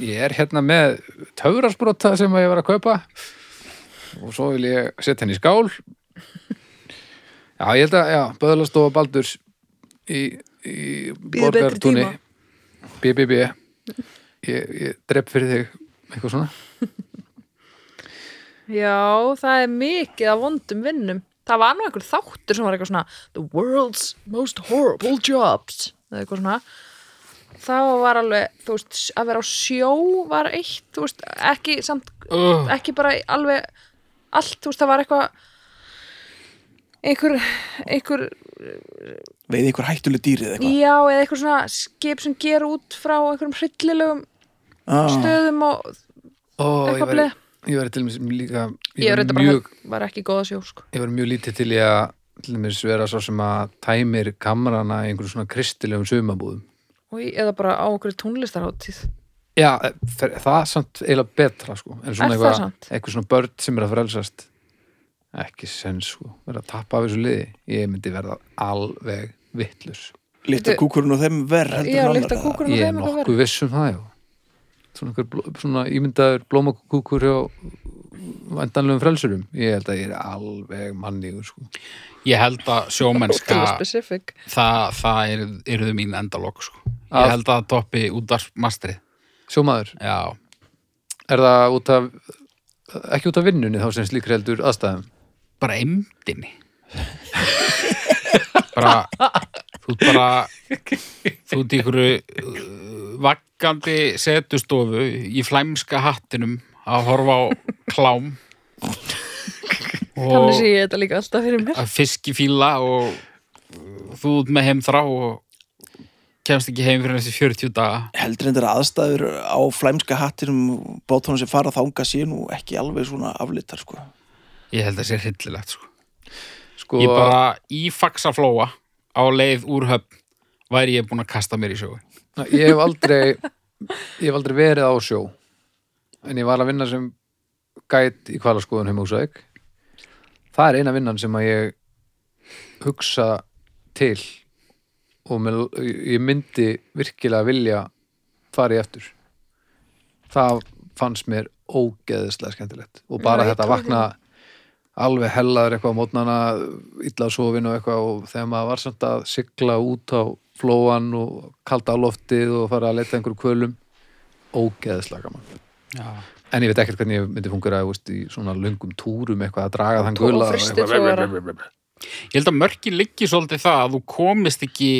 Speaker 2: Ég er hérna með töfrasbrota sem að ég var að kaupa og svo vil ég setja henni í skál. Já, ég held að, já, böðlastofa Baldurs í, í
Speaker 4: Bíður betri
Speaker 2: borgartúni.
Speaker 4: tíma.
Speaker 2: BBB. Ég, ég drepp fyrir þig eitthvað svona.
Speaker 4: Já, það er mikið af vondum vinnum. Það var nú einhver þáttur sem var eitthvað svona The world's most horrible jobs eða eitthvað svona þá var alveg, þú veist, að vera á sjó var eitt, þú veist, ekki samt,
Speaker 1: uh,
Speaker 4: ekki bara alveg allt, þú veist, það var eitthvað einhver, einhver
Speaker 3: Veið ykkur hættuleg dýrið eða eitthvað.
Speaker 4: já, eða einhver svona skip sem ger út frá einhverjum hryllilegum
Speaker 3: Ah,
Speaker 4: stöðum og
Speaker 2: Ó, ég
Speaker 4: Eitthvað
Speaker 2: var,
Speaker 4: bleið.
Speaker 2: ég var til dæmis líka,
Speaker 4: ég
Speaker 2: var
Speaker 4: var reynda bara
Speaker 2: mjög
Speaker 4: var ekki góð að sjó, sko
Speaker 2: ég var mjög lítið til ég að til dæmis vera svo sem að tæmir kamrana í einhverjum svona kristilegum sumabúðum
Speaker 4: og eða bara á einhverju tónlistarháttíð
Speaker 2: já, e, fer, það er samt eiginlega betra sko. en
Speaker 4: Er
Speaker 2: svona
Speaker 4: það
Speaker 2: eitthvað,
Speaker 4: samt?
Speaker 2: eitthvað svona börn sem er að frelsast ekki sen sko, verða að tappa af þessu liði ég myndi verða alveg vittlus
Speaker 3: Líkta
Speaker 4: Þetta-
Speaker 3: kúkurinn og þeim verð heldur
Speaker 4: já,
Speaker 3: en annar,
Speaker 4: líkt að
Speaker 3: eða?
Speaker 4: kúkurinn og
Speaker 2: ég er
Speaker 4: þeim eitthvað verið
Speaker 2: nokkuð viss um það já. svona, einhver, bló- svona ímyndaður blómakúkur hjá vandanlegum frelsurum ég held að ég er alveg mannígur sko.
Speaker 1: Ég held að sjómennska
Speaker 4: Ótrúlega specific
Speaker 1: það, það er, eruðu mín endalok sko. Ég
Speaker 2: Af-
Speaker 1: held að það toppi útvarpmastrið
Speaker 2: sjómaður,
Speaker 1: Já,
Speaker 2: er það út af ekki út af vinnunni þá sem slíkri heldur aðstæðum
Speaker 1: bara eimdinni bara þú ert bara þú ert í einhverju uh, vaggandi setustofu í flæmska hattinum að horfa á klám
Speaker 4: Þannig
Speaker 1: og
Speaker 4: sé ég þetta líka alltaf fyrir mér
Speaker 1: að fiskifíla og uh, þú ert með heimþrá og kemst ekki heim fyrir þessi 40 daga
Speaker 3: Heldur en þetta aðstæður á flæmska hattinum bátunum sem fara þanga sé nú ekki alveg svona aflitar sko.
Speaker 1: ég held að það sé hryllilegt sko.
Speaker 2: sko,
Speaker 1: ég bara í faxaflóa á leið úr höfn væri ég búin að kasta mér í sjói
Speaker 2: ég hef aldrei ég hef aldrei verið á sjó en ég var að vinna sem gæt í hvalaskoðun heim húsæk það er eina vinnan sem að ég hugsa til og með, ég myndi virkilega vilja fara í eftir það fannst mér ógeðislega skemmtilegt og bara
Speaker 4: Já, ég
Speaker 2: þetta
Speaker 4: trúi
Speaker 2: vakna alveg hellaður eitthvað á mótnana illa sofin og eitthvað og þegar maður var samt að sigla út á flóan og kalda á loftið og fara að leta einhverjum kvölum ógeðislega gaman
Speaker 1: Já.
Speaker 2: en ég veit ekkert hvernig ég myndi fungera veist, í svona lungum túrum eitthvað að draga þann
Speaker 4: Tó-
Speaker 2: gula
Speaker 4: og frystitogara.
Speaker 1: ég held að mörki liggi svolítið það að þú komist ekki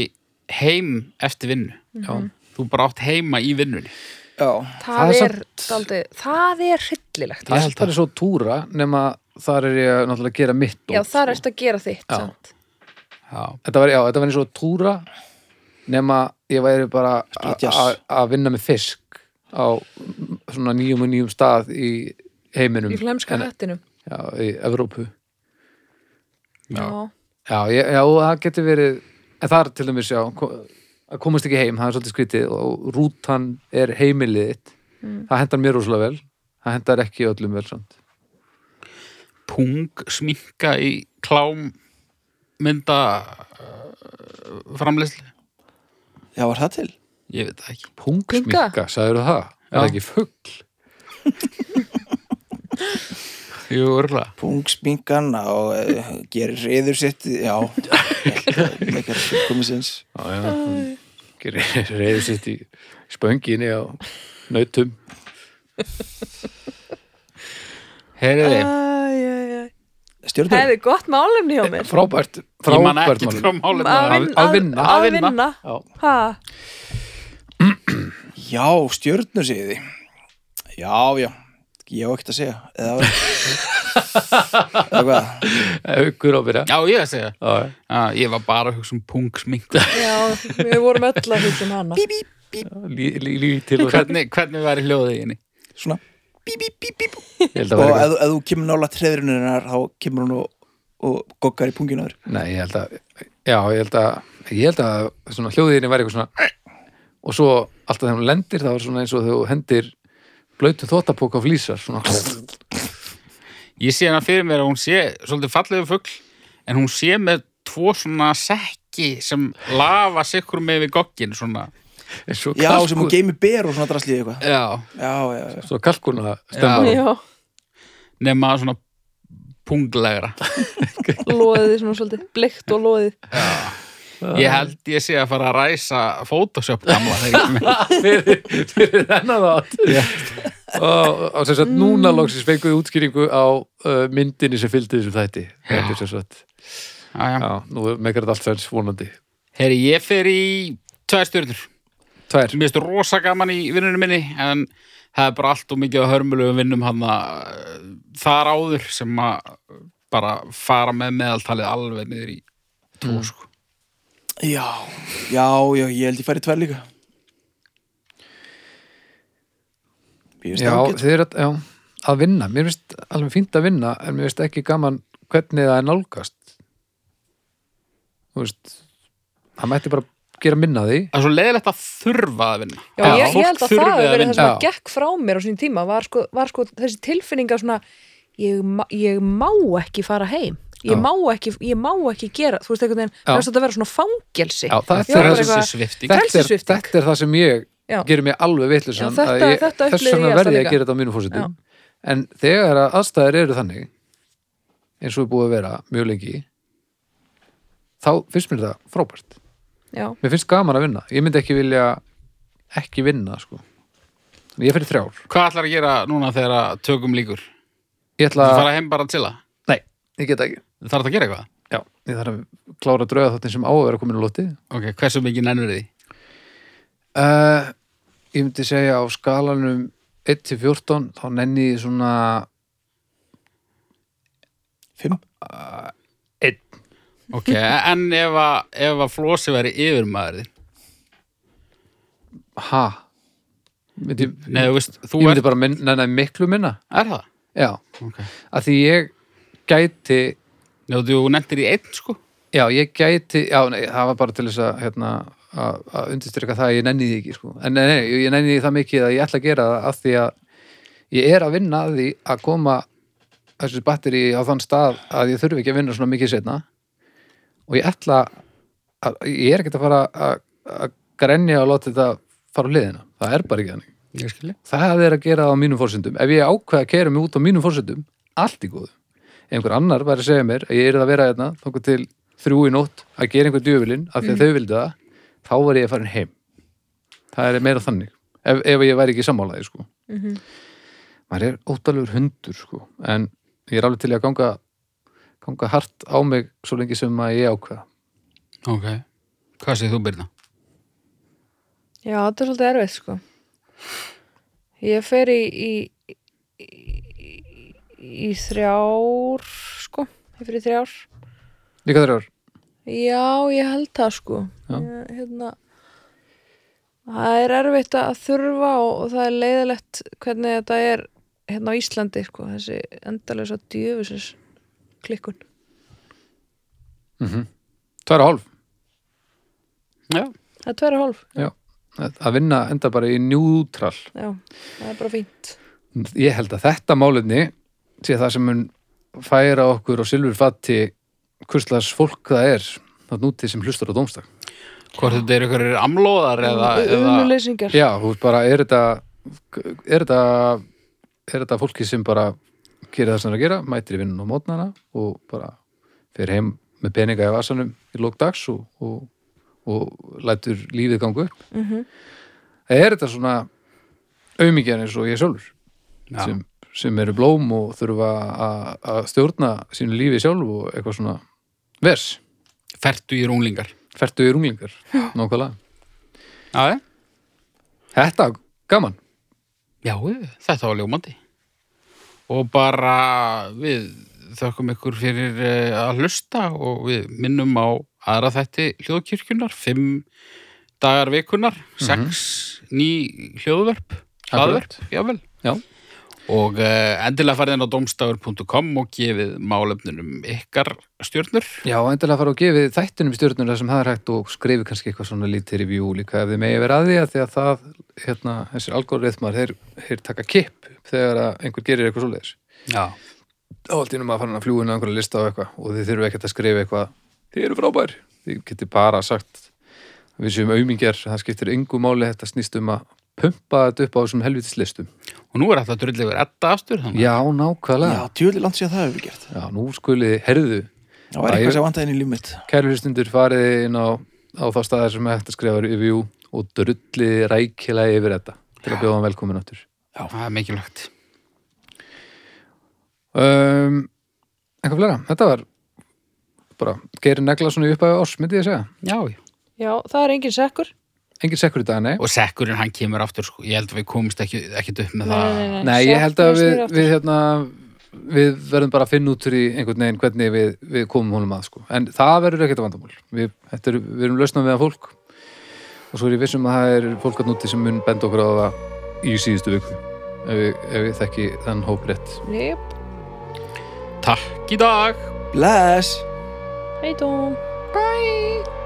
Speaker 1: heim eftir vinnu
Speaker 2: Já.
Speaker 1: þú bara átt heima í vinnunni
Speaker 3: Já,
Speaker 2: Það
Speaker 4: Það
Speaker 2: er
Speaker 4: er daldið, það er hryllilegt
Speaker 2: það er alltaf svo túra nema þar er ég náttúrulega að gera mitt
Speaker 4: Já,
Speaker 2: dót,
Speaker 4: það er
Speaker 2: sko.
Speaker 4: eftir að gera þitt
Speaker 2: Já.
Speaker 4: samt.
Speaker 1: já,
Speaker 2: þetta var, já, þetta var eins og túra nema ég væri bara
Speaker 3: Split
Speaker 2: a- a-
Speaker 3: jazz.
Speaker 2: að vinna með fisk á mm, svona nýjum og nýjum stað í heiminum
Speaker 4: Í flæmska
Speaker 2: En-
Speaker 4: hættinum
Speaker 2: já, í Evrópu
Speaker 1: Já.
Speaker 2: já, ég, já, það getur verið en það er til dæmis, já ko- að komast ekki heim, það er svolítið skrítið og rútan er heimilið þitt það hendar mér rosalega vel það hendar ekki öllum vel samt
Speaker 1: pung sminka í klám mynda uh, framleyslu
Speaker 3: já var það til?
Speaker 1: ég veit það ekki
Speaker 4: Punga?
Speaker 2: Punksminka, sagður það? Er
Speaker 1: Já.
Speaker 2: það ekki fugg?
Speaker 1: Jú, örgulega
Speaker 3: Pungsminkan og uh, gerir reyður sitt Já,
Speaker 4: <laughs>
Speaker 3: leikar komið sinns
Speaker 2: Reyður sitt í spönginni á nautum
Speaker 1: heyriði,
Speaker 4: Það
Speaker 3: Stjórnur,
Speaker 4: er gott málumni hjá mér
Speaker 2: Frábært,
Speaker 1: ég man
Speaker 2: frábært
Speaker 1: ekki frá
Speaker 2: mál
Speaker 1: málefni
Speaker 4: Að
Speaker 1: það.
Speaker 4: vin-
Speaker 2: að
Speaker 4: Að
Speaker 2: vinna.
Speaker 1: Að vinna.
Speaker 4: vinna
Speaker 2: Já.
Speaker 4: Ha,
Speaker 3: já, stjórnur segið þið Já, já, ég á ekkert að segja Eða, eða hvað?
Speaker 2: Haukur á byrja
Speaker 1: já, ég að segja
Speaker 2: Já, já.
Speaker 1: já, ég var bara að hugsa um pung sminka
Speaker 4: já, við vorum öll að hugsa um hana
Speaker 2: Lí- lí- Lítil og
Speaker 1: <laughs>
Speaker 2: sætt
Speaker 1: hvernig, hvernig væri hljóðið í henni
Speaker 3: Svona bí, bí, bí, bí, bí.
Speaker 2: Ég held að
Speaker 3: Og
Speaker 2: vera
Speaker 3: ef, ef þú kemur nála treðurinnar þá kemur hún og, og goggar í punginu á þér
Speaker 2: Nei, ég held að Já, ég held að Ég held að svona hljóðinni væri eitthvað svona Og svo alltaf þegar hún lendir Það var svona eins og þegar þú hendir Blautu þóttapók á flýsar Svona <laughs>
Speaker 1: Ég sé hana fyrir mér að hún sé svolítið fallegu fugl en hún sé með tvo svona sekki sem lafa sikkur með við goggin svona.
Speaker 2: eins og
Speaker 3: Já, sem hún
Speaker 2: kalkun
Speaker 3: geimi ber og svona draslið eitthvað
Speaker 1: Já.
Speaker 3: Já, já, já
Speaker 2: Svona kalkuna
Speaker 1: Já.
Speaker 2: stemma
Speaker 4: Já,
Speaker 1: Nefna svona punglegra.
Speaker 4: loðið svona svolítið Blikt og loðið
Speaker 1: Ég held ég sé að fara að ræsa Photoshop gamla þegar ég <laughs> með.
Speaker 2: fyrir, fyrir þennan þátt og, og sem sagt núna loksins fenguðu útskýringu á uh, myndinni sem fylgdi þessum þætti þetta er sem sagt já, nú megar þetta allt sæns vonandi
Speaker 1: Heri, ég fer í tvær stjörnur.
Speaker 2: tvær,
Speaker 1: Mér finnst rosa gaman í vinnunum minni en það er bara allt og mikið að hörmulegum vinnum hann að eh, þar áður sem að bara fara með meðaltalið alveg niður í tvo
Speaker 4: Mm.
Speaker 1: sko.
Speaker 3: Já, já, já, ég held ég færi tvær líka Mér finnst
Speaker 2: já,
Speaker 3: það ágætt.
Speaker 2: þið er að, já, að vinna mér finnst alveg fínt að vinna en mér finnst ekki gaman hvernig það er nálgast þú veist það mætti bara gera minna af því
Speaker 1: það er svo leiðilegt að þurfa að vinna
Speaker 4: Já,
Speaker 1: Að
Speaker 4: ég, ég
Speaker 1: fólk
Speaker 4: held að
Speaker 1: þurfi
Speaker 4: það hafi verið það
Speaker 1: vinna.
Speaker 4: sem að
Speaker 2: Já.
Speaker 4: gekk frá mér á sín tíma var sko, var sko þessi tilfinninga svona ég, ma- ég má ekki fara heim ég
Speaker 2: Já.
Speaker 4: má ekki, ég má ekki gera þú veist einhvern veginn,
Speaker 2: Já.
Speaker 4: það er þetta vera svona fangelsi
Speaker 2: Já, það
Speaker 4: Já, bara
Speaker 2: er
Speaker 1: Frelsi
Speaker 2: þeirra-
Speaker 4: eitthvað-
Speaker 1: svipting.
Speaker 4: Þe-
Speaker 2: þetta er,
Speaker 4: Frelsissvipting.
Speaker 2: þetta er það sem ég
Speaker 4: Já.
Speaker 2: gerir mig alveg
Speaker 4: Já,
Speaker 2: vitleysan
Speaker 4: þetta-
Speaker 2: að ég-
Speaker 4: þetta
Speaker 2: þess
Speaker 4: upplifði
Speaker 2: vegna
Speaker 4: ég alltaf
Speaker 2: verði ég
Speaker 4: líka.
Speaker 2: að gera þetta á mínu
Speaker 4: Já.
Speaker 2: fósitum en þegar að aðstæður eru þannig eins og er búið að vera mjög lengi þá finnst mér það frábært
Speaker 4: Já.
Speaker 2: mér finnst gaman að vinna, ég myndi ekki vilja ekki vinna sko Þannig ég fyrir þrjár,
Speaker 1: Hvað ætlar að gera núna þegar að tökum líkur?
Speaker 2: ég ætla
Speaker 1: Þú
Speaker 2: að
Speaker 1: fara heim bara til það?
Speaker 2: nei, ég get ekki
Speaker 1: Þú þarf að gera eitthvað?
Speaker 2: Já, ég þarf að klára að drauga þáttin sem á að vera komin á lóti
Speaker 1: Ok, hversu mikið nennur því?
Speaker 2: uh, Ég myndi segja á skalanum 1 til 14 þá nenni ég svona
Speaker 3: Fimm?
Speaker 1: Ok, <laughs> en ef að, ef að Flósi væri yfir maður þinn
Speaker 2: ha myndi,
Speaker 1: Nei, þú veist, þú
Speaker 2: Ég
Speaker 1: er,
Speaker 2: myndi bara minn, nenni miklu minna
Speaker 1: er það
Speaker 2: Já,
Speaker 1: Ok.
Speaker 2: að því ég gæti
Speaker 1: Nei, þú nefndir í einn sko
Speaker 2: Já, ég gæti, já, nei, það var bara til þess að hérna, að að undirstyrka það að ég nenni því ekki, sko. En nei, nei, ég nenni því það mikið að ég ætla að gera það af því að ég er að vinna að því að koma þessu batteri á þann stað að ég þurfi ekki að vinna svona mikið setna og ég ætla að, ég er ekkert að fara að, að grenja og láta þetta fara á liðina. Það er bara ekki þannig.
Speaker 1: Ég skilji
Speaker 2: Það er að gera það á mínum fórsendum. Ef ég ákveða að kera mig út á mínum fórsendum, allt í góðu. Ef einhver annar væri að segja mér að ég er að vera hérna, þókað til þrjú í nótt að gera einhver djöfulinn, af því að þau vildu það, þá var ég að fara heim. Það er meira þannig. Ef, ef ég væri ekki sammálaði, sko. Maður er óttalegur hundur, sko. En ég er alveg til í að ganga, ganga hart á mig svo lengi sem að ég ákveða.
Speaker 1: Ok, hvað segir þú Birna?
Speaker 4: Já, þetta er svolítið erfið sko Ég fer í í, í, í, í þrjár sko, ég fer í þrjár
Speaker 2: Líka þrjár.
Speaker 4: Já, ég held það sko
Speaker 2: Já.
Speaker 4: ég, hérna, Það er erfitt að þurfa og, og það er leiðilegt hvernig þetta er hérna á Íslandi sko, þessi endalega djöfusins klikkun
Speaker 2: Tvær og hálf.
Speaker 1: Já,
Speaker 4: Það er tverja hálf,
Speaker 2: Já. Að að vinna enda bara í njútrall.
Speaker 4: já, það er bara fínt
Speaker 2: ég held að þetta málefni sé það sem mun færa okkur og silfurfatti kurslas fólk það er þannig úti sem hlustar á dómstak
Speaker 1: hvort þetta eru ykkur amlóðar eða, eða
Speaker 4: Umuleysingar
Speaker 2: já, þú veist bara, er þetta er þetta er þetta fólki sem bara gerir það sem það er að gera mætir í vinnun á mótnana og bara fer heim með peninga í vasanum í lók dags og, og, og lætur lífið gangu upp
Speaker 4: mm
Speaker 2: er þetta svona auðmikjan eins og ég sjálfur
Speaker 1: Já.
Speaker 2: sem, sem eru blóm og þurfa að- að stjórna sínu lífi sjálf og eitthvað svona vers,
Speaker 1: Fertu í rúnglingar
Speaker 2: fertu í runglingar nákvæmlega.
Speaker 1: Já, já.
Speaker 2: Þetta, gaman
Speaker 1: já, þetta var ljómandi Og bara við þökkum ykkur fyrir eh, að hlusta og við minnum á aðra þætti hljóðkirkjunar, fimm dagar vikunar, sex ný hljóðverp, hlaðverp, jável
Speaker 2: Já.
Speaker 1: og uh, endilega farið inn á domstafur.com og gefið málefnunum ykkar stjörnur
Speaker 2: Já, endilega fara og gefið þættunum stjórnur þar sem það er hægt og skrifi kannski eitthvað svona lítið review líka ef þið megi vera að því að því að það hérna, þessir algoritmar, þeir, þeir taka kipp þegar að einhver gerir eitthvað svoleiðis
Speaker 1: Já,
Speaker 2: þá allt í einu maður farin að fljúa inn á einhverja lista og eitthvað og þið þurfum ekkert að skrifa eitthvað þið eru frábær, þið getur bara sagt að við séum aumingjar, það skiptir yngu máli þetta snýst um að pumpa þetta upp á þessum helvitis listum
Speaker 1: og nú er þetta drullið verið etta aftur þannig
Speaker 2: Já,
Speaker 3: Já,
Speaker 2: nákvæmlega Já,
Speaker 3: djúli langt síðan það hefur við gert.
Speaker 2: nú skulið, herðu,
Speaker 3: Það var
Speaker 2: Já, ég-
Speaker 3: eitthvað sem vantaði inn í líf mitt.
Speaker 2: kæru hlustundur farið inn á, á þá staðar sem er hægt að skrifa review og drullið rækilega yfir þetta til að bjóða hann velkomin áttur
Speaker 1: það er mikilvægt
Speaker 2: um, Eitthvað flera, þetta var bara, gerir negla svona upp að oss, myndi ég segja
Speaker 1: Já, já
Speaker 4: Já, það er engin sekkur
Speaker 2: Engin sekkur í dag, nei
Speaker 1: og sekkurinn hann kemur aftur sko. ég held að við komumst ekki, ekkit upp með
Speaker 4: Nei,
Speaker 1: það
Speaker 4: nei, nei,
Speaker 2: Nei, ég held að
Speaker 4: Sekkurinn snýr
Speaker 2: við,
Speaker 4: aftur.
Speaker 2: við hérna við verðum bara að finna út úr í einhvern veginn hvernig við, við komum honum að sko. en það verður ekkert vandamál við, þetta er, við erum lausnað meðan fólk og svo er ég vissum að það er fólk að núti sem mun benda okkur á það í síðustu viku ef við, ef við þekki þann hóp rétt
Speaker 4: Jep,
Speaker 1: Takk í dag
Speaker 3: Bless!
Speaker 4: heitum
Speaker 1: Bye